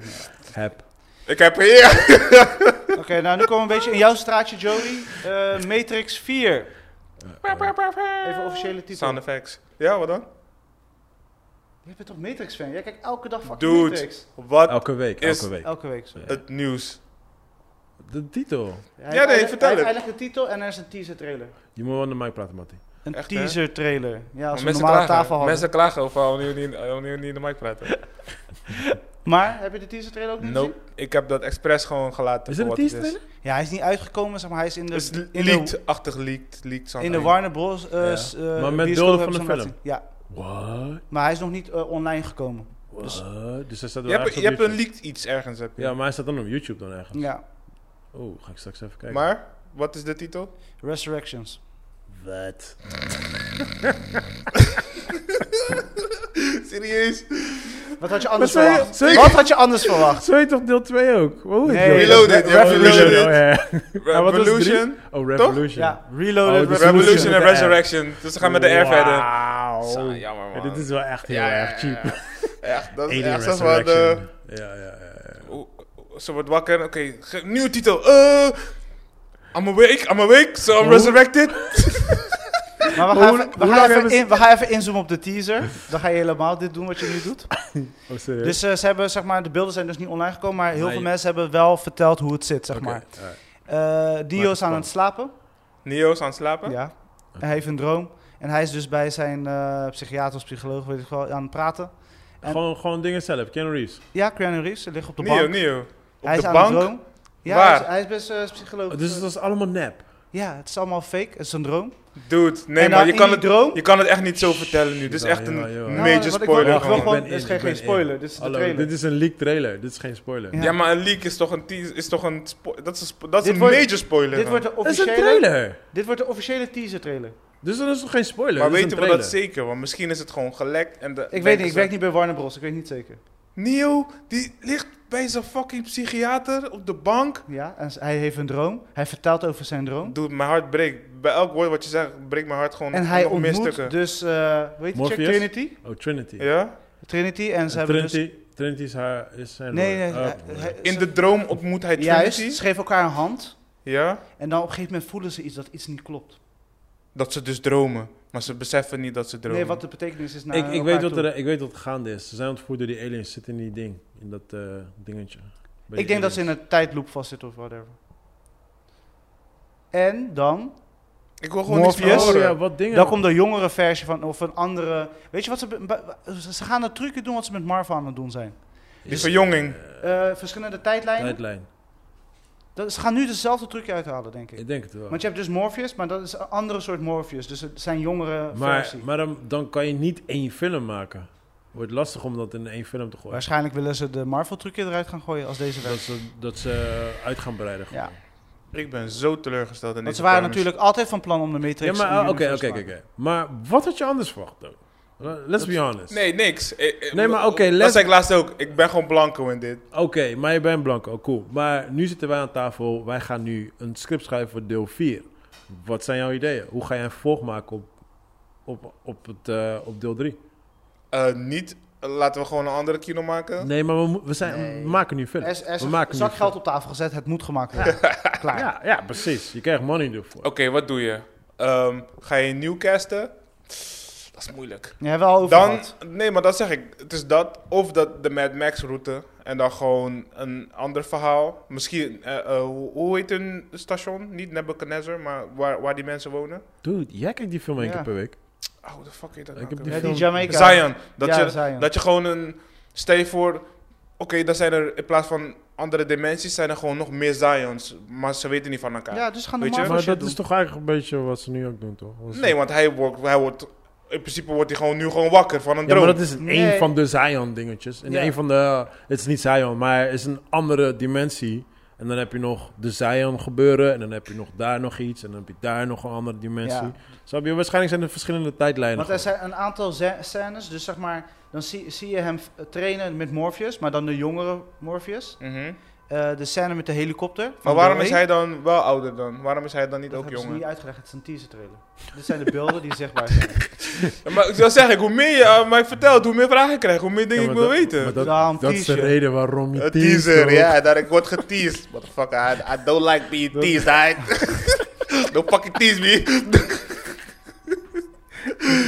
S3: Heb.
S4: Ik heb hier.
S1: Oké, nou nu komen we een beetje in jouw straatje, Joey. Eh, Matrix 4. Even officiële titel.
S4: Sound effects. Ja, wat dan?
S1: Je bent toch Matrix-fan? Jij kijkt elke dag fucking
S4: Dude.
S1: Matrix.
S4: Wat
S3: Elke week,
S4: Is-
S3: elke week.
S1: Elke week. sorry.
S4: het nieuws.
S3: De titel.
S1: Hij-
S4: Ja, nee,
S1: hij-
S4: vertel
S1: hij-
S4: het.
S1: Hij legt de titel en er is een teaser-trailer.
S3: Je moet wel aan de mic praten, Matty.
S1: Een
S4: Echt, hè?
S1: teaser-trailer. Ja, als
S4: Maar
S1: we een normale tafel hadden.
S4: mensen klagen over wanneer we niet- wanneer we niet in de mic praten.
S1: Maar heb je de teaser-trailer ook niet gezien?
S4: Nope. Ik heb dat expres gewoon gelaten.
S3: Is het een
S4: voor wat
S3: teaser trailer?
S1: Ja, hij is niet uitgekomen, zeg maar. Hij is in de,
S4: Het is
S1: in de,
S4: leaked-achtig leaked. leaked sound
S1: in de
S4: effect.
S1: Warner Bros. eh,
S3: Ja.
S1: s- eh,
S3: Maar
S1: bioscoop
S3: met beelden
S1: hebben
S3: van
S1: ze
S3: de
S1: hem laten zien. Ja,
S3: What?
S1: maar hij is nog niet eh, online gekomen. Dus-
S3: What? Dus hij staat wel
S4: Je hebt,
S3: ergens
S4: je
S3: op
S4: hebt een
S3: YouTube.
S4: leaked iets ergens. Heb je.
S3: Ja, maar hij staat dan op YouTube dan ergens.
S1: Ja,
S3: Oh, ga ik straks even kijken.
S4: Maar, wat is de titel?
S1: Resurrections.
S3: Wat?
S4: Serieus?
S1: Wat had je anders
S3: zou je-
S1: verwacht?
S3: zou je-
S1: Wat had je anders verwacht?
S3: Zo heet toch deel 2 ook? Hoe heet
S1: Nee.
S3: die?
S4: Reloaded, ja, Reloaded.
S3: Oh, ja. Ja, wat was het, drie?
S4: Revolution?
S3: Oh, Revolution.
S1: Ja, Reloaded
S3: Oh, dus-
S4: Revolution
S3: Revolution
S4: en
S3: met de R.
S4: Resurrection. Dus we gaan met de R verder.
S3: Wauw.
S4: Zo, jammer,
S3: Ja,
S4: man.
S3: dit is wel echt heel
S4: Ja, ja,
S3: erg cheap.
S4: ja, Echt, dat is
S3: Alien
S4: echt zoals waar de...
S3: Resurrection.
S4: eh,
S3: Ja, ja, ja. ja.
S4: Oeh, oeh, Ze wordt wakker, oké, ge- nieuwe titel. Eh, I'm awake, I'm awake, so I'm
S3: Hoe?
S1: *laughs*
S4: resurrected.
S1: Maar we
S3: Hoe-
S1: gaan,
S3: hoe
S1: even, we,
S3: lang
S1: gaan even
S3: hebben ze-
S1: in, we gaan even inzoomen op de teaser. Dan ga je helemaal dit doen wat je nu doet.
S3: Oh, serieus?
S1: Dus eh, ze hebben, zeg maar, de beelden zijn dus niet online gekomen, maar heel
S3: Nee.
S1: veel mensen hebben wel verteld hoe het zit, zeg
S3: Oké,
S1: maar.
S3: alright.
S1: Eh Dio is aan het slapen.
S4: Neo is aan het slapen.
S1: Ja. En hij heeft een droom. En hij is dus bij zijn eh, psychiater of psycholoog, weet ik wel, aan het praten. En-
S3: Gewoon, gewoon dingen zelf. Ken Reeves.
S1: Ja, Keanu Reeves, hij ligt op de
S4: Neo,
S1: bank.
S4: Neo. Op
S1: hij
S4: de
S1: is aan
S4: bank.
S1: het droom. Ja,
S4: Waar?
S1: hij is, hij is best eh, psycholoog.
S3: Dus het was allemaal nep.
S1: Ja, het is allemaal fake. Het is een droom.
S4: Dude, nee
S1: En
S4: maar
S1: dan
S4: je
S1: in
S4: kan,
S1: die
S4: het,
S1: droom-
S4: je kan het echt niet zo vertellen nu. Dit is
S3: Jawel,
S4: echt een
S3: jawel, jawel.
S1: Nou,
S4: major
S1: wat ik wel-
S4: spoiler.
S1: wat ik wel
S4: gewoon.
S1: gewoon-
S3: ben
S1: dit is
S3: in,
S1: geen-
S3: ik ben
S1: geen spoiler,
S3: in.
S1: dit is de
S3: Hallo,
S1: trailer.
S3: Dit is een leak trailer. Dit is geen spoiler.
S1: Ja.
S4: Ja, maar een leak is toch een, teas- is toch een, spo- dat is een, spo- dat is
S1: Dit
S4: een
S1: wordt-
S4: major spoiler.
S1: Dit
S4: man.
S1: wordt, de
S3: Dat is een
S1: officiële,
S3: trailer.
S1: dit wordt de officiële teaser trailer.
S3: Dus dat is toch geen spoiler?
S4: Maar
S3: Dit is een
S4: weten we dat
S3: trailer.
S4: zeker? Want misschien is het gewoon gelekt. En de,
S1: Ik weet niet, ik werk niet bij Warner Bros. Ik weet niet zeker.
S4: Neo, die ligt bij zijn fucking psychiater op de bank.
S1: Ja, en s- hij heeft een droom. Hij vertelt over zijn droom.
S4: Doet mijn hart breekt. Bij elk woord wat je zegt, breekt mijn hart gewoon
S1: En hij
S4: nog meer
S1: ontmoet
S4: stukken.
S1: dus, eh weet je, check
S3: Morpheus?
S1: Trinity.
S3: Oh, Trinity.
S4: Ja?
S1: Trinity en ze
S3: En
S1: hebben dus...
S3: Trinity, Trinity is haar... Is zijn
S1: Nee, nee.
S3: Oh,
S1: hij-
S3: broer.
S1: hij-
S4: In
S1: ze-
S4: de droom ontmoet hij Trinity.
S1: Juist, ze schreef elkaar een hand.
S4: Ja?
S1: En dan op een gegeven moment voelen ze iets dat iets niet klopt.
S4: Dat ze dus dromen. Maar ze beseffen niet dat ze dromen.
S1: Nee, wat de betekenis is naar
S3: ik, ik,
S1: elkaar
S3: weet wat
S1: toe.
S3: er, ik weet wat gaande is. Ze zijn ontvoerd door die aliens. Zitten in die ding. In dat eh, dingetje. Bij die
S1: Ik denk dat
S3: aliens.
S1: ze in een tijdloop vastzitten of whatever. En dan,
S4: Ik wil gewoon
S1: Morpheus?
S4: niet
S1: Oh,
S4: van horen.
S3: ja, wat dingen.
S1: dan komt de jongere versie van, of een andere... Weet je wat ze... be- be- Ze gaan de trucje doen wat ze met Marvel aan het doen zijn.
S4: Die verjonging.
S1: Eh, verschillende tijdlijnen.
S3: Tijdlijn.
S1: Dat- ze gaan nu dezelfde trucje uithalen, denk ik.
S3: Ik denk het wel.
S1: Want je hebt dus Morpheus, maar dat is een andere soort Morpheus. Dus het zijn jongere
S3: Maar, Oh,
S1: versie.
S3: maar dan, dan kan je niet één film maken. Wordt lastig om dat in één film te gooien.
S1: Waarschijnlijk willen ze de Marvel-trucje eruit gaan gooien als deze
S3: Dat
S1: werkt.
S3: ze, dat ze uit gaan breiden. gewoon.
S1: Ja.
S4: Ik ben zo teleurgesteld in
S1: Want
S4: deze
S1: ze waren
S4: premise.
S1: natuurlijk altijd van plan om de Matrix...
S3: dus- Ja,
S1: in de
S3: maar oké,
S1: universe
S3: oké,
S1: te maken.
S3: oké. Maar wat had je anders verwacht dan? Let's be honest.
S4: Nee, niks. Eh, eh,
S3: Nee, maar oké,
S4: Dat
S3: let's-
S4: zei ik laatst ook. Ik ben gewoon blanco in dit.
S3: Oké, maar je bent blanco, cool. Maar nu zitten wij aan tafel. Wij gaan nu een script schrijven voor deel 4. Wat zijn jouw ideeën? Hoe ga jij een vervolg maken op, op, op, het, eh, op deel 3?
S4: Eh, niet, eh, laten we gewoon een andere kino maken.
S3: Nee, maar we, mo- we, zijn,
S1: Nee.
S3: we maken nu film.
S1: Er is- er is
S3: we
S1: een
S3: maken nu
S1: zak
S3: film.
S1: geld op tafel gezet, het moet gemaakt
S3: *laughs*
S1: worden. Klaar.
S3: Ja, ja, precies. Je krijgt money ervoor.
S1: Oh.
S4: Oké, wat doe je? Ehm, ga je nieuw casten? Dat is moeilijk.
S1: Je hebt wel over
S4: Dan,
S1: gehad.
S4: nee, maar dat zeg ik. Het is dat of dat de Mad Max route en dan gewoon een ander verhaal. Misschien, eh, eh, hoe, hoe heet een station? Niet Nebuchadnezzar, maar waar, waar die mensen wonen.
S3: Dude, jij kijkt die film één
S1: Ja.
S3: keer per week.
S4: Oh, hoe de fuck heet dat
S3: Ik
S4: nou
S3: heb
S4: ook
S3: die
S1: Ja,
S4: alweer?
S1: die
S3: film-
S1: Jamaica.
S4: Zion. Dat,
S1: Ja,
S4: je,
S1: Zion.
S4: dat je gewoon een... Stel je voor, oké, dan zijn er in plaats van andere dimensies, zijn er gewoon nog meer Zions. Maar ze weten niet van elkaar.
S1: Ja, dus gaan de
S4: Weet je?
S1: Marvel
S3: Maar
S1: shit
S3: dat
S1: doen.
S3: is toch eigenlijk een beetje wat ze nu ook doen, toch? Als-
S4: Nee, want hij wordt, hij wordt... In principe wordt hij gewoon nu gewoon wakker van een
S3: Ja,
S4: droom.
S3: maar dat is een
S1: Nee.
S3: van de Zion-dingetjes. En
S1: Ja.
S3: een van de... Het is niet Zion, maar het is een andere dimensie. En dan heb je nog de Zion-gebeuren. En dan heb je nog daar nog iets. En dan heb je daar nog een andere dimensie.
S1: Ja.
S3: Zo heb je waarschijnlijk zijn er verschillende tijdlijnen.
S1: Want er
S3: gewoon.
S1: zijn een aantal ze- scènes, dus zeg maar, dan zie, zie je hem eh, trainen met Morpheus, maar dan de jongere Morpheus.
S4: Mhm.
S1: Eh, de scène met de helikopter. van
S4: Maar waarom
S1: Dre.
S4: is hij dan wel ouder dan? Waarom is hij dan niet
S1: Dat
S4: ook
S1: hebben ze
S4: jonger?
S1: niet uitgelegd, het is een teaser trailer. Dit zijn de beelden die zichtbaar zijn.
S4: Ja, maar ik zou zeggen, hoe meer je eh, aan mij vertelt, hoe meer vragen ik krijg, hoe meer dingen
S3: Ja,
S4: ik
S3: maar
S4: wil
S3: *laughs* dat-
S4: weten.
S3: maar
S1: Daarom
S3: dat, dat is de
S1: teaser.
S3: reden waarom je
S4: Een
S3: teest,
S4: teaser,
S3: toch?
S4: ja, dat ik word geteased. Motherfucker, I, I don't like being teased, alright? *laughs* don't fucking tease me.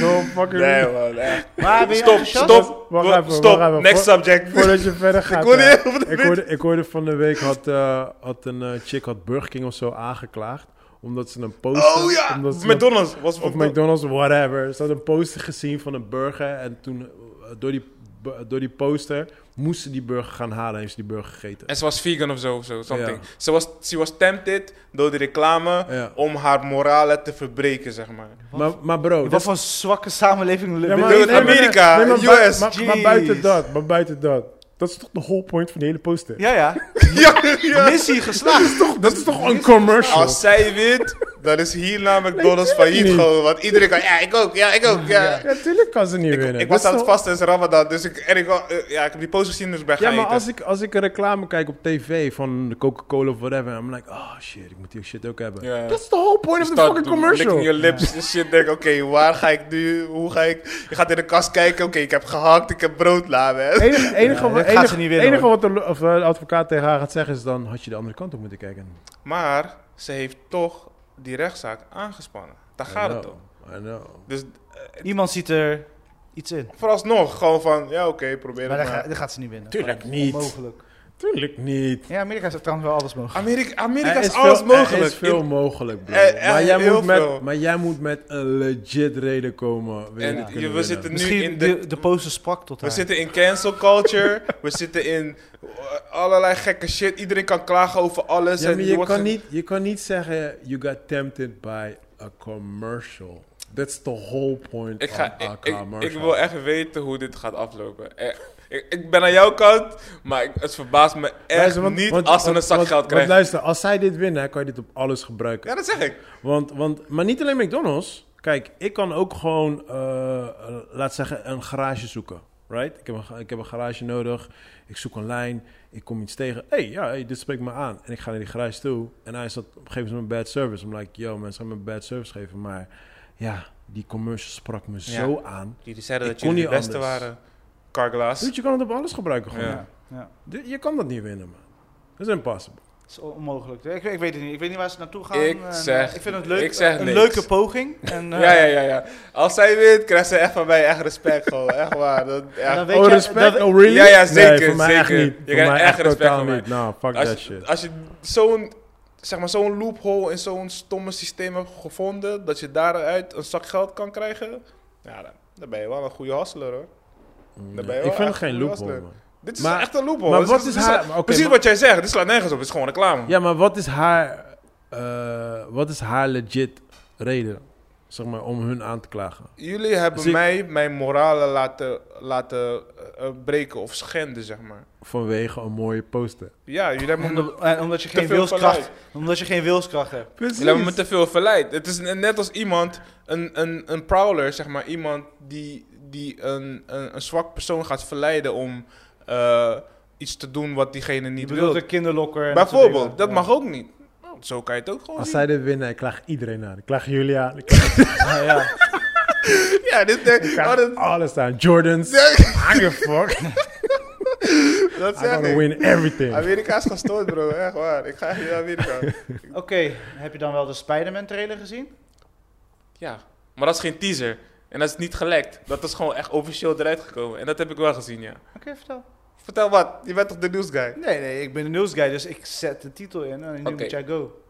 S3: No fucking-
S4: Nee man, echt.
S1: Maar ben je
S4: Stop,
S1: enthousiast?
S4: stop,
S3: Wacht
S4: wa-
S3: even,
S4: stop,
S3: wacht even.
S4: next
S3: Voor-
S4: subject.
S3: Voordat je verder gaat.
S4: hoorde
S3: eh,
S4: heel veel
S3: ik, hoorde, ik hoorde van de week had, eh, had een eh, chick had Burger King of zo aangeklaagd. Omdat ze een poster...
S4: Oh ja,
S3: omdat ze een-
S4: *laughs* McDonald's. Was
S3: Of McDonald's, whatever. Ze had een poster gezien van een burger. En toen, eh, door die, bu- door die poster, moesten ze die burger gaan halen. En heeft ze die burger gegeten.
S4: En ze was vegan of zo, of zo something.
S3: Ja.
S4: Ze, was, ze was tempted door de reclame
S3: Ja.
S4: om haar morale te verbreken, zeg maar.
S3: Maar, maar bro... dat
S1: Wat
S3: is-
S1: voor zwakke samenleving
S3: Ja,
S1: leven
S3: maar-
S4: Dude, Amerika,
S3: maar, bui-
S4: US,
S3: maar, maar
S1: jeez.
S3: buiten dat, maar buiten dat. Dat is toch de whole point van die hele poster?
S1: Ja, ja.
S4: ja,
S1: *laughs*
S4: ja.
S1: Missie geslaagd.
S3: Dat is toch een commercial?
S4: Als zij
S3: *laughs*
S4: wint, dan is hierna McDonald's failliet
S3: niet.
S4: gewoon. Want iedereen kan, ja, ik ook, ja, ik ook, ja.
S3: Ja, tuurlijk kan ze niet
S4: Ik,
S3: winnen.
S4: ik
S3: Dat
S4: was
S3: is
S4: aan het
S3: toch-
S4: vasten, het is Ramadan, dus ik, en ik, wa- eh, ja, ik heb die post gezien, dus ik ben
S3: Ja,
S4: gaan
S3: maar
S4: eten.
S3: als ik, als ik een reclame kijk op tv van de Coca-Cola of whatever, I'm like, oh shit, ik moet die shit ook hebben.
S4: Ja.
S3: Dat is de whole point of the
S4: Start
S3: fucking
S4: doen, licking
S3: commercial.
S4: your lips en shit. Denk, oké, waar ga ik nu? Hoe ga ik? Je gaat in de kast kijken. Oké, ik heb gehakt, ik heb brood laten.
S3: enige, enige,
S1: Ja,
S3: wat,
S1: dit gaat
S3: enige,
S1: ze niet winnen,
S3: enige
S1: hoor.
S3: wat de, of, eh, de advocaat tegen haar gaat zeggen is dan had je de andere kant op moeten kijken.
S4: Maar ze heeft toch die rechtszaak aangespannen. Daar Ah, gaat het om.
S3: I know.
S4: Dus
S1: Iemand ziet er iets in.
S4: vooralsnog gewoon van, ja oké, probeer
S1: Maar
S4: het
S1: dat,
S4: maar.
S1: ga- dat gaat ze niet winnen.
S3: Tuurlijk
S1: Dat
S3: niet.
S1: Onmogelijk.
S3: Tuurlijk niet.
S1: Ja, Amerika is trouwens wel alles mogelijk.
S4: Amerika, Amerika
S3: Er
S4: is, alles
S3: veel,
S4: mogelijk.
S3: Er is veel mogelijk, bro.
S4: Eh, eh,
S3: maar, jij
S4: heel
S3: moet met,
S4: veel.
S3: maar jij moet met een legit reden komen. wil je
S4: En
S3: dit
S4: je-
S3: kunnen
S4: we
S3: winnen.
S4: zitten nu
S1: Misschien
S4: in
S1: de,
S4: de...
S1: de poster sprak tot
S4: We
S1: haar.
S4: zitten in cancel culture. *laughs* we zitten in eh, allerlei gekke shit. Iedereen kan klagen over alles.
S3: Ja,
S4: en
S3: maar
S4: je
S3: je
S4: wordt
S3: kan,
S4: ge-
S3: niet, je kan niet zeggen, you got tempted by a commercial. That's the whole point
S4: Ik, ga,
S3: of a
S4: ik, ik,
S3: commercial.
S4: ik wil echt weten hoe dit gaat aflopen. Eh, Ik, ik ben aan jouw kant, maar ik- het verbaast me echt
S3: Luister, want-
S4: niet
S3: want-
S4: als ze een
S3: want-
S4: zak
S3: want-
S4: geld
S3: want
S4: krijgen.
S3: luister, als zij dit winnen, hè, kan je dit op alles gebruiken.
S4: Ja, dat zeg ik.
S3: Want, want, maar niet alleen McDonald's. Kijk, ik kan ook gewoon, eh, eh, laat zeggen, een garage zoeken. Right? Ik heb, een, ga- ik heb een garage nodig. Ik zoek een lijn. Ik kom iets tegen. Hé, hey, ja, hey, dit spreekt me aan. En ik ga naar die garage toe. En hij zat op een gegeven moment bad service. I'm like, yo, mensen gaan me bad service geven. Maar ja, die commercial sprak me zo aan.
S4: Jullie zeiden
S3: Ik dat kon jullie niet de beste anders.
S4: waren. Carglass.
S3: Dude, je kan het op alles gebruiken gewoon.
S4: Ja.
S1: Ja,
S3: Dit- Je kan dat niet winnen, man. Dat is impossible.
S1: het is on- onmogelijk. Ik, ik weet het niet. Ik weet niet waar ze naartoe gaan.
S4: Ik
S1: en, eh,
S4: zeg-
S1: ik vind het leuk. eh,
S4: ik zeg
S1: een
S4: niks.
S1: leuke poging. *laughs* En, eh,
S4: Ja, ja, ja, ja. Als zij wint, krijgt ze echt van mij echt respect gewoon. Echt waar. Dat, echt.
S1: en dan weet
S3: Oh,
S1: je-
S3: respect?
S1: dan-
S3: oh, really?
S4: Ja, ja,
S3: Nee,
S4: zeker,
S3: voor mij echt
S4: zeker.
S3: niet.
S4: Je
S3: Voor
S4: krijgt
S3: mij
S4: echt
S3: echt
S4: respect
S3: totaal
S4: van mij.
S3: niet. Nou, fuck
S4: als,
S3: that
S4: je-
S3: shit.
S4: als je zo'n zeg maar, zo'n loophole in zo'n stomme systeem hebt gevonden, dat je daaruit een zak geld kan krijgen, ja, dan, dan ben je wel een goede hustler hoor.
S3: Nee,
S4: ben je wel
S3: ik vind het
S4: echt
S3: geen
S4: een
S3: loophole,
S4: hustler.
S3: man.
S4: Dit is
S3: Maar-
S4: echt een loophole.
S3: maar
S4: Dit
S3: wat is
S4: dit
S3: haar- oké,
S4: precies
S3: maar-
S4: wat jij zegt, dit slaat nergens op, het is gewoon reclame.
S3: Ja, maar wat is haar, eh, wat is haar legit reden zeg maar, om hun aan te klagen?
S4: Jullie hebben
S3: Dus ik-
S4: mij mijn moralen laten, laten eh, eh, breken of schenden, zeg maar.
S3: Vanwege een mooie poster.
S4: Ja, jullie hebben, me,
S1: Om- en omdat je
S4: Te
S1: geen
S4: veel
S1: wilskracht,
S4: verleid.
S1: omdat je geen wilskracht hebt.
S3: Precies.
S4: jullie hebben me te veel verleid. Het is ne- net als iemand, een, een, een prowler, zeg maar. Iemand die, die een, een, een zwak persoon gaat verleiden om eh, iets te doen wat diegene
S2: Je
S4: niet
S2: bedoelt
S4: wil.
S2: een kinderlokker. en dat soort dingen.
S4: Bijvoorbeeld, dat
S2: Ja.
S4: mag ook niet. Nou, Zo kan je het ook gewoon
S3: Als
S4: zien.
S3: zij dit winnen, ik klaag iedereen aan. Ik klaag jullie
S4: *laughs*
S3: aan. Ik klaag,
S2: Ah, ja.
S4: Ja,
S3: ik
S4: dit, eh,
S3: klaag
S4: oh, dat,
S3: alles aan. Jordans. I give a fuck.
S4: *laughs* dat
S3: I'm
S4: zeg
S3: gonna
S4: ik.
S3: win everything.
S4: Amerika is gestoord, bro. Echt waar. Ik ga hier naar Amerika.
S1: *laughs*
S2: *laughs*
S1: Oké, heb je dan wel de Spider-Man trailer gezien?
S4: Ja, maar dat is geen teaser. En dat is niet gelekt. Dat is gewoon echt officieel eruit gekomen. En dat heb ik wel gezien, ja.
S1: Oké, vertel.
S4: Vertel wat, je bent toch de nieuwsguy?
S1: Nee, nee, ik ben de nieuwsguy, dus ik zet de titel in en nu
S4: Oké.
S1: moet jij go.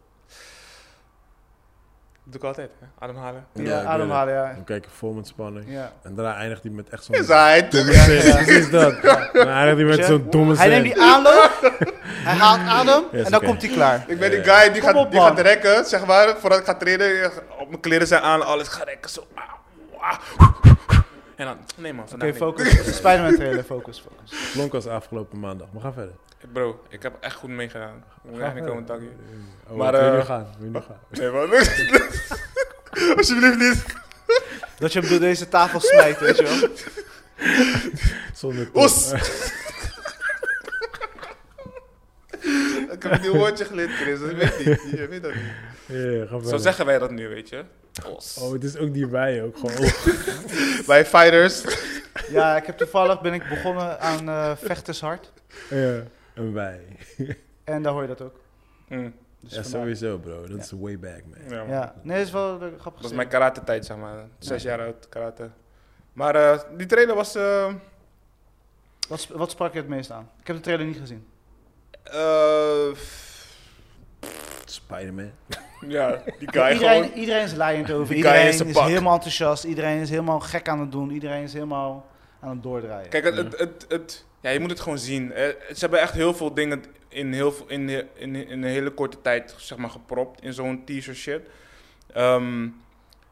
S4: Dat doe ik altijd, hè? Ademhalen.
S3: Ja,
S1: Ja,
S3: ik weet
S1: ademhalen, ja.
S3: We kijken vol met spanning.
S1: ja.
S3: En daarna eindigt hij met echt zo'n...
S4: Is hij? toch?
S3: Ja, ja, precies
S4: *laughs*
S3: dat. Dan eindigt hij met
S1: Ja.
S3: zo'n domme
S1: Hij neemt
S3: zin.
S1: die *laughs* aanloop, hij haalt adem en dan
S3: oké.
S1: komt hij klaar.
S4: Ik ben die
S3: Ja.
S4: guy die,
S1: Kom
S4: gaat,
S1: op,
S4: die
S1: man.
S4: gaat rekken, zeg maar. Voordat ik ga trainen, eh, op mijn kleren zijn aan, alles ga rekken. Zo. Ah, ah. En dan, nee man,
S1: Oké,
S4: vandaag niet.
S1: *laughs* focus. Spider-Man trailer, focus, focus.
S3: Klonk als afgelopen maandag. We gaan verder.
S4: *laughs* Bro, ik heb echt goed meegedaan. Ik moet echt niet komen danken.
S3: Oh,
S4: Maar,
S3: maar, wil je nu
S4: eh,
S3: gaan? Wil je nu gaan?
S4: Nee man, *laughs* alsjeblieft niet.
S1: Dat je hem door deze tafel smijt, weet je wel.
S3: Zonder top.
S4: Os! ik heb een nieuw woordje geleerd, Chris. Dat weet ik niet. Je weet dat niet.
S3: Ja, ga
S4: Zo
S3: verder.
S4: zeggen wij dat nu, weet je. Os.
S3: Oh, het is ook die wij ook gewoon.
S4: Bij fighters.
S1: Ja, ik heb toevallig ben ik begonnen aan eh vechtershart.
S3: Ja. Een wij.
S1: En daar hoor je dat ook.
S4: Hm,
S1: Dus
S3: Ja,
S1: vandaar.
S3: sowieso bro. Dat is way back man.
S4: ja, man.
S1: Ja, nee, dat is wel een grappig.
S4: Dat was mijn karate tijd, zeg maar. Zes jaar oud, karate. Maar eh, die trailer was... eh,
S1: Wat, sp- wat sprak je het meest aan? Ik heb de trailer niet gezien.
S4: eh,
S3: Spider-Man.
S4: ja, die guy
S1: iedereen,
S4: gewoon...
S1: iedereen is laaiend over.
S4: Die guy in
S1: Iedereen is,
S4: zijn pak.
S1: helemaal enthousiast. Iedereen is helemaal gek aan het doen. Iedereen is helemaal aan het doordraaien.
S4: Kijk, het, het, het, het- ja, je moet het gewoon zien. Eh, ze hebben echt heel veel dingen in, heel, veel- in, he- in, in een hele korte tijd zeg maar, gepropt in zo'n teaser shit. Ehm,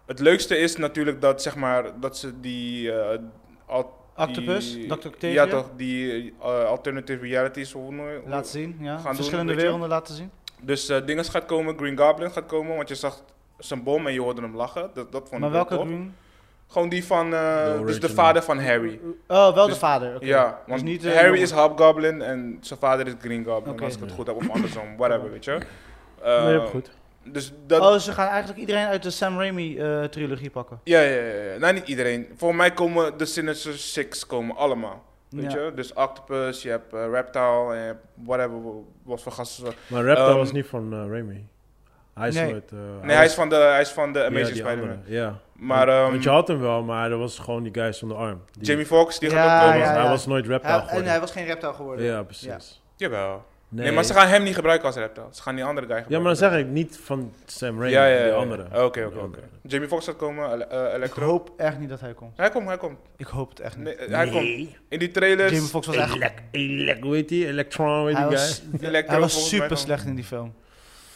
S4: het leukste is natuurlijk dat, zeg maar, dat ze die... eh, al-
S1: Octopus,
S4: die-
S1: Dr. Octavia.
S4: Ja toch, die eh, alternative realities. Hoe, hoe-
S1: Laten zien, ja.
S4: doen,
S1: Verschillende
S4: weet je.
S1: werelden laten zien.
S4: Dus eh Dinges gaat komen, Green Goblin gaat komen, want je zag zijn bom en je hoorde hem lachen. Dat, dat
S1: Maar
S4: vond ik wel
S1: welke
S4: tof.
S1: Green?
S4: Gewoon die van, eh,
S3: De
S4: dus de
S3: original.
S4: vader van Harry.
S1: Oh, wel
S4: Dus-
S1: de vader. oké.
S4: Ja,
S1: Dus
S4: want
S1: niet, eh,
S4: Harry
S1: jongen.
S4: is Hobgoblin en zijn vader is Green Goblin,
S1: Oké.
S4: als ik het goed heb, of andersom, whatever, weet je.
S3: Nee, je
S4: Eh,
S3: hebt goed.
S4: Dus dat...
S1: Oh, ze gaan eigenlijk iedereen uit de Sam Raimi-trilogie pakken.
S4: Ja, ja, ja, ja. Nou, niet iedereen. Voor mij komen de Sinister Six komen allemaal, weet
S1: Ja.
S4: je. Dus Octopus, je hebt eh, Reptile, en je hebt whatever, wat voor gasten. ze-
S3: Maar Raptor
S4: Ehm,
S3: was niet van eh, Raimi. Hij is
S1: Nee.
S3: nooit... eh,
S4: Nee, hij is van de, hij is van de
S3: ja,
S4: Amazing
S3: die
S4: Spider-Man.
S3: andere, Ja.
S4: Maar
S3: Want-
S4: ehm,
S3: Want je had hem wel, maar dat was gewoon die guy zonder arm. Die-
S4: Jamie Foxx, die
S1: Ja,
S4: gaat
S3: Hij
S4: ook komen.
S3: was-
S1: ja,
S3: Hij
S1: ja.
S3: was nooit
S1: Hij-
S3: Raptor
S1: en hij
S3: geworden.
S1: was geen reptile geworden.
S3: Ja, precies.
S4: Jawel. Nee. maar ze gaan hem niet gebruiken als reptile. Ze gaan die andere guy gebruiken.
S3: Ja, maar dan zeg ik niet van Sam Raimi,
S4: Ja, ja, ja.
S3: die
S4: ja.
S3: andere.
S4: Oké, oké,
S3: Die
S4: oké.
S3: andere.
S4: Jamie Foxx gaat komen, ele- eh,
S1: Ik
S4: Electro.
S1: hoop echt niet dat hij komt.
S4: Hij komt, hij komt.
S1: Ik hoop het echt niet.
S4: Nee, dus- eh, Hij komt. In die trailers.
S1: Jamie Foxx was echt...
S3: Elec, elec, hoe heet die? Electron, weet die
S1: Hij
S3: guy?
S1: was,
S4: *laughs* Electro
S1: hij was
S4: volgens mij
S1: super
S4: dan.
S1: slecht in die film.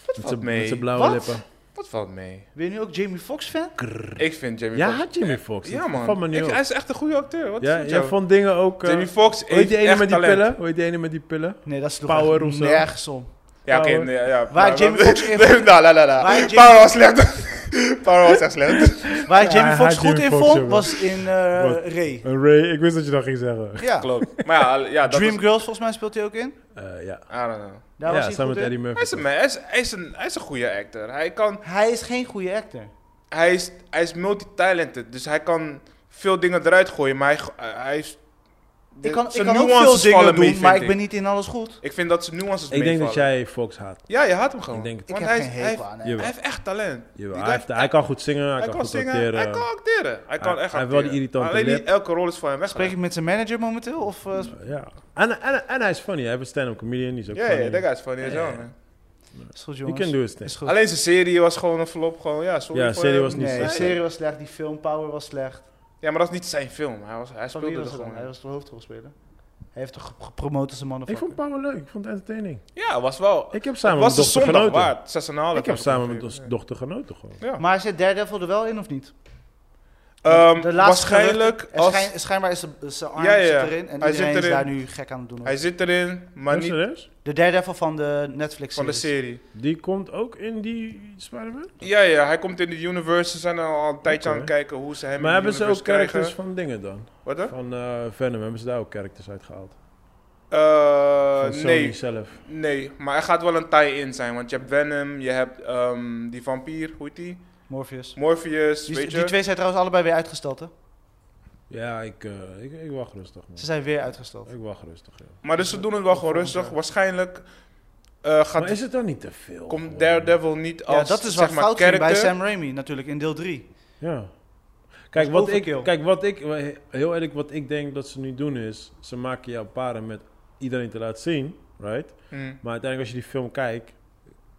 S4: valt
S3: Met zijn-
S4: mee.
S3: Met zijn blauwe
S1: Wat?
S3: lippen.
S4: Wat valt mee?
S1: Ben je nu ook Jamie Foxx fan?
S4: Ik vind Jamie
S3: Ja,
S4: Foxx.
S3: had Jamie Foxx.
S4: Ja,
S3: Van me
S4: man.
S3: nu
S4: Ik,
S3: op.
S4: hij is echt een goede acteur. Wat
S3: Ja,
S4: is met
S3: jij
S4: jou?
S3: vond dingen ook... eh,
S4: Jamie Foxx
S3: Hoe heet
S4: heeft
S3: die ene
S4: echt
S3: met die
S4: talent.
S3: pillen? Hoe heet die ene met die pillen?
S1: Nee, dat sloeg
S3: Power
S1: echt
S3: of zo.
S1: nergens om.
S4: Ja, oké.
S3: Power.
S4: nee, ja, ja.
S1: Waar
S4: Maar- *laughs*
S1: Jamie Foxx in-
S4: Nee, nou, la, la, la.
S1: Waar Jamie-
S4: Power was slecht. *laughs* Power was echt
S3: *laughs*
S4: slecht.
S1: Waar
S3: Ja,
S1: Jamie
S3: hij
S1: Foxx
S3: haat
S1: goed
S3: Jamie
S1: in
S3: Foxx,
S1: vond,
S3: jongen.
S1: was in eh,
S3: Wat?
S1: Ray.
S3: Een Ray, ik wist dat je dat ging zeggen.
S1: Ja.
S4: Klopt. Maar ja, ja dat
S1: Dream
S4: was-
S1: Girls volgens mij speelt hij ook in.
S3: Eh, ja,
S4: I don't know.
S1: Daar was
S3: ja
S1: hij
S3: samen
S1: goed in.
S3: met Eddie Murphy.
S4: Hij is een, hij is, hij is een, hij is een goede actor. Hij kan...
S1: Hij is geen goede actor.
S4: hij is, hij is multitalented, dus hij kan veel dingen eruit gooien, maar hij, go- eh, hij is... de-
S1: Ik kan, ik
S4: zijn
S1: kan ook veel
S4: nuances
S1: dingen
S4: vallen
S1: doen,
S4: mee, vind
S1: maar ik ben niet in alles goed.
S4: Ik vind dat zijn nuances
S3: Ik denk dat
S4: meevallen.
S3: jij Fox haat.
S4: Ja, je haat hem gewoon.
S3: Ik denk het.
S1: Ik
S4: Want
S1: heb
S4: hij,
S1: geen
S4: is- hij, heeft,
S1: hekel aan hem.
S3: Jawel.
S4: hij heeft echt talent.
S3: Jawel,
S4: Die
S3: hij,
S4: guy-
S3: heeft, hij kan goed zingen, hij,
S4: hij
S3: kan goed
S4: zingen,
S3: acteren.
S4: hij kan acteren. Hij kan
S3: Hij-
S4: echt
S3: hij heeft wel
S4: acteren.
S3: die irritante
S4: Alleen
S3: lip.
S4: niet elke rol is van hem weg.
S1: Spreek ik met zijn manager momenteel? Of, eh,
S3: Ja. En, en, en hij is funny, hij is een stand-up comedian, die is ook
S4: Ja,
S3: funny.
S4: ja, dat guy is funny as
S3: Ja,
S4: hell,
S3: ja.
S4: man.
S1: is goed,
S3: He
S1: jongens.
S3: can do his thing.
S1: Is goed.
S4: Alleen zijn serie was gewoon een flop. Gewoon, ja, sorry
S3: Ja,
S4: voor
S3: serie
S4: hem.
S3: was niet
S1: nee,
S3: zo
S1: de
S3: slecht.
S1: serie was slecht, die film Power was slecht.
S4: Ja, maar dat is niet zijn film. Hij, was, hij
S1: Van wie
S4: speelde er
S1: was het dan? Hij
S4: gewoon.
S1: was de hoofdrolspeler. Hij heeft toch gep- gepromoot als een man
S3: Ik vond Power leuk, ik vond het entertaining.
S4: Ja, was wel...
S3: Ik heb
S4: Het
S3: samen met
S4: was de
S3: mijn dochter
S4: zondag
S3: genoten.
S4: waard. 6,5.
S3: Ik heb samen met
S4: ons
S3: mijn dochter genoten gewoon.
S4: Ja.
S1: Maar zit Daredevil er wel in of niet?
S4: Ehm,
S1: De laatste
S4: waarschijnlijk
S1: geruchten- er
S4: als...
S1: schijn- schijnbaar is zijn- zijn arm
S4: Ja, ja, ja.
S1: zit erin. En
S4: Hij
S1: iedereen
S4: zit
S1: is daar
S4: erin.
S1: nu gek aan het doen.
S4: Hij zit erin, maar
S3: Is
S4: niet
S3: er eens?
S1: De derde van de Netflix
S4: van de serie.
S3: Die komt ook in die Spider-Man?
S4: Ja, ja, hij komt in de universe. Ze zijn al een tijdje
S3: Oké.
S4: aan het kijken hoe ze
S3: Maar
S4: hem in de
S3: hebben ze ook
S4: universe
S3: characters
S4: krijgen.
S3: van dingen dan?
S4: Wat dan?
S3: Van eh, Venom, hebben ze daar ook characters uitgehaald?
S4: Eh,
S3: Van Sony
S4: nee,
S3: zelf.
S4: nee. Maar er gaat wel een tie-in zijn. Want je hebt Venom, je hebt ehm, die vampier, hoe heet die?
S1: Morpheus.
S4: Morpheus,
S1: Die,
S4: weet je?
S1: die twee zijn trouwens allebei weer uitgesteld, hè?
S3: Ja, ik, eh, ik, ik wacht rustig man.
S1: Ze zijn weer uitgesteld.
S3: Ik wacht rustig, ja.
S4: Maar dus ze doen het wel gewoon rustig. Waarschijnlijk eh, gaat,
S3: Oh, Maar is het dan niet te veel?
S4: komt
S3: gewoon?
S4: Daredevil niet als
S1: ja, dat is
S4: zeg
S1: wat
S4: maar,
S1: fout ging bij
S4: character.
S1: Sam Raimi natuurlijk in deel 3.
S3: Ja.
S1: Dat
S3: Kijk
S1: is
S3: wat, ik,
S1: overkill.
S3: kijk, wat ik, heel eerlijk, wat ik denk dat ze nu doen is, ze maken jou paren met iedereen te laten zien, right?
S4: Hmm.
S3: Maar uiteindelijk als je die film kijkt,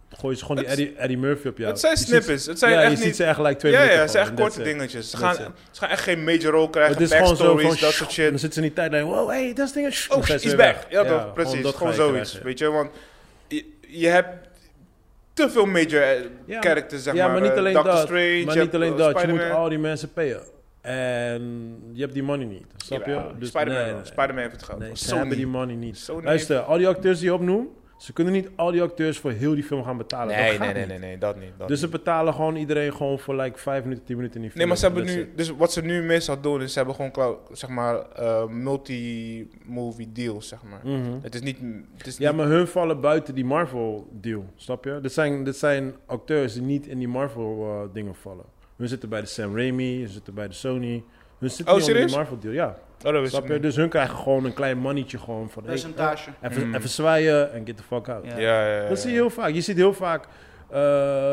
S3: gooien ze gewoon
S4: Het-
S3: die Eddie, Eddie Murphy op jou.
S4: Het zijn
S3: Je ziet-
S4: snippets. Het zijn
S3: ja, je
S4: echt
S3: ziet
S4: niet...
S3: ze echt gelijk twee
S4: Ja, ja,
S3: minuten
S4: het zijn echt
S3: gewoon,
S4: korte
S3: en that's it.
S4: dingetjes. Ze
S3: That's
S4: gaan,
S3: it.
S4: ze gaan echt geen major rol krijgen,
S3: Het is gewoon zo
S4: backstories,
S3: van...
S4: dat soort
S3: En
S4: shit.
S3: dan zitten ze niet tijd like, wow, hey, dat is ding.
S4: Oh,
S3: Dan zijn ze
S4: is
S3: weer
S4: back.
S3: weg.
S4: Ja, toch,
S3: gewoon
S4: precies.
S3: dat
S4: Gewoon,
S3: ga je
S4: zoiets,
S3: krijgen.
S4: weet je. Want je, je hebt te veel major eh,
S3: Ja,
S4: characters, zeg
S3: ja, maar niet
S4: Eh,
S3: alleen
S4: Doctor
S3: dat.
S4: Strange,
S3: maar
S4: je
S3: niet
S4: hebt,
S3: alleen
S4: eh,
S3: dat, je moet
S4: Spider-Man.
S3: al die mensen payen. En je hebt die money niet, snap je?
S4: Jawel,
S3: Dus
S4: Spider-Man
S3: nee,
S4: wel.
S3: nee.
S4: Spider-Man heeft het gehad.
S3: Nee, ze
S4: Sony.
S3: hebben die money niet.
S4: Sony
S3: Luister, al die acteurs die je opnoemt, ze kunnen niet al die acteurs voor heel die film gaan betalen. dat
S4: Nee,
S3: gaat
S4: nee, nee,
S3: niet.
S4: nee, nee, dat niet. dat
S3: Dus ze
S4: niet.
S3: betalen gewoon iedereen gewoon voor like 5 minuten, 10 minuten in die film.
S4: Nee, maar ze hebben
S3: That's it.
S4: nu, dus wat ze nu meestal doen, is ze hebben gewoon, clou- zeg maar, eh, multi-movie deals, zeg maar.
S3: Mhm.
S4: Het is niet, het is
S3: Ja,
S4: niet-
S3: maar hun vallen buiten die Marvel-deal, snap je? Dit zijn, dit zijn acteurs die niet in die Marvel-dingen vallen. Hun zitten bij de Sam Raimi, hun zitten bij de Sony. Hun zitten niet
S4: Oh,
S3: onder
S4: serieus?
S3: die Marvel-deal, ja.
S4: Oh, dat wist
S3: Snap
S4: ik
S3: je?
S4: niet.
S3: Dus hun krijgen gewoon een klein mannetje gewoon van... hey,
S1: Percentage.
S3: even,
S4: Mm.
S3: even zwaaien en get the fuck out.
S1: Ja.
S4: Ja, ja, ja, ja.
S3: Dat zie je heel vaak. Je ziet heel vaak eh,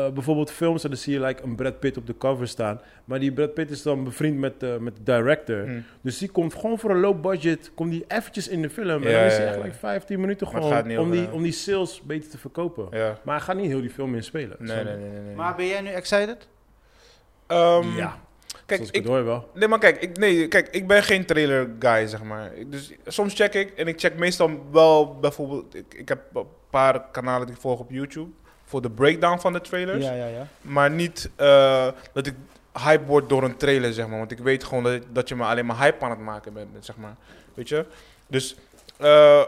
S3: bijvoorbeeld films en dan zie je like, een Brad Pitt op de cover staan. Maar die Brad Pitt is dan bevriend met, de- met de director.
S4: Hm.
S3: Dus die komt gewoon voor een low budget, komt die eventjes in de film. en
S4: Ja,
S3: dan is
S4: ja,
S3: hij
S4: ja.
S3: echt like 15 minuten
S4: Maar het
S3: gewoon
S4: gaat niet
S3: om
S4: over
S3: die,
S4: hem.
S3: om die sales beter te verkopen.
S4: Ja.
S3: Maar hij gaat niet heel die film in spelen.
S4: Nee, nee, nee, nee. nee.
S1: Maar ben jij nu excited?
S4: Ehm,
S3: Ja,
S4: Kijk,
S3: zoals ik
S4: ik,
S3: het hoor wel.
S4: Nee, maar kijk, ik, nee, kijk, ik ben geen trailer guy, zeg maar. Ik- Dus soms check ik en ik check meestal wel bijvoorbeeld... Ik, ik heb een paar kanalen die ik volg op YouTube voor de breakdown van de trailers.
S1: ja, ja.
S4: Maar niet eh, dat ik hype word door een trailer, zeg maar. Want ik weet gewoon dat, dat je me alleen maar hype aan het maken bent, zeg maar. Weet je? Dus eh,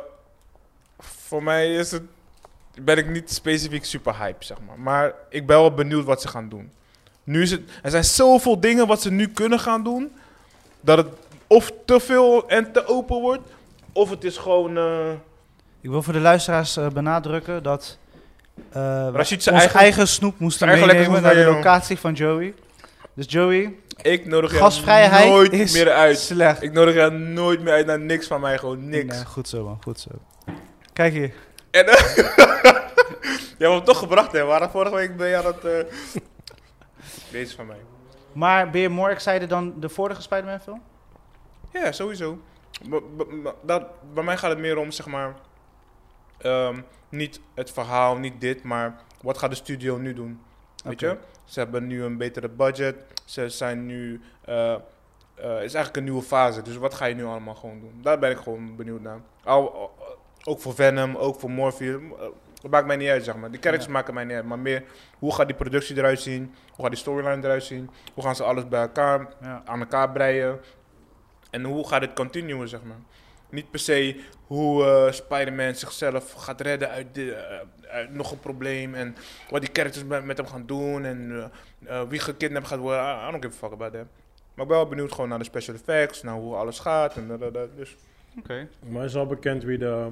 S4: voor mij is het, ben ik niet specifiek super hype, zeg maar. Maar ik ben wel benieuwd wat ze gaan doen. Nu is het, er zijn zoveel dingen wat ze nu kunnen gaan doen, dat het of te veel en te open wordt, of het is gewoon... eh
S1: Ik wil voor de luisteraars eh, benadrukken dat eh we
S4: Rashid
S1: ons
S4: zijn
S1: eigen,
S4: eigen-
S1: snoep moesten
S4: zijn eigen lekker
S1: meenemen naar
S4: snoep
S1: de
S4: meenemen.
S1: locatie van Joey. Dus Joey,
S4: ik nodig jou
S1: gasvrijheid
S4: nooit
S1: is
S4: meer uit.
S1: slecht.
S4: Ik nodig jou nooit meer uit naar niks van mij, gewoon niks.
S1: Nee, goed zo man, goed zo. Kijk hier.
S4: En, eh, jij hebt hem toch gebracht, hè? Waarom vorige week ben jij dat... eh, Deze van mij.
S1: Maar ben je more excited dan de vorige Spider-Man film?
S4: Ja, sowieso. B- b- b- dat, bij mij gaat het meer om, zeg maar... ehm, niet het verhaal, niet dit, maar wat gaat de studio nu doen? Weet
S1: Oké.
S4: je? Ze hebben nu een betere budget. Ze zijn nu... eh, eh, het is eigenlijk een nieuwe fase. Dus wat ga je nu allemaal gewoon doen? Daar ben ik gewoon benieuwd naar. Al- al- ook voor Venom, ook voor Morpheus. eh, Dat maakt mij niet uit, zeg maar. De characters
S1: Ja.
S4: maken mij niet uit. Maar meer, hoe gaat die productie eruit zien? Hoe gaat die storyline eruit zien? Hoe gaan ze alles bij elkaar
S1: Ja.
S4: aan elkaar breien. En hoe gaat het continuen, zeg maar. Niet per se hoe eh, Spider-Man zichzelf gaat redden uit, de, eh, uit nog een probleem. En wat die characters met, met hem gaan doen. En eh, eh, wie gekidnapt gaat worden. I, I don't give a fuck about that. Maar ik ben wel benieuwd gewoon naar de special effects. Naar hoe alles gaat. En dat, dat, dat. Dus
S1: Oké.
S3: Maar het is al bekend wie de,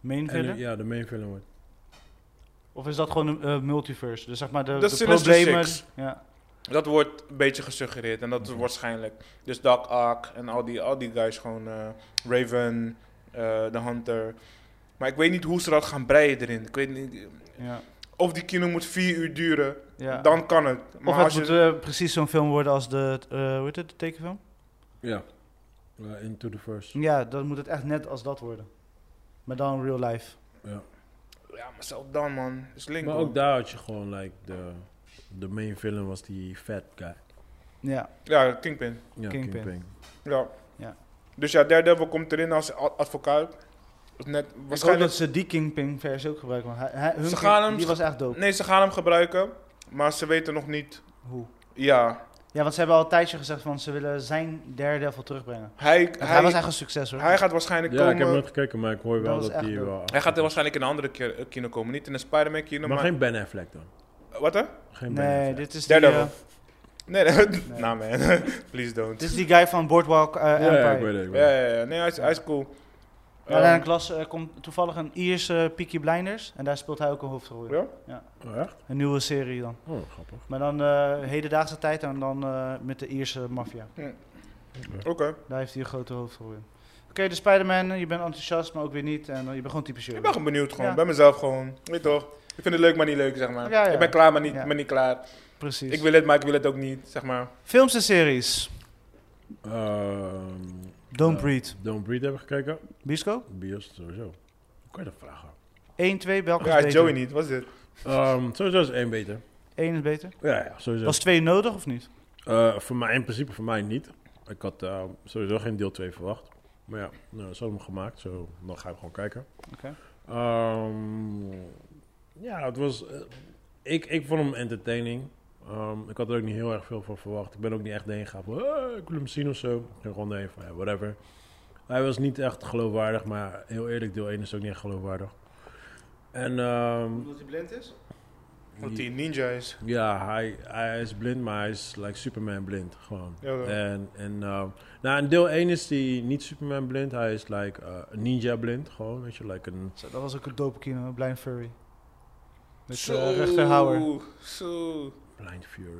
S1: Main villain?
S3: ja, de main villain wordt.
S1: Of is dat gewoon een eh, multiverse? Dus zeg maar de,
S4: Dat
S1: de
S4: is Sinister
S1: problemen.
S4: Six.
S1: Ja.
S4: dat wordt een beetje gesuggereerd. En dat
S1: Mhm.
S4: is waarschijnlijk. Dus Doc Ock en al die, al die guys gewoon. eh, Raven, eh The Hunter. Maar ik weet niet hoe ze dat gaan breien erin. Ik weet niet...
S1: ja.
S4: Of die kino moet vier uur duren,
S1: ja.
S4: dan kan het. Maar
S1: of het
S4: als je...
S1: moet eh, precies zo'n film worden als de, eh hoe heet het, de tekenfilm?
S3: Ja. Eh, into the first.
S1: Ja, dan moet het echt net als dat worden. Maar dan real life.
S3: Ja.
S4: Ja, maar zelf dan, man. Is link,
S3: Maar
S4: hoor.
S3: ook daar had je gewoon like de, de main villain was die fat guy.
S1: Ja,
S4: Ja, Kingpin.
S3: Ja,
S1: Kingpin.
S4: Ja.
S1: Ja.
S4: Dus ja, Daredevil komt erin als a- advocaat. Of Net,
S1: ik hoop
S4: waarschijnlijk...
S1: dat ze die Kingpin versie ook gebruiken. Want hij, hij- hun
S4: Ze
S1: King-
S4: gaan hem-
S1: die was echt dope.
S4: Hm. Nee, ze gaan hem gebruiken, maar ze weten nog niet...
S1: Hoe?
S4: Ja,
S1: Ja, want ze hebben al een tijdje gezegd van ze willen zijn Daredevil terugbrengen.
S4: Hij,
S1: Want hij
S4: hij,
S1: was
S4: hij,
S1: echt een succes hoor.
S4: gaat waarschijnlijk
S3: Ja, ik heb
S4: komen.
S3: hem nooit gekeken, maar ik hoor wel
S1: Dat
S3: dat,
S1: was echt
S3: die
S1: dope.
S3: wel...
S4: Hij gaat er waarschijnlijk in een andere keer- eh, kino komen. Niet in een Spider-Man kino,
S3: Maar
S4: maar...
S3: geen Ben Affleck dan.
S4: Wat hè?
S3: Geen Ben
S1: Nee,
S3: Affleck.
S1: dit is, die,
S4: Daredevil.
S1: eh,
S4: Nee, *laughs* nee. nah, man. *laughs* Please don't.
S1: dit is die guy van Boardwalk eh, Empire.
S3: Ja, ik weet het. ik weet
S4: Ja,
S3: het.
S4: ja, ja. Nee, hij is, hij is cool.
S1: Ja, daar
S3: oh.
S1: in
S4: Ehm,
S1: de klas eh, komt toevallig een Ierse Peaky Blinders. En daar speelt hij ook een hoofdrol in.
S4: Ja?
S3: Oh, echt?
S1: Een nieuwe serie dan.
S3: Oh, grappig.
S1: Maar dan eh, hedendaagse tijd en dan eh, met de Ierse maffia.
S4: Oké.
S1: Daar heeft hij een grote hoofdrol in. Oké, de Spider-Man, je bent enthousiast, maar ook weer niet. En eh, je bent gewoon typisch
S4: Ik
S1: Jurgen.
S4: ben gewoon benieuwd, gewoon.
S1: Ja.
S4: Bij mezelf gewoon. Weet toch? Ik vind het leuk, maar niet leuk, zeg maar.
S1: Ja, ja.
S4: Ik ben klaar, maar niet,
S1: Ja.
S4: maar niet klaar.
S1: Precies.
S4: Ik wil het, maar ik wil het ook niet, zeg maar.
S1: Films en series.
S3: Ehm,
S1: Don't
S3: Ja.
S1: Breed.
S3: Don't Breed hebben gekeken.
S1: Bisco?
S3: Bios, sowieso. Hoe kan je dat vragen?
S1: 1, 2, welke is
S4: Ja,
S1: beter?
S4: Joey niet. Wat is dit?
S3: Ehm, sowieso is één beter.
S1: 1 is beter.
S3: Ja, ja sowieso.
S1: Was 2 nodig of niet?
S3: Eh, voor mij, in principe voor mij niet. Ik had eh, sowieso geen deel 2 verwacht. Maar ja, nou, ze hadden hem gemaakt, zo, dan ga ik gewoon kijken.
S1: Oké.
S3: Ehm, ja, het was... eh, ik, ik vond hem entertaining. Ehm, ik had er ook niet heel erg veel van verwacht. Ik ben ook niet echt heen gegaan van... "Eh, ik wil hem zien of zo. Ik ging gewoon heen van, ja, whatever. Hij was niet echt geloofwaardig, maar heel eerlijk, deel 1 is ook niet echt geloofwaardig. En ehm,
S1: Omdat hij blind is?
S4: Want die ninja is.
S3: ja, hij, hij is blind, maar hij is like Superman blind, gewoon.
S4: Ja, ja.
S3: En, en ehm, nou, in deel 1 is hij niet Superman blind, hij is like eh, een ninja blind, gewoon, weet je, like een...
S1: dat was ook een dope kino, Blind Furry. Met
S4: Zo,
S1: eh, rechter Hauer.
S4: Zo.
S3: Blind Fury.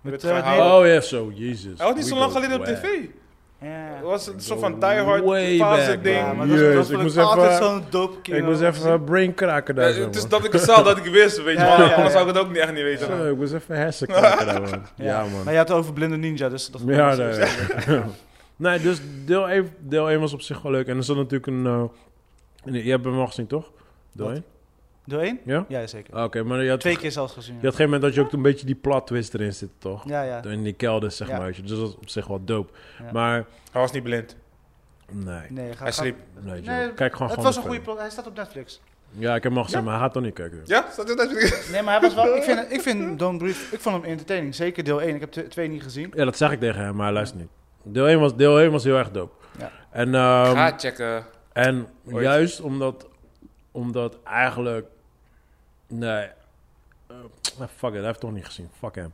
S1: Met,
S4: Met
S1: eh,
S4: gehaald.
S1: nee,
S4: Oh.
S3: Oh ja, zo, jezus.
S4: Hij was niet zo
S3: We
S4: lang
S3: go
S4: geleden op
S3: way.
S4: tv.
S1: Ja.
S4: Het was een soort van
S3: Go
S4: die hard
S3: way
S4: fase
S3: back,
S4: ding.
S1: Oh. Ja, maar
S3: Jezus,
S1: dat was
S3: Oh, ik
S1: ik
S3: moest
S1: altijd
S3: even-
S1: zo'n dope kino.
S3: Ik moest even brain kraken daar,
S4: Ja,
S3: zo,
S4: het is
S3: man.
S4: dat ik het zelf dat ik wist, weet je.
S1: Ja,
S4: wel.
S1: ja, ja.
S4: Anders zou ik het ook niet echt niet weten.
S3: Zo, ik moest even hersen kraken daar, man.
S1: Ja.
S3: Ja, man.
S1: Maar je had het over Blinde Ninja, dus dat
S3: Ja, nee. *laughs* nee, dus deel 1, deel 1 was op zich wel leuk. En er zat natuurlijk een... eh, je hebt hem al gezien, toch? Deel
S1: Wat?
S3: 1?
S1: Doe één?
S3: Ja?
S1: Ja, zeker.
S3: Ah, Oké, maar je had
S1: Twee keer zelfs gezien.
S3: Je had geen moment dat je ook een beetje die plot twist erin zit, toch?
S1: Ja, ja.
S3: In die kelder, zeg
S1: Ja.
S3: maar. weet je. Dus dat is op zich wel dope.
S1: Ja.
S3: Maar,
S4: Hij was niet blind.
S3: nee.
S1: Nee, ga,
S4: Hij
S1: ga-
S4: sliep.
S3: nee, joh.
S1: Nee,
S3: Kijk gewoon
S1: Het
S3: gewoon
S1: was
S3: de
S1: een goede
S3: film.
S1: plot. Hij staat op Netflix.
S3: Ja, ik heb hem al gezien, maar hij had toch niet kijken.
S4: Ja? Zat je dat?
S1: Nee, maar hij was wel... Ik vind, ik vind Don't Breathe... Ik vond hem entertaining. Zeker deel 1. Ik heb tw- twee niet gezien.
S3: Ja, dat zeg ik tegen hem, maar hij luistert niet. Deel 1 was, deel 1 was heel erg dope.
S1: Ja.
S3: En, ehm,
S4: Ga checken.
S3: en
S4: Ooit.
S3: juist omdat, omdat eigenlijk... Nee. Eh, fuck it, hij heeft toch niet gezien. Fuck hem.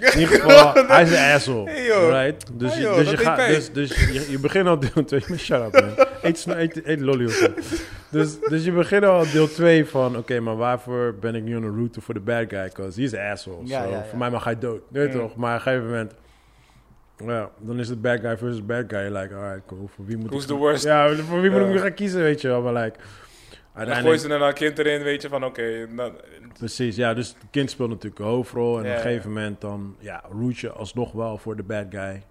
S3: In
S4: *laughs*
S3: ieder geval, hij is een asshole.
S4: Hey, joh.
S3: Right? Dus,
S4: Hey,
S3: je-
S4: joh,
S3: dus,
S4: dat
S3: je,
S4: deed
S3: gaat,
S4: pijn.
S3: dus, dus je, je begint al deel 2. *laughs* Shut up, man. Eet, sno- eet, eet lolly of zo. Dus, dus je begint al deel 2 van... Oké, maar waarvoor ben ik nu aan de route voor de bad guy? Because he's an asshole.
S1: Ja,
S3: so,
S1: ja, ja.
S3: Voor mij mag hij dood. Nee,
S4: Mm.
S3: toch? Maar op een gegeven moment... Ja, dan is het bad guy versus bad guy. You're Like, alright, cool. Voor wie moet
S4: Who's
S3: ik...
S4: the worst?
S3: Ja, voor wie moet ik
S4: Ja.
S3: nu gaan kiezen, weet je wel. Maar like...
S4: Dan gooi ze er een kind erin, weet je, van oké. nou, dan-
S3: Precies, ja. Dus het kind speelt natuurlijk een hoofdrol. En
S4: Ja,
S3: op een
S4: ja.
S3: gegeven moment dan ja, root je alsnog wel voor de bad guy.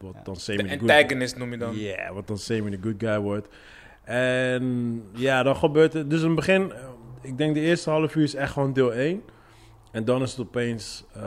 S3: Wat
S1: Ja.
S3: dan semi
S4: De
S3: the good
S4: antagonist noem je
S3: Ja,
S4: dan.
S3: wat dan semi the good guy wordt. En ja, dan gebeurt het. Dus in het begin, eh, ik denk de eerste half uur is echt gewoon deel 1. En dan is het opeens, eh,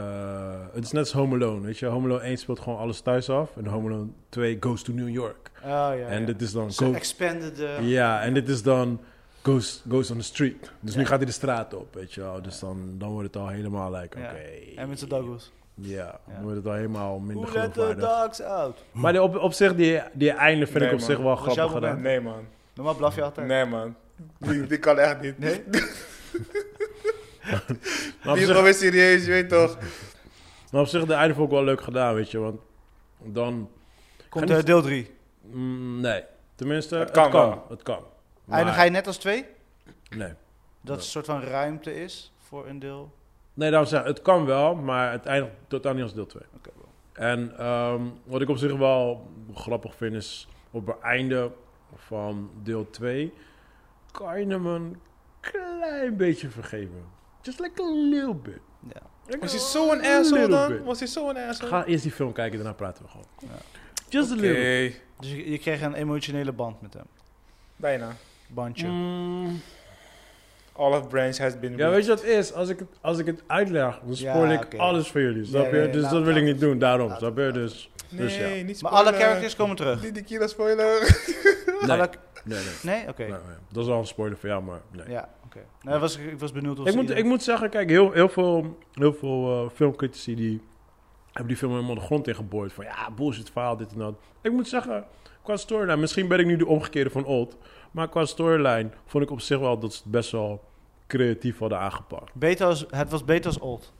S3: het is net als Home Alone, weet je. Home Alone 1 speelt gewoon alles thuis af. En Home Alone 2 goes to New York.
S1: Oh, ja.
S3: en
S1: ja.
S3: dit is dan...
S1: Ze
S3: go-
S1: expanded eh, de...
S3: ja, en dit is dan goes, goes on the street. Dus nu gaat hij de straat op, weet je wel. Dus dan, dan wordt het al helemaal like,
S1: Ja.
S3: oké.
S1: En met de doggles.
S3: Ja, dan
S1: Ja.
S3: wordt het al helemaal minder
S1: Who let the
S3: geloofwaardig.
S1: dogs out?
S3: Maar die op, op zich, die, die einde vind
S4: Nee,
S3: ik op
S4: man.
S3: zich wel
S1: Was jouw
S3: grappig gedaan.
S1: moment?
S4: Nee man.
S1: Normaal blaf je altijd.
S4: Nee man. Die, die kan echt niet.
S1: Nee?
S3: Maar op,
S4: Die is
S3: zich,
S4: gewoon weer serieus, je weet toch?
S3: maar op zich, de einde vond ik wel leuk gedaan, weet je. Want dan...
S1: Komt
S3: Ga
S1: eh,
S3: niet-
S1: deel 3.
S3: mm, nee, tenminste,
S4: Het
S3: het kan.
S4: kan
S3: Het kan.
S4: wel.
S3: Maar-
S1: Eindig hij net als 2?
S3: Nee.
S1: Dat
S3: Ja.
S1: een soort van ruimte is voor een deel.
S3: Nee, daarom zeg ik, het kan wel, maar het eindigt totaal niet als deel 2.
S1: Oké, bro.
S3: En ehm, wat ik op zich wel grappig vind is op het einde van deel 2 kan je hem een klein beetje vergeven. Just like a little bit.
S1: Ja.
S3: Like
S4: Was
S3: a
S4: hij zo'n asshole
S3: little
S4: dan?
S3: bit.
S4: Was hij zo'n asshole?
S3: Ga eerst die film kijken, daarna praten we gewoon.
S1: Ja.
S3: Just a little bit.
S4: Oké,
S1: Dus je, je kreeg een emotionele band met hem.
S4: bijna.
S1: Bandje.
S3: Mm.
S4: Olive branch has been
S3: Ja, weet je wat het is? Als ik het, als ik het uitleg, dan
S1: Ja,
S3: spoil ik
S1: oké.
S3: alles voor jullie. Snap
S1: nee,
S3: je?
S1: nee,
S3: dus
S1: laat-
S3: dat wil ik
S1: laat-
S3: niet doen, daarom.
S1: laat-
S3: Snap je? Dus,
S4: Nee,
S3: Dus ja.
S4: niet
S1: Maar
S4: spoilen.
S1: alle characters komen terug.
S4: Niet de Kira spoiler.
S3: nee, nee,
S1: Alle-
S3: nee.
S1: Nee? Oké.
S3: Nee, nee. Nou Dat is al een spoiler voor jou, maar nee.
S1: Ja, oké. Nou, was, ik was benieuwd of
S3: Ik
S1: ze
S3: moet,
S1: ieder-
S3: ik moet zeggen, kijk, heel, heel veel, heel veel eh, filmcritici die Hebben die film helemaal de grond ingeboord. Van ja, bullshit verhaal, dit en dat. Ik moet zeggen, qua storyline... Misschien ben ik nu de omgekeerde van Old. Maar qua storyline vond ik op zich wel dat ze het best wel creatief hadden aangepakt.
S1: Beter als, het was beter als old.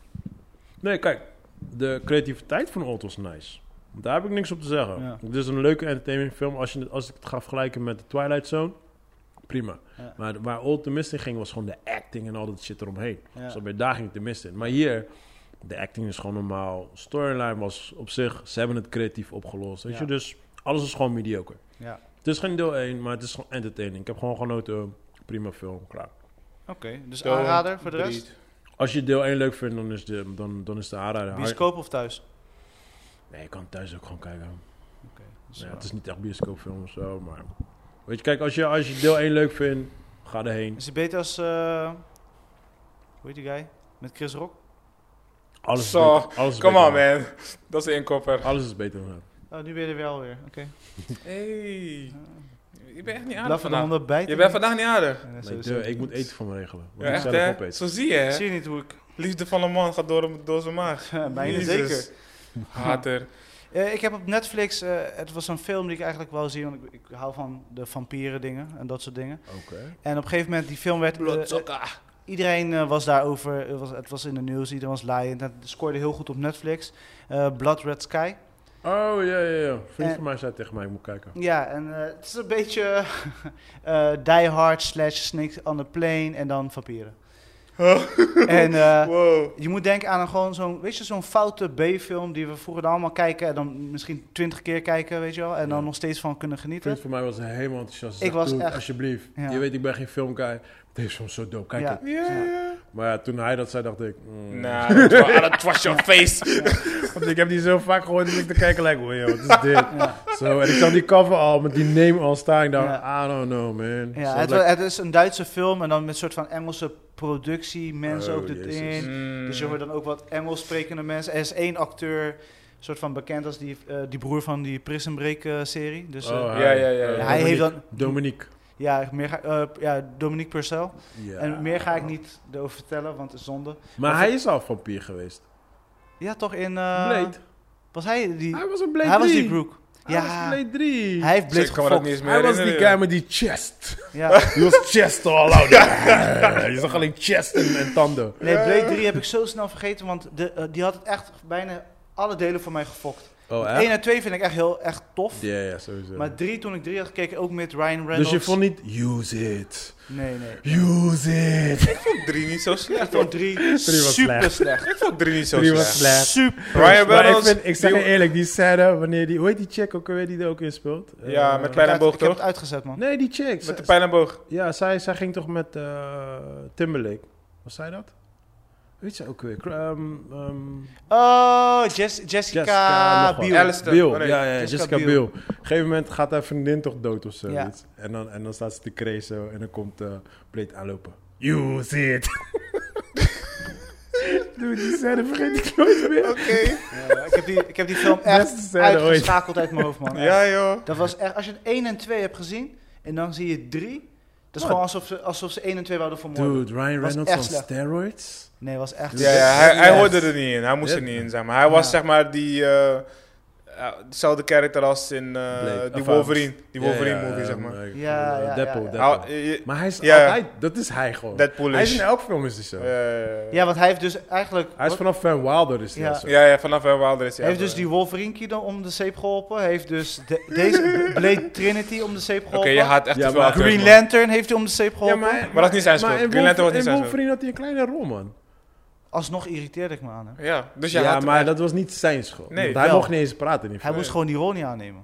S3: Nee, kijk. De creativiteit van Old was nice. Daar heb ik niks op te zeggen.
S1: Ja.
S3: Het is een leuke entertainmentfilm. Als, je, het- als ik het ga vergelijken met The Twilight Zone... Prima.
S1: Ja.
S3: Maar waar Old de mist in ging, was gewoon de acting en al dat shit eromheen.
S1: Ja.
S3: Zo bij daar ging ik de mist in. Maar hier, de acting is gewoon normaal. Storyline was op zich, ze hebben het creatief opgelost. Weet
S1: Ja.
S3: je, dus alles is gewoon mediocre.
S1: Ja.
S3: Het is geen deel 1, maar het is gewoon entertaining. Ik heb gewoon genoten. Prima film, klaar.
S1: Oké, dus
S4: Don't
S1: aanrader voor de
S4: breed.
S1: rest?
S3: Als je deel 1 leuk vindt, dan is de, dan, dan is de aanrader.
S1: Bioscoop of thuis?
S3: Nee, je kan thuis ook gewoon kijken.
S1: Oké. dus-
S3: Ja, het is niet echt bioscoopfilm of zo, maar... Weet je, kijk, als je, als je deel 1 leuk vindt, ga erheen.
S1: Is het beter als... eh, hoe heet die guy? Met Chris Rock?
S3: Alles is
S4: Zo,
S3: beter- alles is
S4: Come
S3: beter
S4: on,
S3: dan-
S4: man. Dat is de inkopper.
S3: Alles is beter dan dat.
S1: Oh, nu ben je er wel weer. Oké.
S4: Hey. Je bent echt niet
S1: Blaf
S4: aardig
S1: van de
S4: vandaag.
S1: handen bijten.
S4: Je bent vandaag niet aardig.
S1: Ja, zo
S3: Nee,
S1: is
S3: duh,
S1: het.
S3: ik moet eten voor me regelen.
S4: Ja,
S3: Want ik
S4: echt,
S3: zelf
S4: hè?
S3: opeten.
S4: Zo zie je, hè?
S1: Zie je niet hoe ik... eh,
S4: Liefde van een man gaat door, hem- door zijn maag.
S1: Bijna
S4: Jezus.
S1: zeker.
S3: *laughs*
S4: Hater.
S1: Eh, ik heb op Netflix, eh, het was een film die ik eigenlijk wou zien, want ik, ik hou van de vampieren dingen en dat soort dingen.
S3: Oké.
S1: En op een gegeven moment, die film werd... eh, iedereen eh, was daarover, het was, het was in de nieuws, iedereen was laaiend. Het scoorde heel goed op Netflix. Eh, Blood Red Sky.
S3: Oh, ja, ja, ja. Vriend
S1: Eh.
S3: van mij zei tegen mij, ik moet kijken.
S1: Ja, en eh, het is een beetje *laughs* eh, Die Hard slash Snakes on a Plane en dan vampieren. en eh,
S4: Wow.
S1: je moet denken aan een gewoon zo'n, weet je, zo'n foute B-film die we vroeger dan allemaal kijken en dan misschien twintig keer kijken, weet je wel, en dan
S3: Ja.
S1: nog steeds van kunnen genieten.
S3: Vriend van mij was helemaal enthousiast. Ze
S1: Ik
S3: zei,
S1: was
S3: "Dude,
S1: echt-
S3: Alsjeblieft.
S1: Ja.
S3: Je weet, ik ben geen filmkij. Deze film is zo dope, kijk
S1: Ja.
S3: het.
S4: Ja, ja.
S3: Maar ja, toen hij dat zei, dacht ik... mm,
S4: Nou, dat wa- dat was your
S1: *laughs*
S4: face.
S3: Want ik heb die zo vaak gehoord dat ik te kijken like, wow, *laughs* joh, wat is dit? Zo, en ik zag die cover al, met die name al staan. Ik dacht,
S1: Ja.
S3: I don't know, man.
S1: Ja,
S3: Zo,
S1: het,
S3: like-
S1: wa- het is een Duitse film en dan met soort van Engelse productie, mensen
S3: Oh,
S1: ook dit
S3: Jezus.
S1: in.
S4: Mm.
S1: Dus je hoort dan ook wat Engels sprekende mensen. Er is één acteur, soort van bekend als die, eh, die broer van die Prison Break eh, serie. Dus, eh,
S3: Oh,
S4: Ja, ja, ja, ja.
S3: eh,
S1: hij heeft
S3: Dominique.
S1: dan...
S3: Dominique.
S1: Ja, meer ga, eh, ja, Dominique Purcell.
S3: Ja.
S1: En meer ga ik niet erover vertellen, want het is zonde.
S3: Maar
S1: Of-
S3: hij is al vampier geweest.
S1: Ja, toch in... eh,
S3: Eh, Blade.
S1: Was hij die...
S3: Hij was een Blade
S1: hij
S3: 3.
S1: was die Brooke.
S3: Hij was
S1: ja,
S3: Blade 3.
S1: hij heeft
S4: Dus
S1: Blade
S4: ik kan me dat
S1: gefokt.
S4: niet eens meer
S3: Hij was die
S4: herinneren.
S3: guy met die chest.
S1: Ja.
S4: *laughs*
S3: He was chest all out. Je zag alleen chest en, en tanden.
S1: Nee, Blade 3 heb ik zo snel vergeten, want de, eh, die had het echt bijna alle delen voor mij gefokt.
S3: Oh,
S1: 1 en 2 vind ik echt heel echt tof.
S3: Ja, ja, sowieso.
S1: Maar 3, toen ik 3 had gekeken, ook met Ryan Reynolds.
S3: dus je vond niet, use it,
S1: Nee, nee.
S3: use
S1: *laughs*
S3: it.
S4: Drie niet zo
S1: Ik
S4: slecht, hoor.
S1: vond 3
S3: was
S1: super slecht.
S4: Ik vond drie niet zo
S3: Drie was
S4: slecht.
S3: slecht.
S1: Super.
S4: Ryan
S3: Maar ik,
S4: Reynolds,
S3: vind, ik zeg je
S4: die-
S3: eerlijk, die scène, wanneer die, hoe heet die chick ook alweer die er ook in speelt?
S4: Ja,
S3: Eh,
S4: met
S1: Ik
S4: pijl en
S1: heb het-
S4: boog,
S1: ik heb
S4: toch?
S1: het uitgezet, man.
S3: Nee, die chick.
S4: Met de
S3: Zij-
S4: pijl en boog.
S3: Ja, zij, zij ging toch met eh Timberlake. Was zij dat? Weet ze ook weer? Cr- ehm, ehm,
S1: Oh, Jess- Jessica,
S3: Jessica, nog wat.
S1: Biel.
S4: Alice- Alistair.
S3: Biel,
S4: Oh, nee.
S3: ja, ja,
S1: Jessica
S3: Jessica
S1: Biel.
S3: Biel. Op een gegeven moment gaat haar vriendin toch dood of zo.
S1: Ja.
S3: En, dan, en dan staat ze te crazen en dan komt eh Blade aanlopen.
S1: *laughs*
S3: Use it! Dude, die scène vergeet ik nooit meer.
S4: Oké.
S1: Ja, ik, heb die, ik heb die film
S3: Beste
S1: echt
S3: scène
S1: uitgeschakeld uit mijn hoofd, man.
S4: Ja, joh.
S1: Dat was echt, als je 1 en 2 hebt gezien en dan zie je 3, dat is
S3: Wat?
S1: gewoon alsof ze, alsof ze 1 en 2 wilden vermoorden.
S3: Dude, Ryan
S1: Was
S3: Reynolds
S1: echt
S3: on
S1: slecht.
S3: steroids?
S1: Nee, was echt.
S4: Ja, ja hij, hij
S3: Yes.
S4: hoorde er niet in. Hij moest er niet in, zeg maar. Hij was,
S1: Ja.
S4: zeg maar, die... eh, eh, Hetzelfde karakter als in eh,
S3: Blade.
S4: die
S3: Of, ehm,
S4: Wolverine. Die
S3: Ja, ja,
S4: Wolverine-movie, zeg
S3: ehm,
S4: maar.
S3: eh,
S1: Ja, ja, ja,
S3: Deadpool,
S1: ja.
S3: Deadpoul.
S4: Hij- je-
S3: Maar hij is
S4: Ja.
S3: altijd... Dat is hij gewoon.
S4: Deadpool
S3: Hij is
S4: is...
S3: in elk film is hij zo.
S4: eh,
S1: Ja, want hij heeft dus eigenlijk.
S3: Hij is
S1: wat-
S3: vanaf Van Wilder is hij
S1: Ja.
S3: al zo.
S4: Ja, ja, vanaf Van Wilder is hij
S1: hij heeft dus
S4: echt-
S1: die Wolverine Kid om de zeep geholpen. Hij heeft dus de- deze Blade Trinity om de zeep
S4: Oké,
S1: geholpen.
S4: je haat echt
S3: Ja,
S4: te veel
S3: maar-
S4: acteurs,
S1: Green
S4: man.
S1: Lantern heeft hij om de zeep geholpen.
S4: Maar dat is niet zijn schuld.
S3: Oh, Maar in
S4: Green Lantern was
S3: Wolverine, in
S4: niet zijn schuld.
S3: Wolverine had hij een kleine rol, man.
S1: Alsnog irriteerde ik me aan hem.
S4: Ja, dus je
S3: Ja,
S4: haat hem
S3: maar
S4: echt.
S3: dat was niet zijn schuld.
S4: Nee,
S3: Want hij
S1: wel.
S3: mocht niet eens praten in die
S1: Hij
S3: film.
S1: moest gewoon die rol niet aannemen.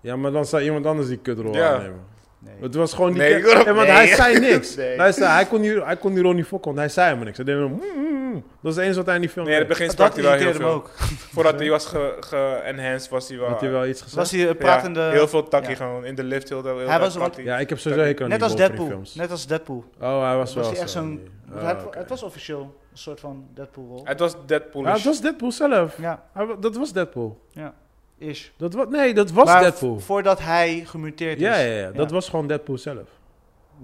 S3: Ja, maar dan zou iemand anders die kutrol
S4: Ja.
S3: aannemen.
S1: Nee.
S3: Het was gewoon niet...
S4: Nee, ik wil hem-
S3: Ja, want
S4: nee.
S3: hij zei niks.
S4: *laughs* Nee.
S3: Hij, zei, hij, kon die, hij kon die rol niet fokken, want hij zei helemaal niks. Hij deed hem, mm, mm, mm. Dat is het enige wat hij in die film
S4: Nee, in het
S3: deed.
S4: begin sprak
S1: dat
S4: hij wel heel
S1: irriteerde me
S4: veel.
S1: ook.
S4: Voordat hij was ge- ge-enhanced, was hij wel...
S3: Had hij wel iets gezegd?
S1: Was hij een
S4: Ja,
S1: pratende.
S4: heel veel takkie
S1: ja.
S4: gewoon. In de lift heel, heel
S1: Hij was
S4: takkie.
S3: Ja, ik heb sowieso hekel aan
S1: Net
S3: die
S1: als
S3: Wolverine
S1: Deadpool.
S3: films.
S1: Net als Deadpool.
S3: Oh, hij
S1: Was
S3: was wel
S1: hij echt
S3: zo.
S1: zo'n.
S3: Oh,
S1: het,
S3: oké.
S1: het was officieel een soort van Deadpool-rol.
S4: Het was Deadpool.
S3: Ja, het was Deadpool zelf.
S1: Ja,
S3: Hij Ah, wa- Dat was Deadpool.
S1: is.
S3: Dat wa- nee, dat was
S1: Maar
S3: Deadpool.
S1: v- Voordat hij gemuteerd is.
S3: Ja, ja, ja, dat was gewoon Deadpool zelf.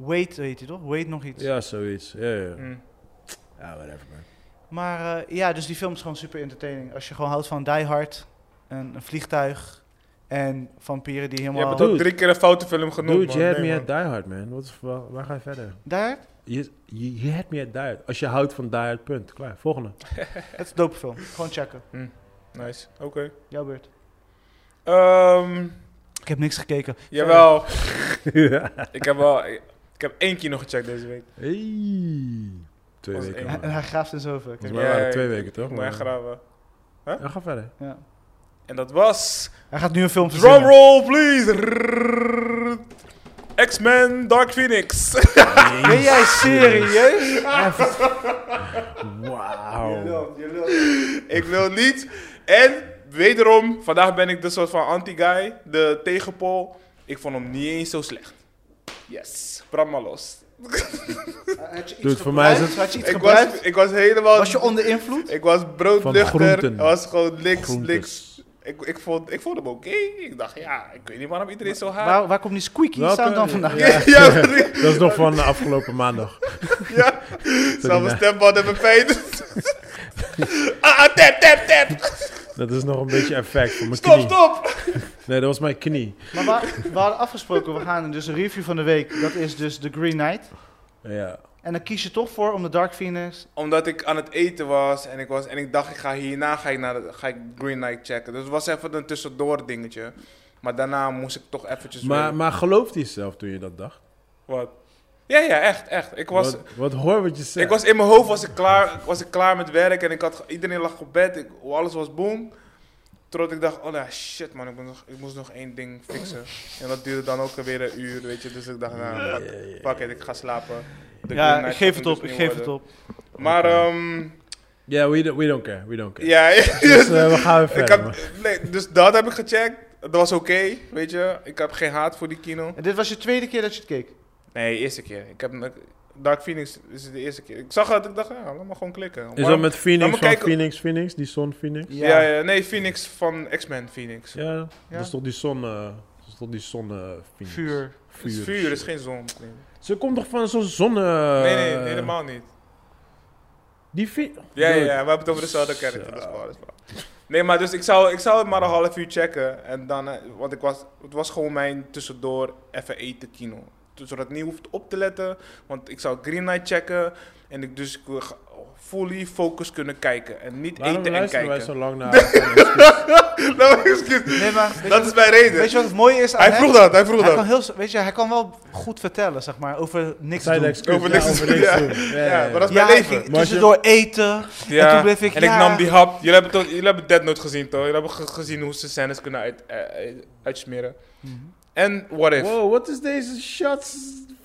S1: Wait, weet je toch? Wait nog iets.
S3: Ja, zoiets. Ja, ja.
S4: Hm.
S3: ja whatever, man.
S1: Maar eh, ja, dus die film is gewoon super entertaining. Als je gewoon houdt van Die Hard, een, een vliegtuig en vampieren die
S4: Je hebt
S1: helemaal...
S4: het ook
S3: Dude.
S4: drie keer een foute film genoemd,
S3: Dude,
S4: man.
S3: je had
S4: Nee,
S3: me
S4: man.
S3: at Die Hard, man. Wat is- waar, waar ga je verder?
S1: Daar?
S3: Je, je, je had me at Die Hard. Als je houdt van Die Hard, punt. Klaar,
S4: *laughs*
S3: volgende.
S1: Het is een dope film. Gewoon checken.
S4: Nice, oké.
S1: Jouw beurt.
S4: Ehm,
S1: Ik heb niks gekeken.
S3: *laughs*
S4: jawel, ik heb wel... Ik heb één keer nog gecheckt deze week.
S3: hey. Twee
S4: Was
S3: weken.
S4: één.
S3: man.
S1: En hij graaft in zoveel.
S3: Volgens
S1: Kijk.
S3: mij
S4: Ja,
S3: waren
S4: ja,
S3: het twee
S4: ik-
S3: weken, toch?
S4: Ik moet echt graven.
S3: Ja, ga verder.
S1: Ja.
S4: En dat was...
S1: Hij gaat nu een film verzinnen.
S4: Drumroll, please! Rrrr. X-Men Dark Phoenix.
S1: Ben jij serieus?
S4: *laughs*
S3: Wauw.
S4: ik wil niet. En wederom, vandaag ben ik de soort van anti-guy, de tegenpol. Ik vond hem niet eens zo slecht. Yes, brand maar los.
S2: Had je iets
S3: Dude, voor mij is
S2: gebruikt?
S3: het
S2: Had je iets
S4: Ik was,
S2: gebruikt?
S4: ik was helemaal.
S2: Was je onder invloed?
S4: ik was
S3: Van
S4: broodnuchter.
S3: groenten.
S4: Ik was gewoon niks, niks.
S3: groentes.
S4: Ik, ik, vond, ik vond hem oké. Ik dacht, ja, ik weet niet waarom iedereen zo haat.
S1: Waar, waar komt die squeaky
S3: Welke-
S1: sound dan vandaan?
S4: Ja, *laughs* ja, sorry.
S3: *laughs* Dat is nog van de afgelopen maandag.
S4: ja. Zal mijn
S3: nou.
S4: stemband hebben pijn.
S3: *laughs*
S4: ah, ah, tap, tap, tap.
S3: Dat is nog een beetje effect voor mijn
S4: Stop,
S3: knie.
S4: stop.
S3: Nee, dat was mijn knie.
S1: *laughs* Maar we, we hadden afgesproken, we gaan dus een review van de week. Dat is dus The Green Knight.
S3: Ja.
S1: En dan kies je toch voor om de Dark Phoenix.
S4: Omdat ik aan het eten was en ik, was, en ik dacht, ik ga hierna ga ik naar de, ga ik Green Knight checken. Dus het was even een tussendoor dingetje. Maar daarna moest ik toch eventjes
S3: Maar,
S4: weer-
S3: maar geloofde je zelf toen je dat dacht?
S4: Wat? Ja, ja, echt, echt. Ik was,
S3: Wat, wat hoor wat je zegt.
S4: ik was in mijn hoofd was ik, klaar, was ik klaar met werk en ik had, ge- iedereen lag op bed. Ik, alles was boom. Totdat ik dacht, oh nou, shit man, ik, moet nog, ik moest nog één ding fixen. En dat duurde dan ook weer een uur, weet je. Dus ik dacht, nou, fuck, fuck it, ik ga slapen. De Green
S1: Ja,
S4: Knight
S1: ik geef het
S4: gaat hem
S1: op,
S4: dus
S1: ik
S4: niet
S1: geef het
S4: worden.
S1: op.
S4: Maar, ehm
S3: Ja, we, don't- we don't care. We don't care.
S4: ja, *laughs*
S3: Dus eh, we gaan weer
S4: Ik
S3: verder. man.
S4: had, nee, dus dat heb ik gecheckt. Dat was oké, weet je. Ik heb geen haat voor die kino.
S1: En dit was je tweede keer dat je het keek.
S4: Nee, eerste keer. Ik heb, Dark Phoenix is de eerste keer. Ik zag het, ik dacht, ja, laat maar gewoon klikken.
S3: Is dat
S4: Waarom-
S3: met Phoenix
S4: Laat
S3: van
S4: me kijken.
S3: Phoenix, Phoenix? Die zon Phoenix?
S4: ja, ja, nee, Phoenix van X-Men Phoenix.
S3: Ja, dat
S1: Ja.
S3: is toch die zon... eh, dat is toch die zon eh, Phoenix?
S1: Vuur.
S4: Het is
S3: Vuur. dus.
S4: vuur, is geen zon.
S3: Ze komt toch van zo'n zon... eh,
S4: Nee, nee, helemaal niet.
S3: Die Phoe-
S4: Ja, ja, ja,
S3: Dude.
S4: we hebben het over dezelfde character.
S3: Zo.
S4: Dat is waar, dat is waar. Nee, maar dus ik zou, ik zou het maar een half uur checken. En dan, eh, want ik was, het was gewoon mijn tussendoor even eten kino. Dus zodat ik niet hoeft op te letten. Want ik zou Green Knight checken. En ik dus ik wil ga- fully focus kunnen kijken. En niet
S3: Waarom
S4: eten en
S3: luisteren wij
S4: kijken.
S3: zo lang
S4: *laughs*
S3: naar...
S4: Nou, excuse.
S1: Nee, maar weet,
S4: Dat
S1: je,
S4: is mijn reden.
S1: weet je wat het mooie is aan
S4: hij
S1: hem?
S4: vroeg dat, hij vroeg
S1: Hij
S4: dat.
S1: kan, heel, s- weet je, hij kan wel goed vertellen, zeg maar, over niks
S3: Side
S1: doen.
S3: excuse,
S4: Over
S3: ja,
S4: niks te doen, ja.
S3: doen. Ja, ja,
S4: Ja,
S3: ja.
S4: maar dat is
S1: Ja,
S4: mijn
S1: hij
S4: leven.
S1: ging
S3: Maar als je-
S1: tussendoor eten. En toen bleef ik,
S4: en ik
S1: ja.
S4: nam die hap. Jullie hebben, toch, jullie hebben Dead Note gezien, toch? Jullie hebben ge- gezien hoe ze scènes kunnen uit, eh, eh, uitsmeren.
S1: Mhm.
S4: En What If.
S3: Wow, wat is deze shots?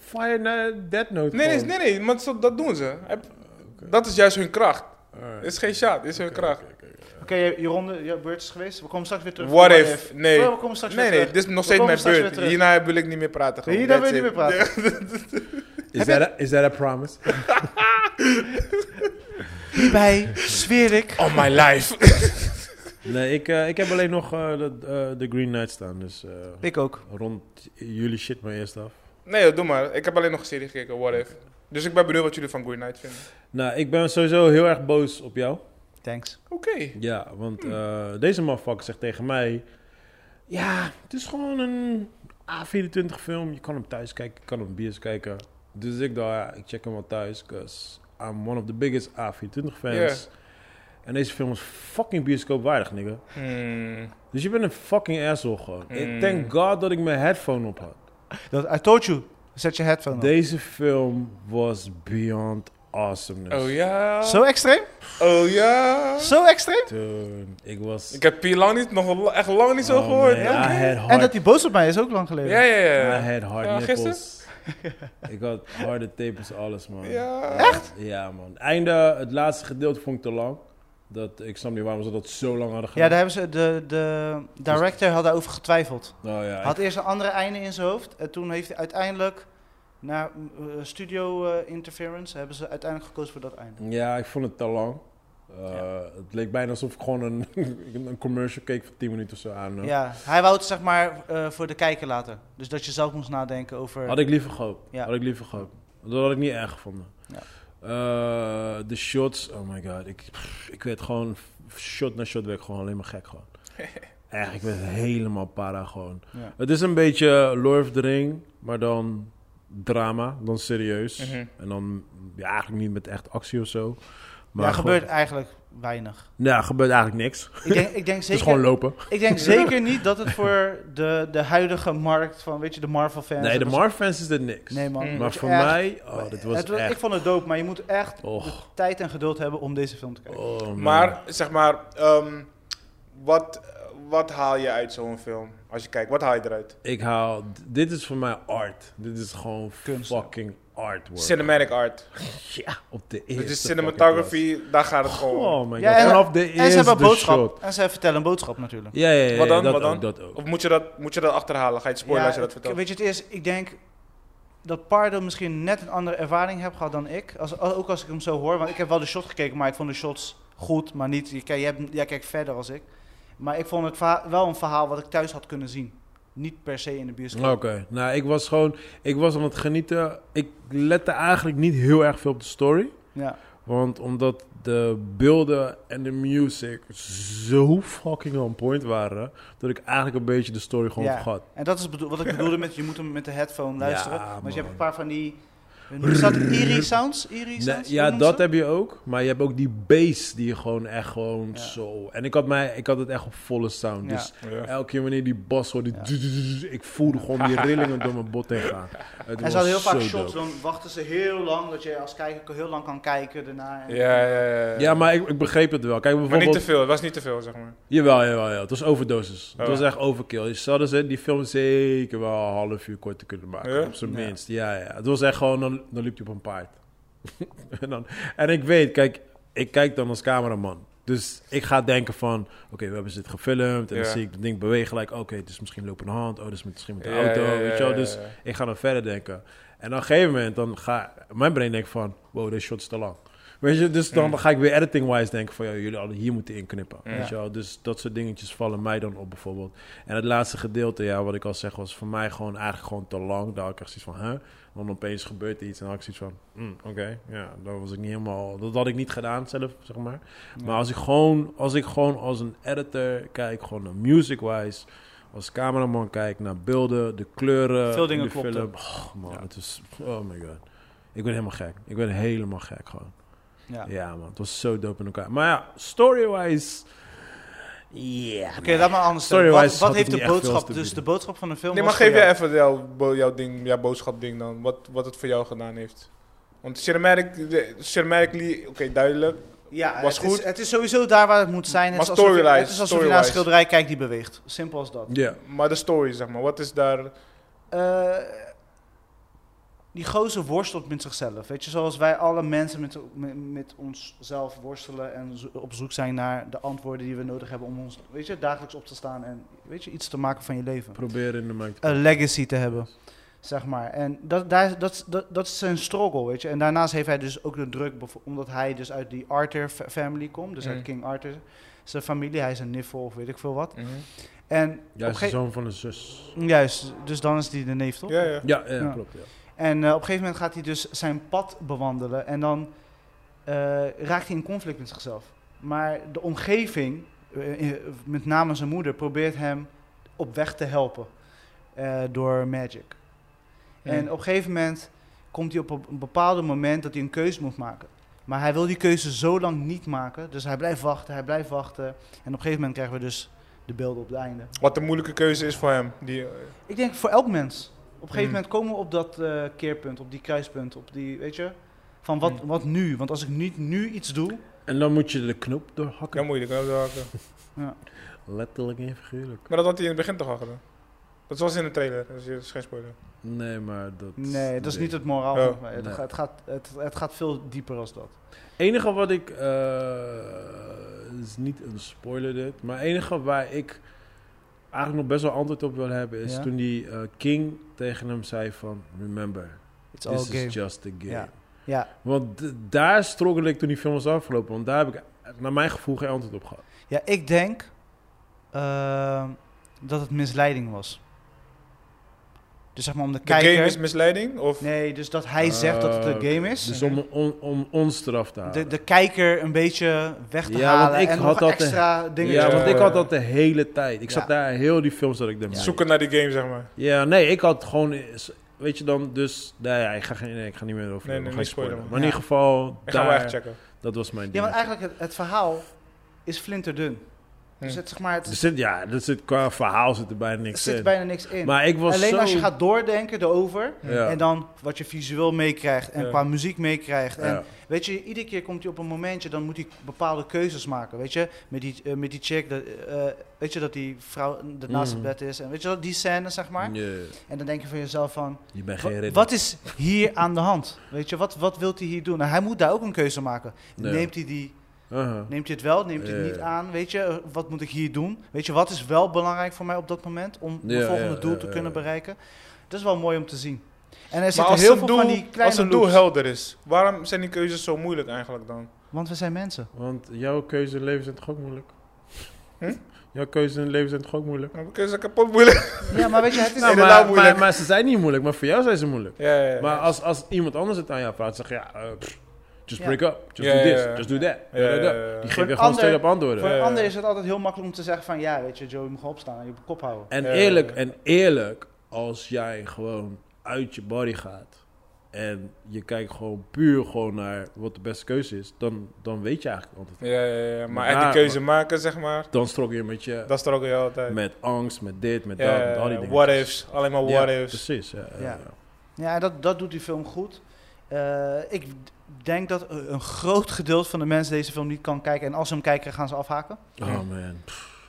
S3: Fire naar Dead Note.
S4: Nee, nee,
S3: gewoon.
S4: nee, nee, maar zo- dat doen ze. Heb- Dat is juist hun kracht.
S3: Alright.
S4: Het is geen shot, het is hun kracht.
S3: Oké, oké, oké.
S1: Oké, je, je ronde, je beurt is geweest. We komen straks weer terug.
S4: What
S1: voor
S4: if? Nee.
S1: Oh, we komen straks
S4: Nee,
S1: weer
S4: nee,
S1: terug.
S4: dit is nog
S1: We
S4: steeds
S1: komen
S4: mijn
S1: straks
S4: beurt.
S1: weer terug.
S4: Hierna wil ik niet meer praten. gewoon.
S1: Hierna wil
S4: That's
S1: je niet
S4: it.
S1: meer praten.
S3: Is that a, is that a promise? *laughs*
S1: Hierbij zweer ik.
S4: *laughs* On Oh my life.
S3: nee, ik, eh, ik heb alleen nog eh, de, eh, de Green Knight staan. Dus eh,
S1: Ik ook.
S3: rond jullie shit maar eerst af.
S4: Nee, joh, doe maar. Ik heb alleen nog een serie gekeken, What If. Dus ik ben benieuwd wat jullie van Green Knight vinden.
S3: Nou, ik ben sowieso heel erg boos op jou.
S1: Thanks.
S4: Oké.
S3: Ja, want eh, deze motherfucker zegt tegen mij... Ja, het is gewoon een A24 film. Je kan hem thuis kijken, je kan hem biers kijken. Dus ik dacht, ja, ik check hem wel thuis. Because I'm one of the biggest A24 fans.
S4: Ja.
S3: En deze film is fucking bioscoopwaardig, nigga.
S4: Hmm.
S3: Dus je bent een fucking asshole gewoon.
S4: Mm.
S3: Ik Thank god dat ik mijn headphone op had.
S1: Dat- I told you. Zet je headphone op.
S3: Deze film was beyond awesomeness.
S4: Oh ja.
S1: Zo extreem?
S4: Oh ja.
S1: Zo extreem?
S3: Dude, ik was...
S4: Ik heb Pier lang niet, nog la- echt lang niet zo
S3: Oh,
S4: gehoord.
S3: man,
S4: Ja, oké.
S3: I had hard
S1: En dat hij boos op mij is ook lang geleden.
S4: ja, ja, ja.
S3: I had hard
S4: Ja,
S3: nippels. ik had harde tepels, alles man.
S4: Ja.
S3: Echt? Ja man. Einde, het laatste gedeelte vond ik te lang. Dat, ik snap niet waarom ze dat zo lang hadden
S1: Ja,
S3: gedaan.
S1: daar hebben ze, de, de director had daarover getwijfeld.
S3: oh, ja.
S1: Hij
S3: ik-
S1: had eerst een andere einde in zijn hoofd. En toen heeft hij uiteindelijk, na eh, studio eh, interference, hebben ze uiteindelijk gekozen voor dat einde.
S3: ja, ik vond het te lang. Uh, Het leek bijna alsof ik gewoon een, *laughs* een commercial keek van 10 minuten of zo aan. eh, hoor.
S1: Ja, hij wou het zeg maar eh, voor de kijker laten. Dus dat je zelf moest nadenken over...
S3: Had ik liever gehoopt.
S1: Ja.
S3: Had ik liever gehoopt. Dat had ik niet erg gevonden.
S1: Ja.
S3: Eh, de shots, oh my god. Ik, pff, ik werd gewoon, shot na shot werd ik gewoon alleen maar
S1: *laughs*
S3: gek gewoon. Echt, ik werd helemaal para gewoon.
S5: Ja.
S3: Het is een beetje Lord of the Ring, maar dan drama, dan serieus.
S4: Mhm.
S3: En dan ja, eigenlijk niet met echt actie of zo. Maar
S1: Maar
S3: gewoon-
S1: gebeurt eigenlijk weinig.
S3: Nou, er gebeurt eigenlijk niks.
S1: Ik denk, ik denk
S3: *laughs* Het is
S1: zeker...
S3: gewoon lopen.
S1: Ik
S3: *laughs*
S1: denk zeker niet dat het voor de, de huidige markt van, weet je, de Marvel-fans...
S3: Nee, de
S1: dat is-
S3: Marvel-fans is dit niks.
S1: Nee, man.
S4: Mm.
S1: dat
S3: maar
S1: je
S3: voor
S1: echt-
S3: mij, oh, dat was
S1: het wa- Ik
S3: echt...
S1: vond het dope, maar je moet echt
S3: Och,
S1: tijd en geduld hebben om deze film te kijken.
S3: oh, man.
S4: Maar zeg maar, ehm, wat, wat haal je uit zo'n film? Als je kijkt, wat haal je eruit?
S3: ik haal... Dit is voor mij art. Dit is gewoon
S1: Kunst.
S3: fucking artwork.
S4: Cinematic art.
S3: ja, op de eerste
S4: Dus de
S3: fucking
S4: cinematography, daar gaat het
S3: plaats.
S4: gewoon. om.
S3: Oh my god,
S1: Ja, en-
S3: vanaf de eerste
S1: En ze hebben een boodschap.
S3: shot.
S1: En ze vertellen een boodschap natuurlijk.
S3: Ja, ja, ja, ja,
S4: Wat dan,
S3: dat
S4: wat dan?
S3: ook, dat ook.
S4: Of moet je, dat, moet je dat achterhalen? Ga je het spoilen als je dat
S1: ik-
S4: vertelt?
S1: Weet je, het is, ik denk dat Pardo misschien net een andere ervaring heb gehad dan ik. Als, al- ook als ik hem zo hoor, want ik heb wel de shot gekeken, maar ik vond de shots goed, maar niet. Je, kijk- jij, hebt- jij kijkt verder als ik. Maar ik vond het verha- wel een verhaal wat ik thuis had kunnen zien. Niet per se in de bioscoop.
S3: Oké, nou ik was gewoon, ik was aan het genieten. Ik lette eigenlijk niet heel erg veel op de story.
S1: Ja.
S3: Want omdat de beelden en de music zo fucking on point waren, dat ik eigenlijk een beetje de story gewoon
S1: Ja.
S3: vergat.
S1: En dat is bedoel-
S4: *laughs*
S1: wat ik bedoelde met je moet hem met de headphone luisteren.
S3: Ja,
S1: want je hebt
S3: man.
S1: een paar van die. Is dat eerie sounds? Eerie
S3: Nee,
S1: sounds? Hoe
S3: ja,
S1: noemen ze
S3: dat heb je ook. Maar je hebt ook die bass die je gewoon echt gewoon
S1: Ja.
S3: zo... En ik had, mij, ik had het echt op volle sound.
S1: Ja.
S3: Dus
S4: Ja.
S3: elke keer wanneer die bas hoorde...
S1: Ja.
S3: du- du- du- du- ik voelde gewoon die rillingen door mijn bot heen
S1: *laughs*
S3: gaan. Het
S1: En
S3: was
S1: ze hadden heel
S3: zo
S1: vaak shots,
S3: dope.
S1: dan wachten ze heel lang, dat je als kijker heel lang kan kijken daarna. En-
S4: Ja, ja, ja,
S1: eh.
S4: ja.
S3: Ja, maar ik, ik begreep het wel. Kijk,
S4: Maar niet
S3: bijvoorbeeld...
S4: te veel, het was niet te veel, zeg maar.
S3: Jawel, jawel, jawel. Het was overdosis.
S4: Oh.
S3: Het was echt overkill. Dus ze hadden ze die film zeker wel een half uur korter kunnen maken.
S4: Ja?
S3: Op zijn
S1: Ja.
S3: minst. Ja, ja. Het was echt gewoon, dan, dan liep hij op een paard. *laughs* en, dan, en ik weet, kijk, ik kijk dan als cameraman. Dus ik ga denken van, oké, we hebben dit gefilmd. En
S4: Ja.
S3: dan zie ik het ding bewegen. Like, oké, het is misschien lopende hand. Oh, dat is misschien met de
S4: Ja,
S3: auto.
S4: ja, ja,
S3: weet je wel.
S4: ja,
S3: Dus
S4: ja.
S3: ik ga dan verder denken. En op een gegeven moment, dan ga mijn brein denkt van, wow, deze shot is te lang. Weet je, dus
S4: Mm.
S3: dan ga ik weer editing-wise denken van, joh, jullie hadden hier moeten inknippen. Weet je wel? Dus dat soort dingetjes vallen mij dan op bijvoorbeeld. En het laatste gedeelte, ja, wat ik al zeg, was voor mij gewoon eigenlijk gewoon te lang. Daar had ik echt zoiets van, hè? Dan opeens gebeurt er iets en dan had ik zoiets van, mm, oké, ja, dat was ik niet helemaal, dat had ik niet gedaan zelf, zeg maar. Maar als ik gewoon, als ik gewoon als een editor kijk, gewoon naar music-wise, als cameraman kijk naar beelden, de kleuren,
S1: Veel dingen
S3: de
S1: klopten.
S3: film. Oh man, het is, oh my god. Ik ben helemaal gek. Ik ben helemaal gek gewoon.
S1: Ja. Oké,
S3: Ja, man, het was zo dope in elkaar. Maar ja, story-wise. Yeah.
S1: laat maar anders stellen. Wat,
S3: Story-wise had
S1: wat
S3: ik
S1: heeft de
S3: niet echt veel
S1: boodschap,
S3: te
S1: dus de
S3: bieden.
S1: boodschap van de film
S4: Nee, maar
S1: was
S4: geef
S1: voor
S4: jij
S1: jou.
S4: even jouw, bo- jouw, ding, jouw boodschap ding dan. Wat, wat het voor jou gedaan heeft. Want cinematic, de- cinematically, oké, duidelijk.
S1: Ja,
S4: Was
S1: het,
S4: goed.
S1: Is, het is sowieso daar waar het moet zijn. Het
S4: Maar
S1: is alsof je-
S4: story-wise,
S1: Het is alsof je naar een
S4: story-wise.
S1: schilderij kijkt die beweegt. Simpel als dat.
S3: Ja.
S4: Maar de story, zeg maar. Wat is daar...
S1: Eh, die gozer worstelt met zichzelf. Weet je, zoals wij alle mensen met, met, met onszelf worstelen en zo- op zoek zijn naar de antwoorden die we nodig hebben om ons weet je, dagelijks op te staan en weet je, iets te maken van je leven.
S3: Proberen in de markt.
S1: Een legacy te hebben, zeg maar. En dat, daar, dat, dat, dat is zijn struggle, weet je. En daarnaast heeft hij dus ook de druk, bevo- omdat hij dus uit die Arthur-family komt, dus
S4: Mm.
S1: uit King Arthur. Zijn familie, hij is een niffel of weet ik veel wat.
S3: Mhm.
S1: En
S3: Ja,
S1: op
S3: is de
S1: ge-
S3: zoon van een zus.
S1: juist, dus dan is die de neef toch?
S4: Ja, ja.
S3: Ja, ja,
S1: Ja.
S3: klopt. Ja.
S1: En eh, op een gegeven moment gaat hij dus zijn pad bewandelen en dan eh, raakt hij in conflict met zichzelf. Maar de omgeving, eh, eh, met name zijn moeder, probeert hem op weg te helpen eh, door magic. En op een gegeven moment komt hij op een bepaald moment dat hij een keuze moet maken. Maar hij wil die keuze zo lang niet maken, dus hij blijft wachten, hij blijft wachten. En op een gegeven moment krijgen we dus de beelden op het einde.
S4: Wat de moeilijke keuze is voor hem. Die, eh,
S1: Ik denk voor elk mens. Op een gegeven
S4: Mm.
S1: moment komen we op dat eh, keerpunt, op die kruispunt, op die, weet je, van wat, wat nu? Want als ik niet nu iets doe,
S3: En dan moet je de knoop doorhakken.
S4: ja, moeilijk. hè, welke.
S3: Letterlijk en figuurlijk.
S4: Maar dat had hij in het begin toch al gedaan? Dat was in de trailer, dus dat is geen spoiler.
S3: Nee, maar dat...
S1: nee, dat is niet het moraal.
S4: Ja.
S1: van- eh, het,
S3: Nee.
S1: gaat, het, gaat, het, het gaat veel dieper als dat.
S3: enige wat ik. eh is niet een spoiler dit. Maar enige waar ik eigenlijk nog best wel antwoord op wil hebben. Is
S1: Ja?
S3: toen die eh, King tegen hem zei: van... Remember,
S1: It's all
S3: this
S1: game.
S3: is just a game.
S1: Ja. Ja,
S3: Want d- daar struggle ik toen die film was afgelopen. Want daar heb ik naar mijn gevoel geen antwoord op gehad.
S1: ja, ik denk ehm, dat het misleiding was. Dus zeg maar om de
S4: De game
S1: kijker...
S4: is misleiding? Of?
S1: Nee, dus dat hij zegt dat het een
S3: Eh,
S1: game is.
S3: Dus om, on- om ons eraf te halen.
S1: de, de kijker een beetje weg te
S3: Ja, want
S1: halen
S3: ik
S1: en
S3: had
S1: nog
S3: dat-
S1: extra dingen.
S3: ja,
S4: eh,
S3: want ik had dat de hele tijd. Ik
S1: ja.
S3: zat daar heel die films dat ik dacht. nee.
S4: Zoeken naar die game, zeg maar.
S3: Ja, nee, ik had gewoon. Weet je dan, dus. Nee, ja, ik ga, geen, nee, ik ga niet meer over.
S4: Nee,
S3: we
S4: nee,
S3: gaan
S4: niet
S3: spoilen.
S4: spoilen,
S3: Maar in
S1: man.
S3: ieder geval,
S4: Ik ga wel
S3: daar,
S4: echt checken.
S3: dat was mijn
S1: Ja,
S3: ding.
S1: want eigenlijk het, het verhaal is flinterdun. Dus
S4: Hm.
S1: het, zeg maar, het,
S3: er zit, ja, er zit, qua verhaal zit er bijna
S1: er
S3: niks
S1: zit
S3: in.
S1: bijna niks in.
S3: Maar ik was
S1: Alleen
S3: zo...
S1: als je gaat doordenken erover
S3: Ja.
S1: en dan wat je visueel meekrijgt en
S4: Ja.
S1: qua muziek meekrijgt. En
S3: Ja.
S1: weet je, iedere keer komt hij op een momentje, dan moet hij bepaalde keuzes maken. Weet je, met die, eh, met die chick, dat, eh, weet je, dat die vrouw dat naast
S3: Mhm.
S1: het bed is. En weet je, wel, die scène, zeg maar.
S3: Ja,
S1: En dan denk je van jezelf van,
S3: je bent
S1: Wa-
S3: geen ridder.
S1: Wat is hier aan de hand? Weet je, wat, wat wil hij hier doen? Nou, hij moet daar ook een keuze maken.
S3: Ja.
S1: Neemt, hij die,
S3: Aha.
S1: neemt hij het wel, neemt hij het
S3: Ja,
S1: niet
S3: ja.
S1: aan? Weet je, eh, wat moet ik hier doen? Weet je, wat is wel belangrijk voor mij op dat moment om
S3: Ja,
S1: mijn volgende
S3: ja,
S1: doel
S3: ja,
S1: te
S3: ja,
S1: kunnen
S3: ja.
S1: bereiken? Dat is wel mooi om te zien. En er
S4: Maar
S1: zitten
S4: als
S1: heel
S4: het,
S1: veel
S4: doel,
S1: van die
S4: als
S1: kleine
S4: het doel
S1: loops,
S4: helder is, waarom zijn die keuzes zo moeilijk eigenlijk dan?
S1: Want we zijn mensen.
S3: Want jouw keuze in het leven zijn toch ook moeilijk?
S4: Hm?
S3: Jouw keuze in het leven zijn toch ook moeilijk?
S4: Nou, Keuze kapot moeilijk.
S1: Ja, maar weet je,
S3: *laughs*
S1: het is...
S4: Nou, inderdaad
S3: maar,
S4: moeilijk.
S3: maar, maar ze zijn niet moeilijk, maar voor jou zijn ze moeilijk.
S4: *laughs* Ja, ja, ja.
S3: Maar als, als iemand anders het aan jou vraagt, zeg je, ja, eh, pff, just
S1: Ja.
S3: break up, just
S4: Ja,
S3: do
S4: ja,
S3: this,
S4: ja.
S3: just do that.
S4: Ja, ja, ja, ja.
S3: eh, Die geven
S4: Voor
S3: je
S1: een
S3: gewoon
S1: ander-
S3: streng op antwoorden.
S1: Voor een
S4: Ja.
S1: ander is het altijd heel makkelijk om te zeggen van... Ja, weet je, Joe, je moet gewoon opstaan en je op kop houden.
S3: En
S4: Ja, ja,
S3: eerlijk,
S4: ja.
S3: en eerlijk, als jij gewoon uit je body gaat en je kijkt gewoon puur gewoon naar wat de beste keuze is, dan, dan weet je eigenlijk altijd.
S4: ja, ja, ja. Maar
S3: Ja,
S4: echt die keuze maken, zeg maar,
S3: Dan strok je met je,
S4: dat is er ook heel altijd.
S3: met angst, met dit, met
S4: Ja,
S3: dat,
S4: ja,
S3: met al die
S4: ja.
S3: dingen.
S4: what ifs, alleen maar what
S3: Ja,
S4: ifs.
S3: Precies, ja. ja,
S1: Ja.
S3: ja.
S1: Ja, en dat, dat doet die film goed. Eh, ik d- denk dat eh, een groot gedeelte van de mensen deze film niet kan kijken. En als ze hem kijken, gaan ze afhaken.
S3: Oh man.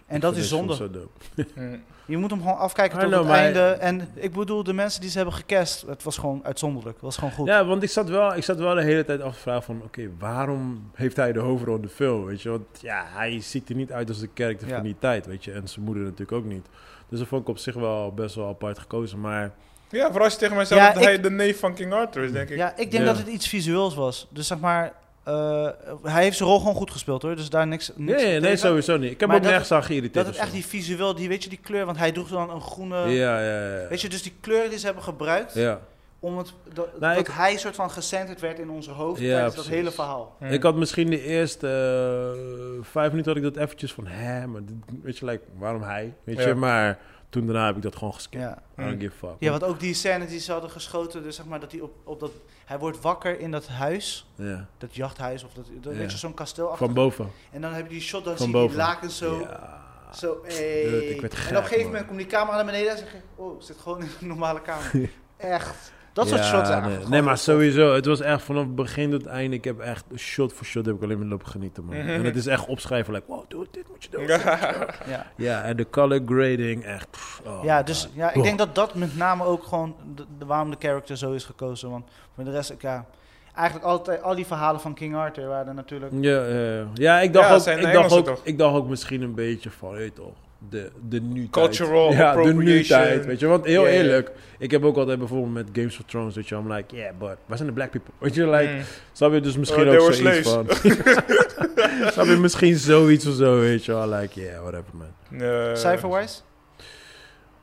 S1: En dat
S3: Ik
S1: is
S3: vind dit soms
S1: zonde.
S3: zo dope.
S4: Hm.
S1: Je moet hem gewoon afkijken
S3: I
S1: tot
S3: know,
S1: het
S3: maar-
S1: einde. En ik bedoel, de mensen die ze hebben gecast, het was gewoon uitzonderlijk. Het was gewoon goed.
S3: Ja, want ik zat, wel, ik zat wel de hele tijd af te vragen van... Oké, waarom heeft hij de hoofdrol in de film, weet je? Want ja, hij ziet er niet uit als de karakter
S1: Ja.
S3: van die tijd, weet je? En zijn moeder natuurlijk ook niet. Dus dat vond ik op zich wel best wel apart gekozen, maar...
S4: Ja, vooral als je tegen mij zegt
S1: Ja,
S4: dat hij
S1: ik-
S4: de neef van King Arthur is, denk ik.
S1: Ja, ik denk
S3: Ja.
S1: dat het iets visueels was. Dus zeg maar, eh, hij heeft zijn rol gewoon goed gespeeld hoor. Dus daar niks, niks
S3: Nee, nee,
S1: tegen.
S3: sowieso niet. Ik heb
S1: Maar
S3: ook
S1: dat
S3: nergens aan geïrriteerd.
S1: Dat het
S3: of zo.
S1: echt die visueel, die, weet je, die kleur. Want hij droeg dan een groene...
S3: Ja, ja, ja.
S1: Weet je, dus die kleuren die ze hebben gebruikt...
S3: ja.
S1: om het, dat,
S3: Nou,
S1: dat
S3: ik-
S1: hij soort van gecenterd werd in onze hoofd
S3: Ja,
S1: tijdens dat
S3: precies.
S1: hele verhaal.
S4: Hm.
S3: Ik had misschien de eerste eh, vijf minuten had ik dat eventjes van... Hè, maar dit- weet je, like, waarom hij? Weet
S4: Ja.
S3: je, maar toen daarna heb ik dat gewoon geskipt.
S1: Ja. Mm.
S3: I don't give a fuck.
S1: ja, want ook die scène die ze hadden geschoten, dus zeg maar dat hij op, op dat... Hij wordt wakker in dat huis,
S3: Ja.
S1: dat jachthuis of dat, dat
S3: Ja.
S1: weet je, zo'n kasteel achter.
S3: Van boven.
S1: En dan heb je die shot, dan
S3: Van
S1: zie je die
S3: boven.
S1: lakens zo...
S3: Ja.
S1: Zo, hey.
S3: Dude, ik werd gek,
S1: en op een gegeven
S3: man.
S1: moment komt die camera naar beneden en zeg je... Oh, ik zit gewoon in een normale *laughs* kamer. Echt. Dat soort
S3: Ja,
S1: shots zijn
S3: nee.
S1: eigenlijk
S3: nee,
S1: gewoon
S3: maar
S1: heel tof.
S3: sowieso. Het was echt vanaf het begin tot het einde. Ik heb echt shot voor shot heb ik alleen maar lopen genieten, man.
S4: Mhm.
S3: En het is echt opschrijven, like, wow, dude, dit moet je doen. Ja,
S4: *laughs* Ja.
S1: Ja,
S3: en de color grading, echt. pff, oh
S1: ja
S3: my
S1: dus
S3: God.
S1: ja, ik
S3: Oh.
S1: denk dat dat met name ook gewoon... De, de- waarom de character zo is gekozen. Want voor de rest, ik, ja... Eigenlijk altijd, al die verhalen van King Arthur waren natuurlijk...
S3: Ja, ja, ja. ja ik dacht,
S4: Ja,
S3: ook,
S4: zijn
S3: ik, dacht
S4: Engelsen
S3: ook,
S4: toch?
S3: ik dacht ook misschien een beetje van, weet je toch, de, de nu
S4: Cultural
S3: Ja, de nu
S4: appropriation.
S3: tijd, weet je. Want heel
S4: Ja, ja.
S3: eerlijk, ik heb ook altijd bijvoorbeeld met Games of Thrones, dat je, I'm like, yeah, but waar zijn de black people? Weet je, like,
S4: Hm.
S3: snap je, dus misschien
S4: Oh, they
S3: ook
S4: were
S3: zoiets van. *laughs* snap je, misschien zoiets of zo, weet je wel. Like, yeah, whatever, man.
S4: Eh,
S1: Cijferwise?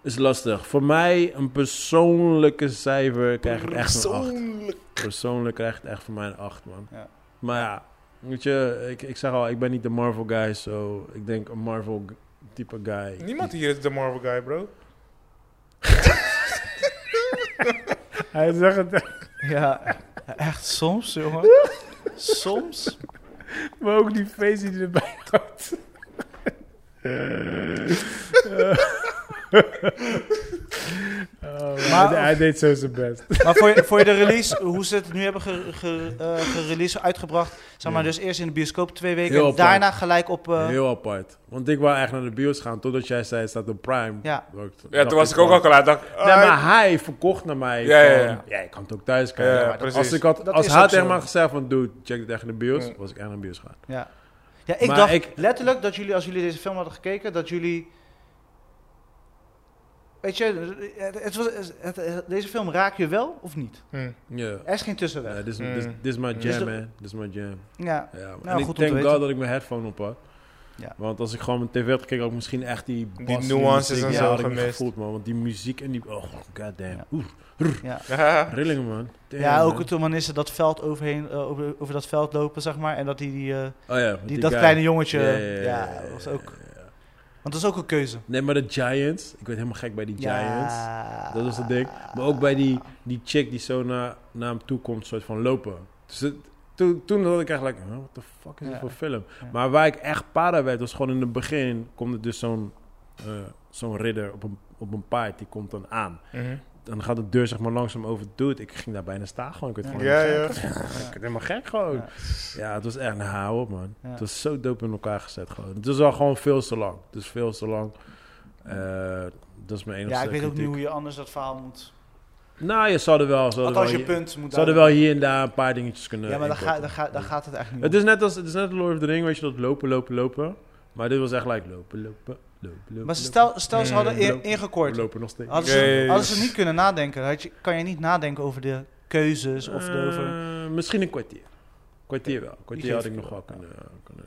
S3: Is lastig. Voor mij, een persoonlijke cijfer krijgt het echt een 8.
S4: Persoonlijk.
S3: Persoonlijk krijgt het echt voor mij een 8, man.
S1: Ja.
S3: Maar ja, weet je, ik, ik zeg al, ik ben niet de Marvel guy, so ik denk een Marvel g- type guy.
S4: Niemand hier is de Marvel guy, *laughs* bro.
S3: Hij zegt het,
S1: Ja, *laughs* echt soms, jongen. Soms?
S3: maar ook die face die erbij had. Eh.
S1: Maar- hij
S3: Oh, deed zo zijn best.
S1: Maar voor je, voor je de release, hoe ze het nu hebben ge, ge, eh, gereleased, uitgebracht. Zeg maar,
S3: Ja.
S1: dus eerst in de bioscoop twee weken.
S3: Heel
S1: en
S3: apart.
S1: daarna gelijk op... eh,
S3: Heel apart. Want ik wou eigenlijk naar de bios gaan totdat jij zei: het staat op Prime.
S1: Ja.
S4: Ja, toen was ik ook al
S3: al.
S4: klaar. Dacht,
S3: Nee, maar hij verkocht naar mij.
S4: Ah, Ja, ja,
S3: van,
S4: ja.
S3: ik kan het ook thuis kijken.
S4: Ja, ja,
S3: Maar dat- als
S4: precies.
S3: ik had,
S1: Dat
S3: als
S1: is
S3: hij
S1: ook
S3: had tegen
S1: zo.
S3: mij gezegd: van, dude, check dit echt in de bios,
S4: Ja.
S3: was ik echt naar de bios gaan.
S1: ja. ja, ik
S3: Maar
S1: dacht
S3: ik-
S1: letterlijk dat jullie, als jullie deze film hadden gekeken, dat jullie... Weet je, het, het was, het- het- deze film raakt je wel of niet?
S4: Hm.
S3: Ja.
S1: Er is geen
S3: Ja,
S1: tussenweg.
S3: Dit is-
S4: Mm.
S3: dit is- dit is mijn
S4: Dus
S3: jam,
S1: de-
S3: man. Dit is mijn jam.
S1: Ja,
S3: Ja, man.
S1: Nou,
S3: en
S1: goed
S3: ik
S1: om te
S3: denk
S1: weten.
S3: God dat ik mijn headphone op had.
S6: Ja.
S3: Want als ik gewoon mijn tv had gekeken, had ik misschien echt die...
S4: Die
S3: bas-
S4: nuances
S3: muziek,
S4: en
S3: ja,
S4: zo
S3: had ik niet
S4: gemist.
S3: gevoeld, man. Want die muziek en die... Oh, goddamn.
S6: Ja.
S3: Oeh, rillingen, man. Damn,
S1: Ja, ook
S3: man.
S1: het, toen is ze dat veld overheen, eh, over, over dat veld lopen, zeg maar. En dat die, die, eh,
S3: Oh ja, met
S1: die, dat
S3: guy.
S1: kleine jongetje.
S3: Ja,
S1: Ja,
S3: ja, ja, ja,
S1: was
S3: ja,
S1: ook.
S3: ja.
S1: Want dat is ook een keuze.
S3: Nee, maar de Giants. Ik werd helemaal gek bij die Giants.
S1: Ja.
S3: Dat is het ding. Maar ook bij die, die chick die zo naar, naar hem toe komt, soort van lopen. Dus het- toen, toen had ik echt like, huh, what the fuck is dit
S1: Ja.
S3: voor film?
S1: Ja.
S3: Maar waar ik echt para werd, was gewoon in het begin komt er dus zo'n eh, zo'n ridder op een, op een paard, die komt dan aan. Dan gaat de deur zeg maar langzaam over. Dude, ik ging daar bijna staan gewoon. Ik werd,
S1: Ja.
S3: gewoon
S4: Ja, ja.
S3: ik werd helemaal gek gewoon. Ja.
S1: Ja.
S3: het was echt, nou hou op man.
S1: Ja.
S3: Het was zo dope in elkaar gezet gewoon. Het is al gewoon veel te lang. Het is veel te lang. Eh, dat is mijn enige
S1: Ja, ik weet ook niet
S3: kritiek.
S1: hoe je anders dat verhaal moet.
S3: Nou, je zou er wel... Zou er wel
S1: Althans, je
S3: je-
S1: punt moet
S3: ze hadden wel
S1: duidelijk-
S3: hier en daar een paar dingetjes kunnen
S1: Ja, maar daar, ga,
S3: inkorten.
S1: daar, ga, daar gaat het eigenlijk
S3: Het
S1: niet om.
S3: is net als het is net Lord of the Ring, weet je, dat lopen, lopen, lopen. Maar dit was echt like lopen, lopen, lopen, lopen.
S1: Maar ze- stel, stel ze
S4: Mm,
S1: hadden in-
S3: lopen.
S1: ingekort.
S3: lopen, lopen nog steeds.
S1: Hadden
S4: Ja, ja,
S1: ze,
S4: ja.
S1: hadden ze niet kunnen nadenken. Had je, kan je niet nadenken over de keuzes dus of de, over...
S3: Eh, misschien een kwartier. Kwartier wel. Kwartier
S1: geef
S3: had ik
S1: ik
S3: nog wel
S1: wel.
S3: kunnen, kunnen.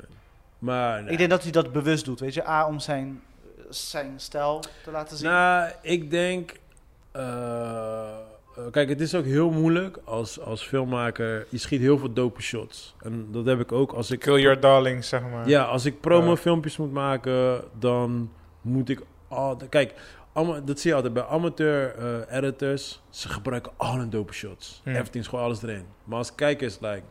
S3: Maar nou. nee.
S1: Ik denk dat hij dat bewust doet, weet je. A, om zijn, zijn stijl te laten zien.
S3: Nou, ik denk. eh, eh, kijk, het is ook heel moeilijk als, als filmmaker. Je schiet heel veel dope shots. En dat heb ik ook als ik.
S4: Kill your darlings, zeg maar.
S3: Ja, als ik promofilmpjes moet maken, dan moet ik altijd... Kijk, ama- dat zie je altijd bij amateur eh, editors. Ze gebruiken al hun dope shots.
S4: Hmm.
S3: Everything is gewoon alles erin. Maar als kijkers, like...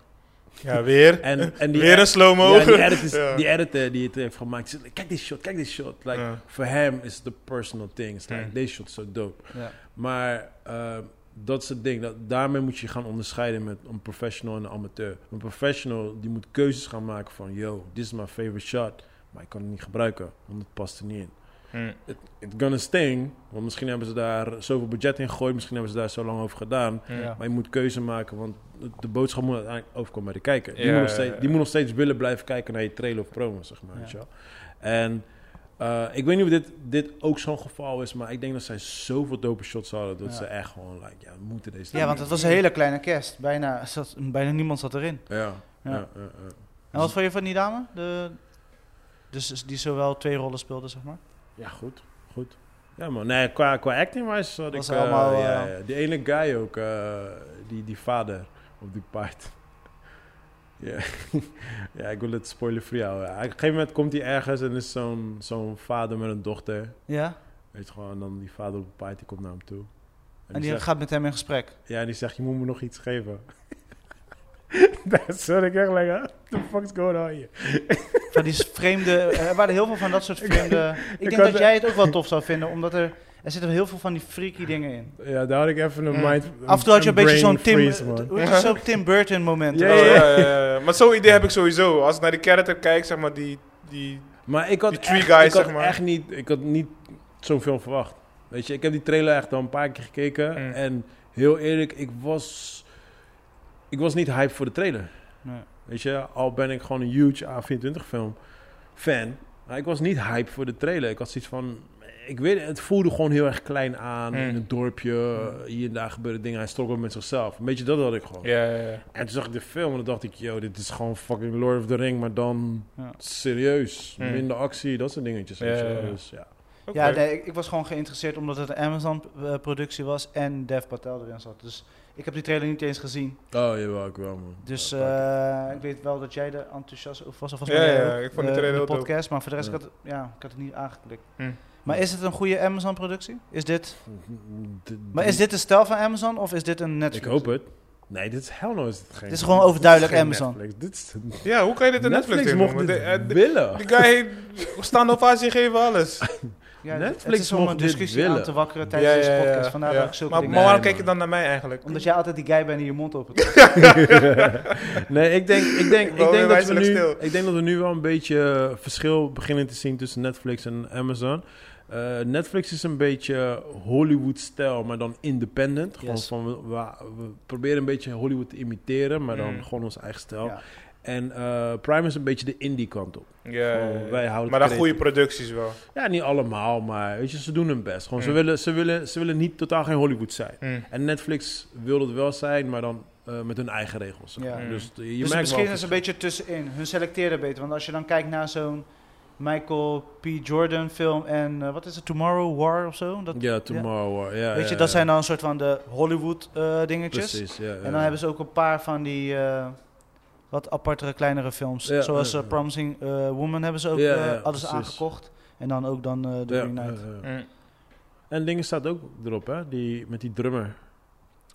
S4: Ja, weer.
S3: En, en die,
S4: Weer een slow-mo.
S3: ja, die, editors-
S4: *laughs* Ja.
S3: die editor die het eh, heeft gemaakt, zegt, kijk dit shot, kijk dit shot. Like,
S4: Ja.
S3: Voor hem is het de personal thing. It's Like,
S4: Hmm.
S3: Deze shot is zo dope.
S1: Ja.
S3: Maar eh, dat is het ding. Dat, daarmee moet je gaan onderscheiden met een professional en een amateur. Een professional die moet keuzes gaan maken van... yo, dit is mijn favorite shot, maar ik kan het niet gebruiken, want het past er niet in.
S4: Mm.
S3: Het het gonna sting, want misschien hebben ze daar zoveel budget in gegooid... misschien hebben ze daar zo lang over gedaan.
S1: Ja.
S3: Maar je moet keuze maken, want het- de boodschap moet uiteindelijk overkomen bij de kijker. Die,
S4: Ja,
S3: moet, nog
S4: ja,
S3: steeds,
S4: ja.
S3: die moet nog steeds willen blijven kijken naar je trailer of promo, zeg maar.
S1: Ja.
S3: weet je wel. En eh, ik weet niet of dit, dit ook zo'n geval is, maar ik denk dat zij zoveel dope shots hadden dat
S1: Ja.
S3: ze echt gewoon, like, ja, we moeten deze...
S1: Ja, want het was een hele kleine kerst. Bijna, zat, bijna niemand zat erin.
S3: Ja, ja,
S1: Ja.
S3: ja, ja.
S1: En
S3: Dus-
S1: wat vond je van die dame? De, dus dus die zowel twee rollen speelde, zeg maar.
S3: Ja, goed, goed. Ja man, nee, qua, qua acting-wise had
S1: Was
S3: ik... eh,
S1: allemaal, eh,
S3: ja, ja. Die ene guy ook, eh, die, die vader op die paard. *laughs* ja. *laughs* ja, ik wil het spoiler voor jou. Op een gegeven moment komt hij ergens en is zo'n zo'n vader met een dochter.
S1: Ja.
S3: Weet je gewoon, en dan die vader op het paard, die komt naar hem toe. En,
S1: En die
S3: zegt,
S1: gaat met hem in gesprek.
S3: Ja, en die zegt, je moet me nog iets geven. *laughs* Dat zat ik echt like, huh? what the fuck's going on here?
S1: Van die vreemde... Er waren heel veel van dat soort vreemde... Ik denk
S3: had
S1: dat
S3: de-
S1: jij het ook wel tof zou vinden, omdat er... Er zitten heel veel van die freaky dingen in.
S3: Ja, daar had ik even een
S4: Mm.
S3: mind...
S1: Af en toe had je een beetje
S3: brain
S1: zo'n Tim,
S3: freeze, man.
S1: hoe heet dat, zo'n Tim Burton moment.
S3: Ja,
S4: Ja, ja, Oh, ja, ja, ja. Maar zo'n idee heb ik sowieso. Als ik naar die character kijk, zeg maar, die... die
S3: Maar ik had,
S4: Die Tree
S3: echt,
S4: Guys,
S3: ik had
S4: zeg maar.
S3: echt niet, ik had niet zo'n film verwacht. Weet je, ik heb die trailer echt al een paar keer gekeken.
S4: Mm.
S3: En heel eerlijk, ik was, ik was niet hype voor de trailer.
S1: Nee.
S3: Weet je, al ben ik gewoon een huge A24 film fan. Maar ik was niet hype voor de trailer. Ik had zoiets van, ik weet het, het voelde gewoon heel erg klein aan.
S4: Mm.
S3: In het dorpje, hier en daar gebeuren dingen. Hij strok met zichzelf. Een beetje dat had ik gewoon.
S4: ja, ja, ja.
S3: En toen zag ik de film en toen dacht ik, yo, dit is gewoon fucking Lord of the Ring, maar dan
S1: Ja.
S3: serieus.
S4: Hmm.
S3: Minder actie, dat soort dingetjes.
S4: Ja,
S3: weet je
S4: ja,
S3: wel.
S4: ja.
S3: Dus, ja.
S4: Oké.
S1: Ja, nee, ik, ik was gewoon geïnteresseerd omdat het een Amazon-productie was en Dev Patel erin zat. Dus ik heb die trailer niet eens gezien.
S3: Oh, jawel, ik wel, man.
S1: Dus
S3: Ja, pak.
S1: eh, ik weet wel dat jij er enthousiast over was. Of was
S4: Ja,
S1: maar jij
S4: ja,
S1: ook,
S4: ik vond die
S1: eh, in
S4: trailer
S1: de
S4: heel
S1: podcast, maar voor de rest,
S3: Ja.
S1: ik, had, het- ja, ik had het niet aangeklikt.
S4: Hm.
S1: Maar is het een goede Amazon-productie? Is dit,
S3: D- d-
S1: maar is dit de stijl van Amazon of is dit een
S3: Ik
S1: Netflix?
S3: hoop het. Nee, dit is hell no, is het geen...
S1: Dit is gewoon overduidelijk
S3: dit is geen
S1: Amazon.
S3: Netflix. Dit is
S4: Ja, hoe kan je dit in Netflix,
S3: Netflix
S4: doen?
S3: mocht
S4: Want
S3: dit
S4: de- eh, de-
S3: willen.
S4: Die guy heeft stand-up Azië geven alles.
S1: Ja,
S3: Netflix
S1: het is om
S3: mocht
S1: een
S3: dit
S1: discussie
S3: willen.
S1: aan te wakkeren tijdens deze podcast. Vandaar
S4: ja.
S1: dat ik zulke
S4: maar,
S1: dingen...
S4: maar waarom
S3: Nee,
S4: kijk je dan naar mij eigenlijk?
S1: Omdat jij altijd die guy bent die je mond op het
S3: *laughs* nee, ik denk, ik denk,
S4: Ik
S3: ik denk, dat
S4: wou weer
S3: we
S4: wijzelijk
S3: nu,
S4: stil.
S3: ik denk dat we nu wel een beetje eh, verschil beginnen te zien tussen Netflix en Amazon. Eh, Netflix is een beetje Hollywood-stijl, maar dan independent. Gewoon
S1: Yes.
S3: van, we, we- we proberen een beetje Hollywood te imiteren, maar dan
S4: Mm.
S3: gewoon ons eigen stijl.
S1: Ja.
S3: En eh, Prime is een beetje de indie kant op.
S4: Ja,
S3: Gewoon,
S4: ja, ja.
S3: Oh, wij houden
S4: Eh, maar dan
S3: het
S4: goede producties wel.
S3: Ja, niet allemaal, maar weet je, ze doen hun best. Gewoon, ze,
S4: Mm.
S3: willen, ze, willen, ze willen niet totaal geen Hollywood zijn.
S4: Hm.
S3: En Netflix wil dat wel zijn, maar dan eh, met hun eigen regels.
S1: Ja.
S3: Dus je
S1: dus
S4: Mm.
S3: merkt
S1: misschien
S3: wel
S1: is het een beetje tussenin. Hun selecteren beter. Want als je dan kijkt naar zo'n Michael P. Jordan film en eh, wat is het, Tomorrow War of zo? Dat,
S3: Ja, Tomorrow. eh, Ja.
S1: weet je,
S3: ja,
S1: dat
S3: ja.
S1: zijn dan een soort van de Hollywood eh, dingetjes.
S3: Precies, ja.
S1: En dan hebben ze ook een paar van die eh, wat apartere, kleinere films.
S3: Ja,
S1: Zoals
S3: ja,
S1: eh,
S3: ja.
S1: Promising eh, Woman hebben ze ook
S3: Ja,
S1: eh,
S3: ja,
S1: alles
S3: precies.
S1: aangekocht. En dan ook dan eh The Green Knight.
S4: Mm.
S3: En dingen staat ook erop, hè? Die, met die drummer.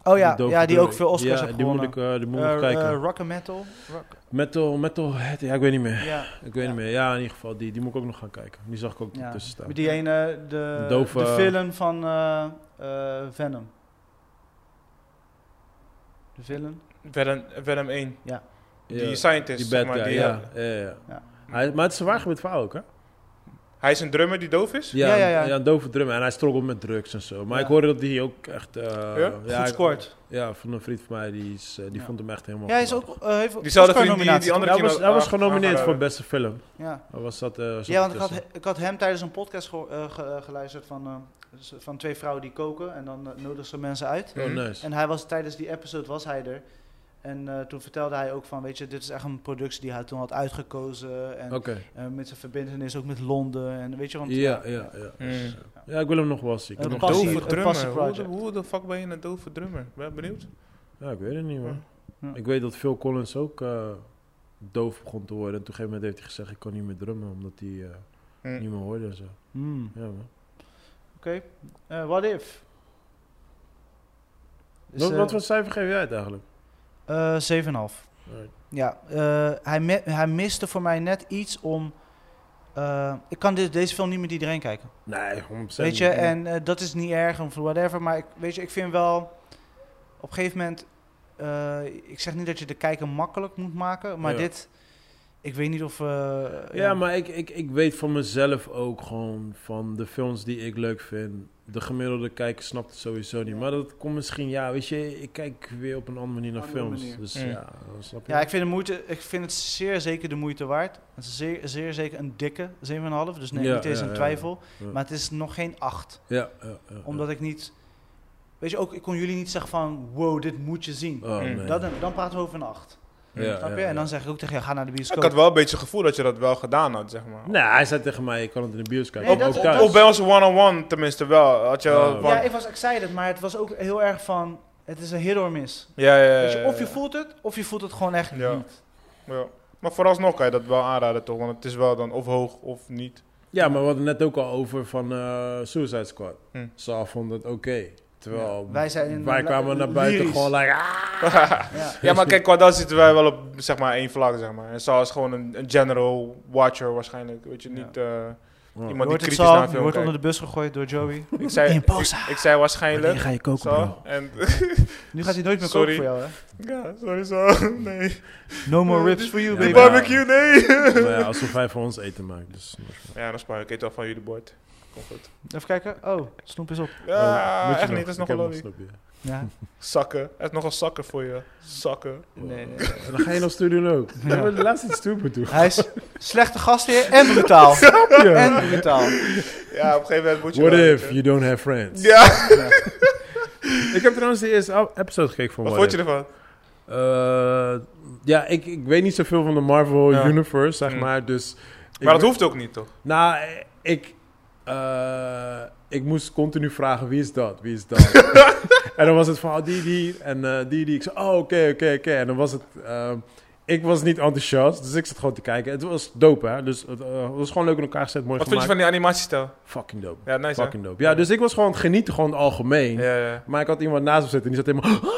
S1: Oh ja,
S3: dove
S1: ja die
S3: drummer.
S1: ook veel Oscars
S3: ja,
S1: heeft
S3: die moet
S1: gewonnen.
S3: ik, eh, die moet ik
S1: Eh,
S3: nog kijken.
S1: eh, rock and metal. Rock.
S3: metal, metal, head, ja, ik weet niet meer.
S1: Ja,
S3: Ik weet
S1: Ja.
S3: niet meer. Ja, in ieder geval, die, die moet ik ook nog gaan kijken. Die zag ik ook
S1: ja.
S3: tussen staan.
S1: Met die ene, de,
S3: Dove,
S1: de
S3: eh,
S1: villain van eh, eh, Venom. De villain?
S4: Venom, Venom 1.
S3: Ja,
S4: Die scientist,
S3: die
S4: zeg
S3: bad
S4: maar.
S3: guy,
S4: die,
S3: ja. Ja, ja, ja.
S1: Ja.
S3: Hij, maar het is een waar gebeurd verhaal ook, hè?
S4: Hij is een drummer die doof is?
S3: Ja,
S1: Ja, ja, ja.
S3: een dove drummer. En hij struggle met drugs en zo. Maar
S1: Ja.
S3: ik hoorde dat hij ook echt... eh,
S1: Goed
S3: ik-
S1: scoort.
S3: Ja, van een vriend van mij, die, is, eh, die
S1: Ja.
S3: vond hem echt helemaal...
S1: Ja, hij is ook...
S3: geweldig.
S1: eh heeft
S4: Diezelfde
S1: Oscar
S4: vriend die- die
S1: nominatie,
S4: andere-
S3: Hij was,
S4: Misschien
S3: hij was
S4: aan-
S3: genomineerd voor
S4: aangehouden.
S3: beste film.
S1: toch? Ja.
S3: Wat Was dat, eh, zat
S1: Ja, want ik had,
S3: tussen.
S1: ik had hem tijdens een podcast geho- eh, ge- eh, geluisterd van, eh, z- van twee vrouwen die koken en dan eh, nodigen ze mensen uit.
S4: had-
S3: Oh,
S4: Mhm.
S3: nice.
S1: En hij was tijdens die episode was hij er. En eh, toen vertelde hij ook van, weet je, dit is echt een productie die hij toen had uitgekozen. En
S3: Oké.
S1: eh, met zijn verbindenis ook met Londen. En weet je, want eh,
S3: Ja, ja, ja.
S4: Mm.
S3: Ja, ik wil hem nog wel zien. Ik wil
S1: Een
S3: hem nog
S1: passie-
S3: zien.
S4: Dove
S1: een
S4: drummer.
S1: passie
S4: Hoe de,
S1: project.
S4: hoe de fuck ben je een dove drummer? Ben je benieuwd?
S3: Ja, ik weet het niet, man.
S1: Ja.
S3: Ik weet dat Phil Collins ook eh, doof begon te worden. En toen op een gegeven moment heeft hij gezegd, ik kan niet meer drummen, omdat hij eh,
S4: Mm.
S3: niet meer hoorde en zo.
S1: Hmm,
S3: Ja, man.
S1: Oké, Eh, what if? Dus,
S3: wat,
S1: eh,
S3: wat voor cijfer geef jij het eigenlijk?
S1: eh, 7,5.
S3: Alright.
S1: Ja, eh, hij, me- hij miste voor mij net iets om... eh, ik kan dit, deze film niet met iedereen kijken.
S3: Nee, 100%
S1: Weet je,
S3: niet.
S1: en eh, dat is niet erg of whatever, maar ik, weet je, ik vind wel op een gegeven moment. eh, ik zeg niet dat je de kijker makkelijk moet maken, maar
S3: Ja.
S1: dit. Ik weet niet of. eh,
S3: Ja, maar ik, ik, ik weet van mezelf ook gewoon van de films die ik leuk vind. De gemiddelde kijker snapt het sowieso niet. Maar dat komt misschien, ja, weet je, ik kijk weer op een andere manier naar
S1: Andere
S3: films.
S1: manier.
S3: Dus
S4: Mm.
S3: ja, dan snap je.
S1: Ja, ik vind, de moeite, ik vind het zeer zeker de moeite waard. Het is zeer, zeer zeker een dikke 7,5, dus nee,
S3: Ja,
S1: niet eens
S3: ja,
S1: een
S3: ja,
S1: twijfel.
S3: ja.
S1: Maar het is nog geen 8,
S3: ja, ja, ja, ja.
S1: omdat ik niet. Weet je ook, ik kon jullie niet zeggen van: wow, dit moet je zien.
S3: Oh,
S4: Mm.
S3: nee.
S1: Dat, dan praten we over een 8.
S3: Ja,
S1: snap je?
S3: ja,
S1: En
S3: ja.
S1: dan zeg ik ook tegen je: ga naar de
S4: Ik
S1: bioscoop.
S4: had wel een beetje het gevoel dat je dat wel gedaan had, zeg maar.
S3: Nee, hij zei tegen mij, ik kan het in de bios kijken.
S1: Nee,
S3: Ook-
S1: dat-
S3: ook
S1: dat-
S3: thuis.
S4: Of bij ons one-on-one tenminste wel. Had je wel
S3: Oh.
S4: van-
S1: Ja, ik was excited, maar het was ook heel erg van, het is een hit or miss.
S4: ja, ja, ja,
S1: Weet je,
S4: ja,
S1: of je
S4: ja.
S1: voelt het, of je voelt het gewoon echt
S4: Ja.
S1: niet.
S4: Ja. Maar vooralsnog kan je dat wel aanraden toch? Want het is wel dan of hoog of niet. *laughs*
S3: Ja, maar we hadden net ook al over van eh, Suicide Squad.
S4: Hm.
S3: Saal vond het oké. Terwijl
S1: Ja, wij zijn in-
S3: wij kwamen naar buiten
S1: lyrisch.
S3: gewoon like... ah.
S1: Ja.
S4: Ja, maar kijk, qua dat zitten wij wel op zeg maar één vlak, zeg maar. En Saal is gewoon een, een general watcher waarschijnlijk. Weet je,
S1: Ja.
S4: niet eh,
S3: Oh.
S1: Je
S4: iemand die
S1: wordt het
S4: kritisch
S1: zo,
S4: naar een
S1: je
S4: film
S1: wordt onder
S4: kijkt.
S1: de bus gegooid door Joey.
S4: eh, Ik zei, ik,
S1: Imposa.
S4: ik zei waarschijnlijk.
S3: Wanneer ga je koken,
S4: Saal.
S3: bro?
S4: En, *laughs*
S1: Nu gaat hij nooit meer
S4: Sorry.
S1: koken voor jou, hè?
S4: ja, sorry Saal, *laughs* nee.
S1: No more
S4: Eh,
S1: ribs for you,
S3: Ja,
S4: De
S1: baby.
S3: maar-
S4: barbecue, nee.
S3: Maar ja, alsof hij voor ons eten maakt. Dus,
S4: Ja, dan spaar ik het wel van jullie bord. Komt goed.
S1: Even kijken. Oh, snoep is op.
S4: Ja,
S3: Oh, moet je
S4: echt niet, dat is
S3: Ik
S4: nogal
S3: heb
S4: lolly.
S3: nog een snapje.
S1: Ja.
S4: Zakken. Er is nogal zakken voor je. Zakken.
S1: Nee, nee.
S3: En *laughs* dan ga je nog stoer doen ook.
S1: Ja.
S3: Ja. De laatste iets stoer doen.
S1: Hij is slechte gastheer en brutaal. En brutaal.
S4: Ja, op een gegeven moment moet je
S3: *laughs* What
S4: wel,
S3: if
S4: weet
S3: you don't have friends?
S4: Ja,
S3: Ik heb trouwens de eerste a- episode gekeken van
S4: wat
S3: What
S4: vond
S3: If.
S4: je ervan?
S3: Eh, ja, ik, ik weet niet zoveel van de Marvel
S4: Ja.
S3: Universe, zeg
S4: Hm.
S3: maar. Dus ik
S4: Maar dat
S3: ben-
S4: hoeft ook niet, toch?
S3: Nou, ik, eh, ik moest continu vragen, wie is dat? Wie is
S4: *laughs*
S3: dat? en dan was het van, oh, die, die, en eh, die, die. Ik zei, oh, oké, oké, oké. En dan was het... ehm, ik was niet enthousiast, dus ik zat gewoon te kijken. Het was dope, hè? Dus het eh, was gewoon leuk in elkaar gezet, mooi
S4: Wat vond je
S3: gemaakt.
S4: van die animatiestijl?
S3: Fucking dope.
S4: Ja, nice, hè?
S3: Fucking dope. Ja, dus ik was gewoon genieten, gewoon algemeen.
S4: Ja, ja.
S3: Maar ik had iemand naast me zitten en die zat helemaal...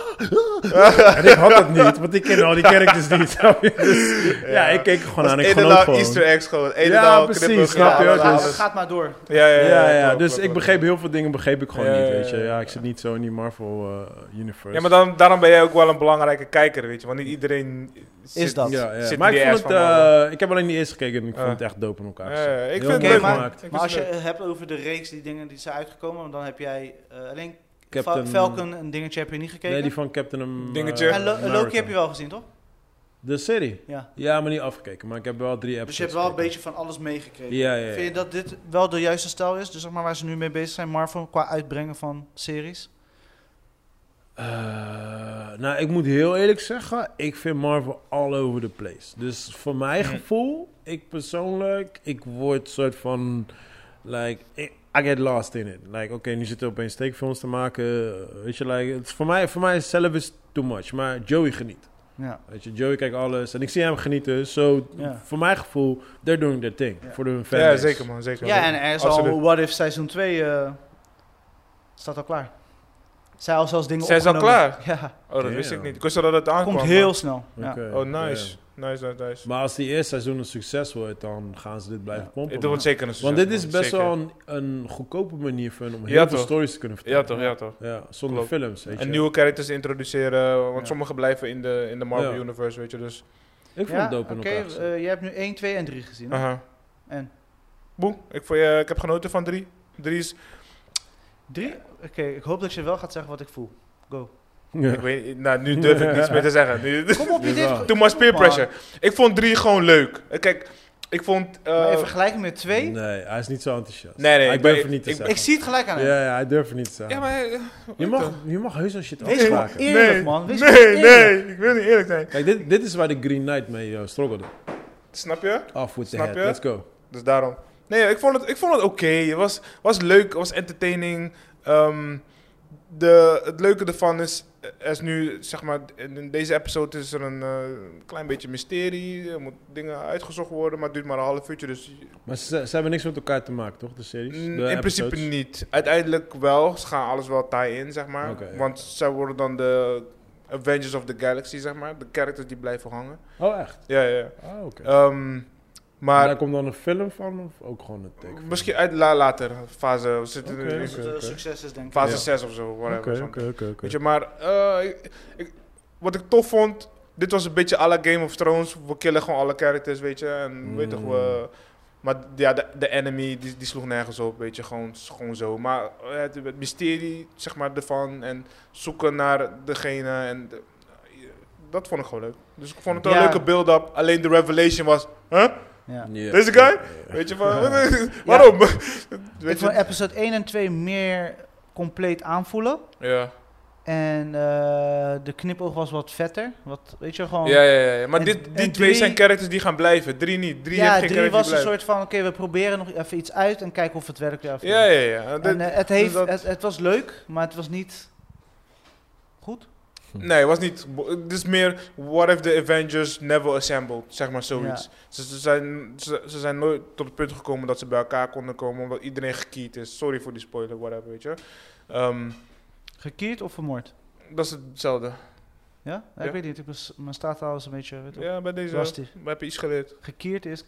S3: "Ah,
S4: *laughs*
S3: en ik had dat niet, want ik kende al die characters
S4: *laughs*
S3: niet. dus, *laughs* ja,
S4: Ja.
S3: ik keek er gewoon
S4: Als
S3: aan. Ik
S4: een en
S3: genoot
S4: al
S3: gewoon.
S4: easter eggs gewoon. Een
S3: Ja,
S4: en al
S3: precies,
S4: knippen,
S3: snap je?
S4: knallen,
S3: Dus-
S1: Ja,
S4: alles.
S1: het gaat maar door.
S4: Ja, ja, ja.
S3: Ja, ja, dus
S4: klopt, klopt,
S3: ik
S4: klopt.
S3: begreep heel veel dingen begreep ik gewoon
S4: Ja,
S3: niet,
S4: ja,
S3: weet je.
S4: ja,
S3: Ja,
S4: ja.
S3: ik zit niet zo in die Marvel eh, universe.
S4: Ja, maar dan, daarom ben jij ook wel een belangrijke kijker, weet je. Want niet iedereen zit,
S1: Is dat.
S3: Ja, ja.
S4: zit
S3: Maar
S4: in
S3: ik
S4: die
S3: vond
S4: ass
S3: het...
S4: van
S3: eh,
S4: Marvel.
S3: ik heb alleen die eerste gekeken en ik
S4: Ja.
S3: vond het echt dope in elkaar.
S4: eh, Ja,
S3: gezet.
S4: ja, ik
S3: Heel
S4: vind het
S3: mooi
S4: leuk,
S1: gemaakt.
S4: man. Ik vind
S1: Maar
S4: het
S1: als je
S4: leuk.
S1: het hebt over de reeks, die dingen die zijn uitgekomen, dan heb jij eh, alleen
S3: Captain-
S1: Fa- Falcon een dingetje heb je niet gekeken.
S3: Nee, die van Captain Am-
S4: Dingetje.
S3: eh,
S1: en Lo-
S3: America.
S1: Loki heb je wel gezien, toch?
S3: De serie?
S1: Ja.
S3: Ja, maar niet afgekeken. Maar ik heb wel drie episodes
S1: Dus je hebt wel een
S3: gekeken.
S1: beetje van alles meegekregen.
S3: Ja, ja, ja.
S1: Vind je dat dit wel de juiste stijl is? Dus zeg maar waar ze nu mee bezig zijn, Marvel, qua uitbrengen van series?
S3: Eh, nou, ik moet heel eerlijk zeggen, ik vind Marvel all over the place. Dus voor mijn gevoel, ik persoonlijk, ik word soort van, like, I I get lost in it. Like, oké, nu zitten we opeens steekfilms te maken, eh, weet je, like, het is voor mij, voor mij zelf is too much. Maar Joey geniet.
S1: Ja.
S3: Weet je, Joey kijkt alles en ik zie hem genieten. So,
S1: Ja.
S3: voor mijn gevoel, they're doing their thing.
S1: Ja.
S3: Voor hun fans.
S4: Ja, zeker man, zeker.
S1: ja, en er is al
S4: Absoluut.
S1: What If seizoen 2 eh, staat al klaar. Zij al zelfs dingen
S4: Zij is al
S1: opgenomen. Ja,
S4: Oh, dat wist
S3: Damn.
S4: ik niet. Ik wist al dat het aankwam.
S1: komt heel
S4: man.
S1: snel. Ja.
S3: Oké,
S4: Oh, nice.
S3: ja.
S4: Nice, nice, nice.
S3: Maar als die eerste seizoen een succes wordt, dan gaan ze dit blijven
S1: Ja.
S3: pompen.
S4: Het wordt zeker een
S3: Want
S4: succes,
S3: dit is
S4: man.
S3: best
S4: Zeker.
S3: wel een, een goedkope manier voor hen om heel
S4: Ja,
S3: veel
S4: toch?
S3: stories te kunnen vertellen.
S4: Ja toch, ja toch.
S3: Ja, zonder
S4: Klopt.
S3: films, weet je.
S4: En nieuwe characters introduceren, want
S1: Ja.
S4: sommige blijven in de, in de Marvel
S3: Ja.
S4: Universe, weet je, dus...
S3: Ik vond
S1: Ja,
S3: het dope
S1: oké,
S3: in elkaar gezet.
S1: eh, je hebt nu 1, 2 en 3 gezien. hè?
S4: Aha.
S1: En?
S4: Boe, ik, vond, je ik heb genoten van drie. Drie is,
S1: 3? Oké, ik hoop dat je wel gaat zeggen wat ik
S4: *laughs*
S1: voel. Go.
S3: *laughs* Ja.
S4: ik weet niet, nou, nu durf ik niets meer te zeggen. *laughs* Nu,
S1: Kom op, je
S3: Jawel.
S1: dit.
S4: too much peer pressure. Ik vond drie gewoon leuk. Kijk, ik vond... eh,
S1: Maar in vergelijking met 2,
S3: Nee, hij is niet zo enthousiast.
S4: Nee, nee,
S3: Hij
S4: ik
S3: durft
S4: ben-
S3: het niet te
S4: ik-
S3: zeggen.
S1: ik zie het gelijk aan hem.
S3: Ja, ja, hij durft het niet te zeggen.
S4: ja, maar... eh,
S3: je,
S4: weet
S3: mag,
S4: toch?
S3: je mag heus wel shit
S1: Wees gewoon
S3: afspraken.
S1: eerlijk,
S4: nee,
S1: man. Wees gewoon
S4: nee,
S1: eerlijk.
S4: nee, ik wil niet eerlijk zijn.
S3: Kijk, dit, dit is waar de Green Knight mee eh, struggelde.
S4: Snap je?
S3: Off with the
S4: Snap
S3: head,
S4: je?
S3: let's go.
S4: Dus daarom. Nee, ik vond het, ik vond het oké. Het was, was leuk, het was entertaining. Ehm, de, het leuke ervan is, eh, er is nu, zeg maar, in in deze episode is er een eh, klein beetje mysterie. Er moet dingen uitgezocht worden, maar het duurt maar een half uurtje. Dus
S3: Maar ze, ze hebben niks met elkaar te maken, toch? De series?
S4: Mm,
S3: De
S4: in principe
S3: episodes?
S4: niet. Uiteindelijk wel. Ze gaan alles wel tie in, zeg maar.
S3: Oké, ja.
S4: Want zij worden dan de Avengers of the Galaxy, zeg maar. De characters die blijven hangen.
S3: Oh, echt?
S4: Ja, ja. ja.
S3: Oh, oké.
S4: Ehm,
S3: Maar
S4: maar
S3: daar komt dan een film van of ook gewoon een tekenfilm?
S4: misschien uit la, later fase. We zitten
S3: Oké,
S4: nu in
S3: oké.
S1: Als het eh, succes is, denk ik.
S4: fase
S3: Ja.
S4: 6 of zo. Whatever,
S3: Oké,
S4: zo'n-
S3: oké, oké, oké.
S4: Weet je, maar eh, ik- ik- wat ik tof vond, dit was een beetje à la Game of Thrones. We killen gewoon alle characters, weet je. En weet toch,
S3: Mm.
S4: we, maar ja, de, de enemy, die, die sloeg nergens op, weet je. Gewoon, gewoon zo. Maar eh, het, het mysterie, zeg maar, ervan. En zoeken naar degene. En de- dat vond ik gewoon leuk. Dus ik vond het wel
S1: Ja.
S4: een leuke build-up. Alleen de revelation was, huh?
S1: Ja.
S3: Ja.
S4: Deze guy? Weet je, van,
S1: *laughs*
S4: *laughs* waarom?
S1: Ik
S4: weet
S1: vond
S4: je?
S1: episode 1 en 2 meer compleet aanvoelen.
S4: Ja.
S1: En eh, de knipoog was wat vetter. Wat, weet je, gewoon...
S4: Ja, ja, ja. Maar
S1: En-
S4: dit, die
S1: en
S4: twee
S1: drie-
S4: zijn characters die gaan blijven. Drie niet. Drie heeft
S1: Ja,
S4: geen
S1: drie
S4: characters
S1: was dus
S4: die
S1: een
S4: blijven.
S1: soort van, oké, we proberen nog even iets uit en kijken of het werkt. Ja, of niet.
S4: Ja, ja, ja.
S1: En,
S4: Dit- dus
S1: eh, het, heeft,
S4: dat-
S1: het, het was leuk, maar het was niet goed. eh,
S4: nee, het was niet... bo- Het is meer... What if the Avengers never assembled? Zeg maar zoiets. Ze, ze zijn, ze, ze zijn nooit tot het punt gekomen dat ze bij elkaar konden komen... omdat iedereen gekiet is. Sorry voor die spoiler, whatever, weet je. Ehm,
S1: Gekierd of vermoord?
S4: dat is hetzelfde.
S1: Ja? Ja,
S4: Ja.
S1: Ik weet niet, ik was, mijn straattaal is een beetje... Weet je wel.
S4: Ja, bij deze...
S1: Lastig.
S4: We hebben iets geleerd.
S1: Gekierd is...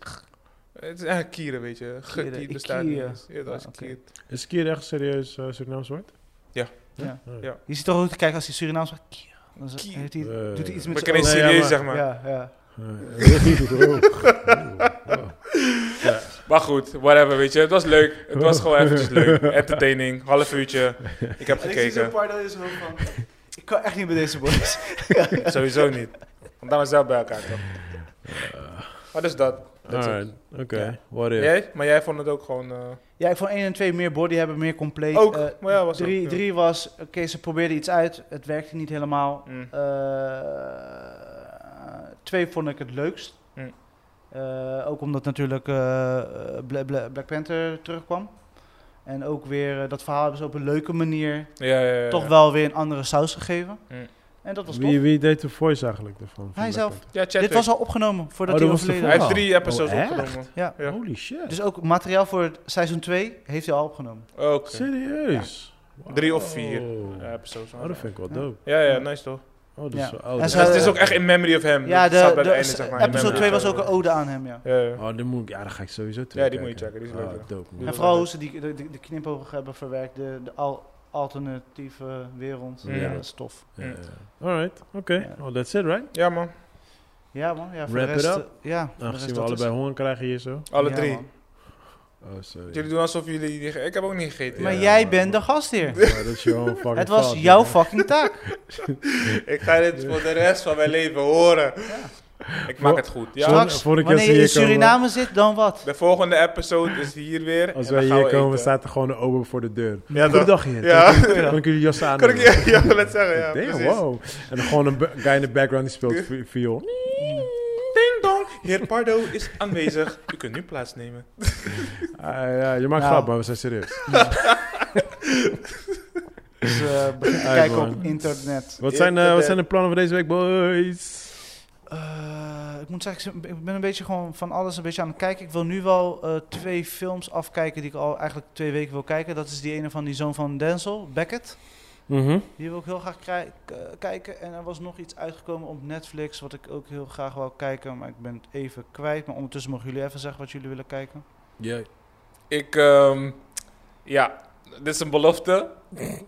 S4: Het is eigenlijk kieren, weet je.
S1: Kieren,
S4: Gekiet bestaat niet
S1: ikkieren.
S4: eens. Ja, dat is
S1: Ah, oké.
S4: kiert.
S3: Is Kier echt serieus eh Surinaams woord?
S1: Ja.
S3: Oh.
S4: Ja.
S1: Je ziet toch ook te kijken als hij Surinaams zegt... "Kier", Dan is-
S4: Kier.
S1: heeft hij,
S3: Eh.
S1: doet hij iets
S4: We
S1: met
S4: kunnen
S1: zijn
S4: eens
S3: Nee, ja,
S4: serieus,
S3: maar-
S4: zeg
S1: ogen.
S4: maar.
S1: Ja, ja.
S3: *laughs*
S4: Maar goed, whatever, weet je. Het was leuk. Het was gewoon eventjes
S1: *laughs*
S4: leuk. Entertaining, half uurtje. Ik heb gekeken.
S1: part dat is van... *laughs* Ik kan echt niet bij deze boys.
S4: Sowieso niet. Want dan is zelf bij elkaar, toch? Wat is dat? That's it.
S3: Eh. Alright, oké. What if?
S4: Jij? Maar jij vond het ook gewoon... eh,
S1: Ja, ik vond 1 en 2 meer body hebben, meer compleet.
S4: ook,
S1: Eh,
S4: maar ja, was ook,
S1: drie,
S4: ja.
S1: drie was, oké, ze probeerden iets uit, het werkte niet helemaal.
S4: Mm.
S1: Eh, twee vond ik het leukst.
S4: Mm.
S1: Eh, ook omdat natuurlijk eh, eh, Bla- Bla- Black Panther terugkwam. En ook weer, eh, dat verhaal hebben ze op een leuke manier
S4: Ja, ja, ja.
S1: toch
S4: ja.
S1: wel weer een andere saus gegeven.
S4: Mm.
S1: En dat was
S3: Wie,
S1: tof.
S3: wie deed de voice eigenlijk ervan? van
S1: Hij
S3: Black
S1: zelf.
S3: Panther?
S4: Ja, Chadwick.
S1: Dit was al opgenomen voordat
S3: Oh,
S1: hij
S3: dat was de
S1: overleden
S4: Hij heeft
S3: Oh.
S4: drie episodes
S3: Oh, echt?
S4: opgenomen.
S1: Ja.
S4: Ja.
S3: Holy shit.
S1: Dus ook materiaal voor het seizoen 2 heeft hij al opgenomen.
S4: Oké.
S3: Serieus? Wow.
S4: Drie of vier. Ja,
S3: Oh,
S4: episodes.
S3: dat vind ik wel
S1: Ja.
S3: dope.
S4: Ja, ja, nice toch?
S3: Oh, dat
S1: Ja.
S3: is wel oud.
S1: En
S4: Dus
S1: Zou-
S4: het is ook echt in memory of him.
S1: Ja,
S4: Dat
S1: de,
S4: staat bij
S1: de,
S4: het einde, zeg maar, in
S1: episode
S4: memory
S1: 2
S4: of
S1: was
S4: him.
S1: ook een ode aan hem, ja.
S4: Ja, ja.
S3: Oh, dan moet ik, ja, dan ga ik sowieso terug.
S4: Ja, die moet je checken, die is leuk,
S3: Oh,
S4: ja.
S3: dope, man.
S4: Ja.
S1: En vooral hoe ze die, de, de- de knipogen hebben verwerkt, de, de al- alternatieve wereld.
S4: Ja.
S1: Ja. dat is tof.
S3: Ja, ja. Alright, oké. Well, Oh, that's it, right?
S4: Ja, man.
S1: Ja man, ja, voor
S3: Wrap
S1: de
S3: it
S1: rest...
S3: up.
S1: eh, Ja, voor de rest
S3: Aangezien we
S1: dat is-
S3: allebei honger krijgen hier zo.
S4: Alle
S1: Ja,
S4: drie.
S1: man.
S3: Oh, sorry.
S4: Jullie doen alsof jullie... niet ge- Ik heb ook niet gegeten.
S1: Maar
S3: Ja,
S1: jij
S3: man.
S1: bent de gastheer.
S3: Maar dat
S1: *laughs*
S3: is jouw fucking
S1: Het was
S3: fout,
S1: jouw
S3: man.
S1: fucking taak.
S4: Ik ga dit voor de rest van mijn leven horen. Ik maak het goed. Ja.
S3: Straks-
S1: Straks,
S3: voor ik jou
S1: wanneer je
S3: zie
S1: in
S3: komen.
S1: Suriname zit, dan wat?
S4: De volgende episode is hier *laughs* weer.
S3: Als
S4: en
S3: wij
S4: dan gaan
S3: hier
S4: we
S3: komen,
S4: eten.
S3: staat er gewoon een ober voor de deur.
S4: Ja, toch?
S3: Goedendag, hier.
S4: Ja.
S3: Kan ik jullie jas aan?
S4: *laughs* Kan ik je ja, wil het zeggen? Ja, precies.
S3: wow. En dan gewoon een bu- guy in de background die speelt vi- viool.
S4: Ding dong, heer Pardo is aanwezig. U kunt nu plaatsnemen.
S3: Ah, ja, je maakt
S1: Nou.
S3: grap, maar we zijn serieus.
S1: Dus eh, *laughs* begin te
S3: Uit,
S1: kijken
S3: man.
S1: op internet.
S3: Wat zijn, eh, wat zijn de plannen voor deze week, boys?
S1: Eh, ik moet zeggen, ik ben een beetje gewoon van alles een beetje aan het kijken. Ik wil nu wel eh, twee films afkijken die ik al eigenlijk twee weken wil kijken. Dat is die ene van die zoon van Denzel, Beckett. Die wil ik heel graag krij- k- eh, kijken. En er was nog iets uitgekomen op Netflix, wat ik ook heel graag wil kijken. Maar ik ben het even kwijt. Maar ondertussen mogen jullie even zeggen wat jullie willen kijken.
S3: Ja.
S4: Ik, ehm, ja, dit is een belofte.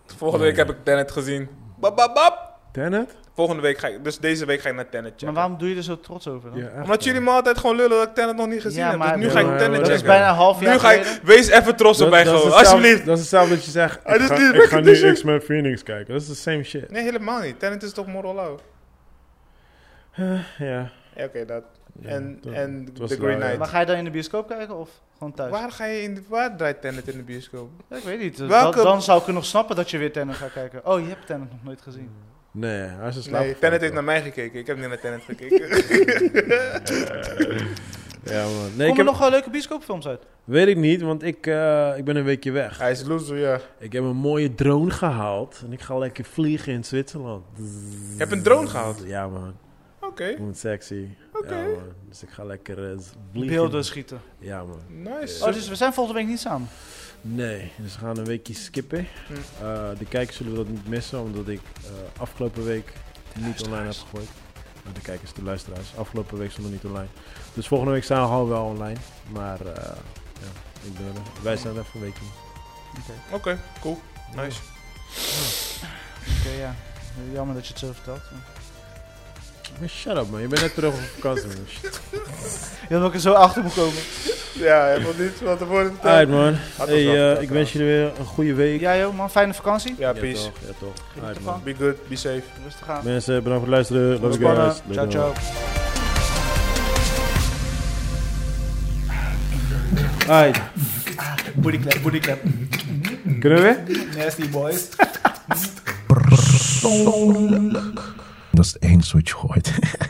S4: Volgende week heb ik Tenet gezien. Bap, bap, bap.
S3: Tenet?
S4: Volgende week ga ik, dus deze week ga ik naar Tenet checken.
S1: Maar waarom doe je er zo trots over dan?
S3: Ja, echt,
S4: Omdat
S3: man.
S4: jullie me altijd gewoon lullen dat ik Tenet nog niet gezien heb. Dus nu
S3: dat-
S4: ga ik
S3: maar-
S4: Tenet
S3: dat
S1: Dat
S4: checken.
S1: is bijna een half jaar
S4: nu ga ik,
S1: geleden.
S4: wees even trots op mij
S3: is
S4: gewoon,
S3: hetzelfde-
S4: alsjeblieft.
S3: Dat is hetzelfde dat je zegt, ik
S4: Ah, dit is
S3: ga,
S4: niet
S3: ik
S4: Wicked
S3: ga nu
S4: Vision.
S3: X-Men Phoenix kijken. Dat is the same shit.
S4: Nee, helemaal niet. Tenet is toch moral
S3: Ja.
S4: Ja, oké, dat.
S3: Ja,
S4: en
S3: dat-
S4: en
S3: het was
S4: The
S3: lauw,
S4: Green
S3: ja.
S4: Knight.
S1: Maar ga je dan in de bioscoop kijken of gewoon thuis?
S4: Waar, ga je in de, waar draait Tenet in de bioscoop?
S1: Ja, ik weet niet. Dus
S4: Welke-
S1: dan, dan zou ik er nog snappen dat je weer Tenet gaat kijken. Oh, je hebt Tenet nog nooit gezien.
S3: Nee, hij is een slaap.
S4: Nee, Tenet heeft naar mij gekeken. Ik heb niet naar Tenet gekeken. *laughs*
S3: *laughs* Ja, man. Nee,
S1: Komen
S3: ik
S1: er
S3: heb,
S1: nog wel leuke bioscoopfilms uit?
S3: Weet ik niet, want ik, eh, ik ben een weekje weg.
S4: Hij is loser, ja.
S3: Ik heb een mooie drone gehaald en ik ga lekker vliegen in Zwitserland.
S4: Je hebt een drone gehaald?
S3: Ja, man.
S4: Oké,
S3: Ik moet sexy.
S4: Oké.
S3: Ja, man. Dus ik ga lekker eh, z- vliegen.
S1: Beelden schieten.
S3: Ja, man.
S4: nice.
S1: Oh, dus we zijn volgende week niet samen.
S3: Nee, dus we gaan een weekje skippen.
S4: Hm.
S3: Eh, de kijkers zullen dat niet missen, omdat ik eh, afgelopen week niet online heb gegooid. Maar De kijkers, de luisteraars. Afgelopen week stonden niet online. Dus volgende week zijn we al wel online. Maar eh, ja, ik ben er. Wij zijn er voor een weekje.
S4: Oké, cool. Nice.
S1: Oké, ja. Jammer dat je het zo vertelt. maar-
S3: Maar shut up, man. Je bent net terug op vakantie, man.
S1: Je had ook er zo achter moet komen.
S4: Ja, hij wil niet wat ervoor in
S3: Uit, man.
S4: Had
S3: Hey,
S4: ons wel
S3: eh,
S4: verteld,
S3: ik wens jullie weer een goede week.
S1: Ja joh, man. Fijne vakantie.
S4: Ja,
S3: Ja,
S4: peace.
S3: toch. Ja, toch.
S1: Geniet
S3: Uit,
S1: ervan.
S3: man.
S4: Be good, be safe.
S1: Rustig aan.
S3: Mensen, bedankt voor het luisteren. Love you
S1: Ontspannen.
S3: guys.
S1: Ciao,
S3: Doei,
S1: ciao.
S3: doei. Uit.
S7: Booty clap, booty clap.
S3: Kunnen we weer?
S7: Nasty boys.
S8: persoonlijk. Dat is het enige wat je hoort.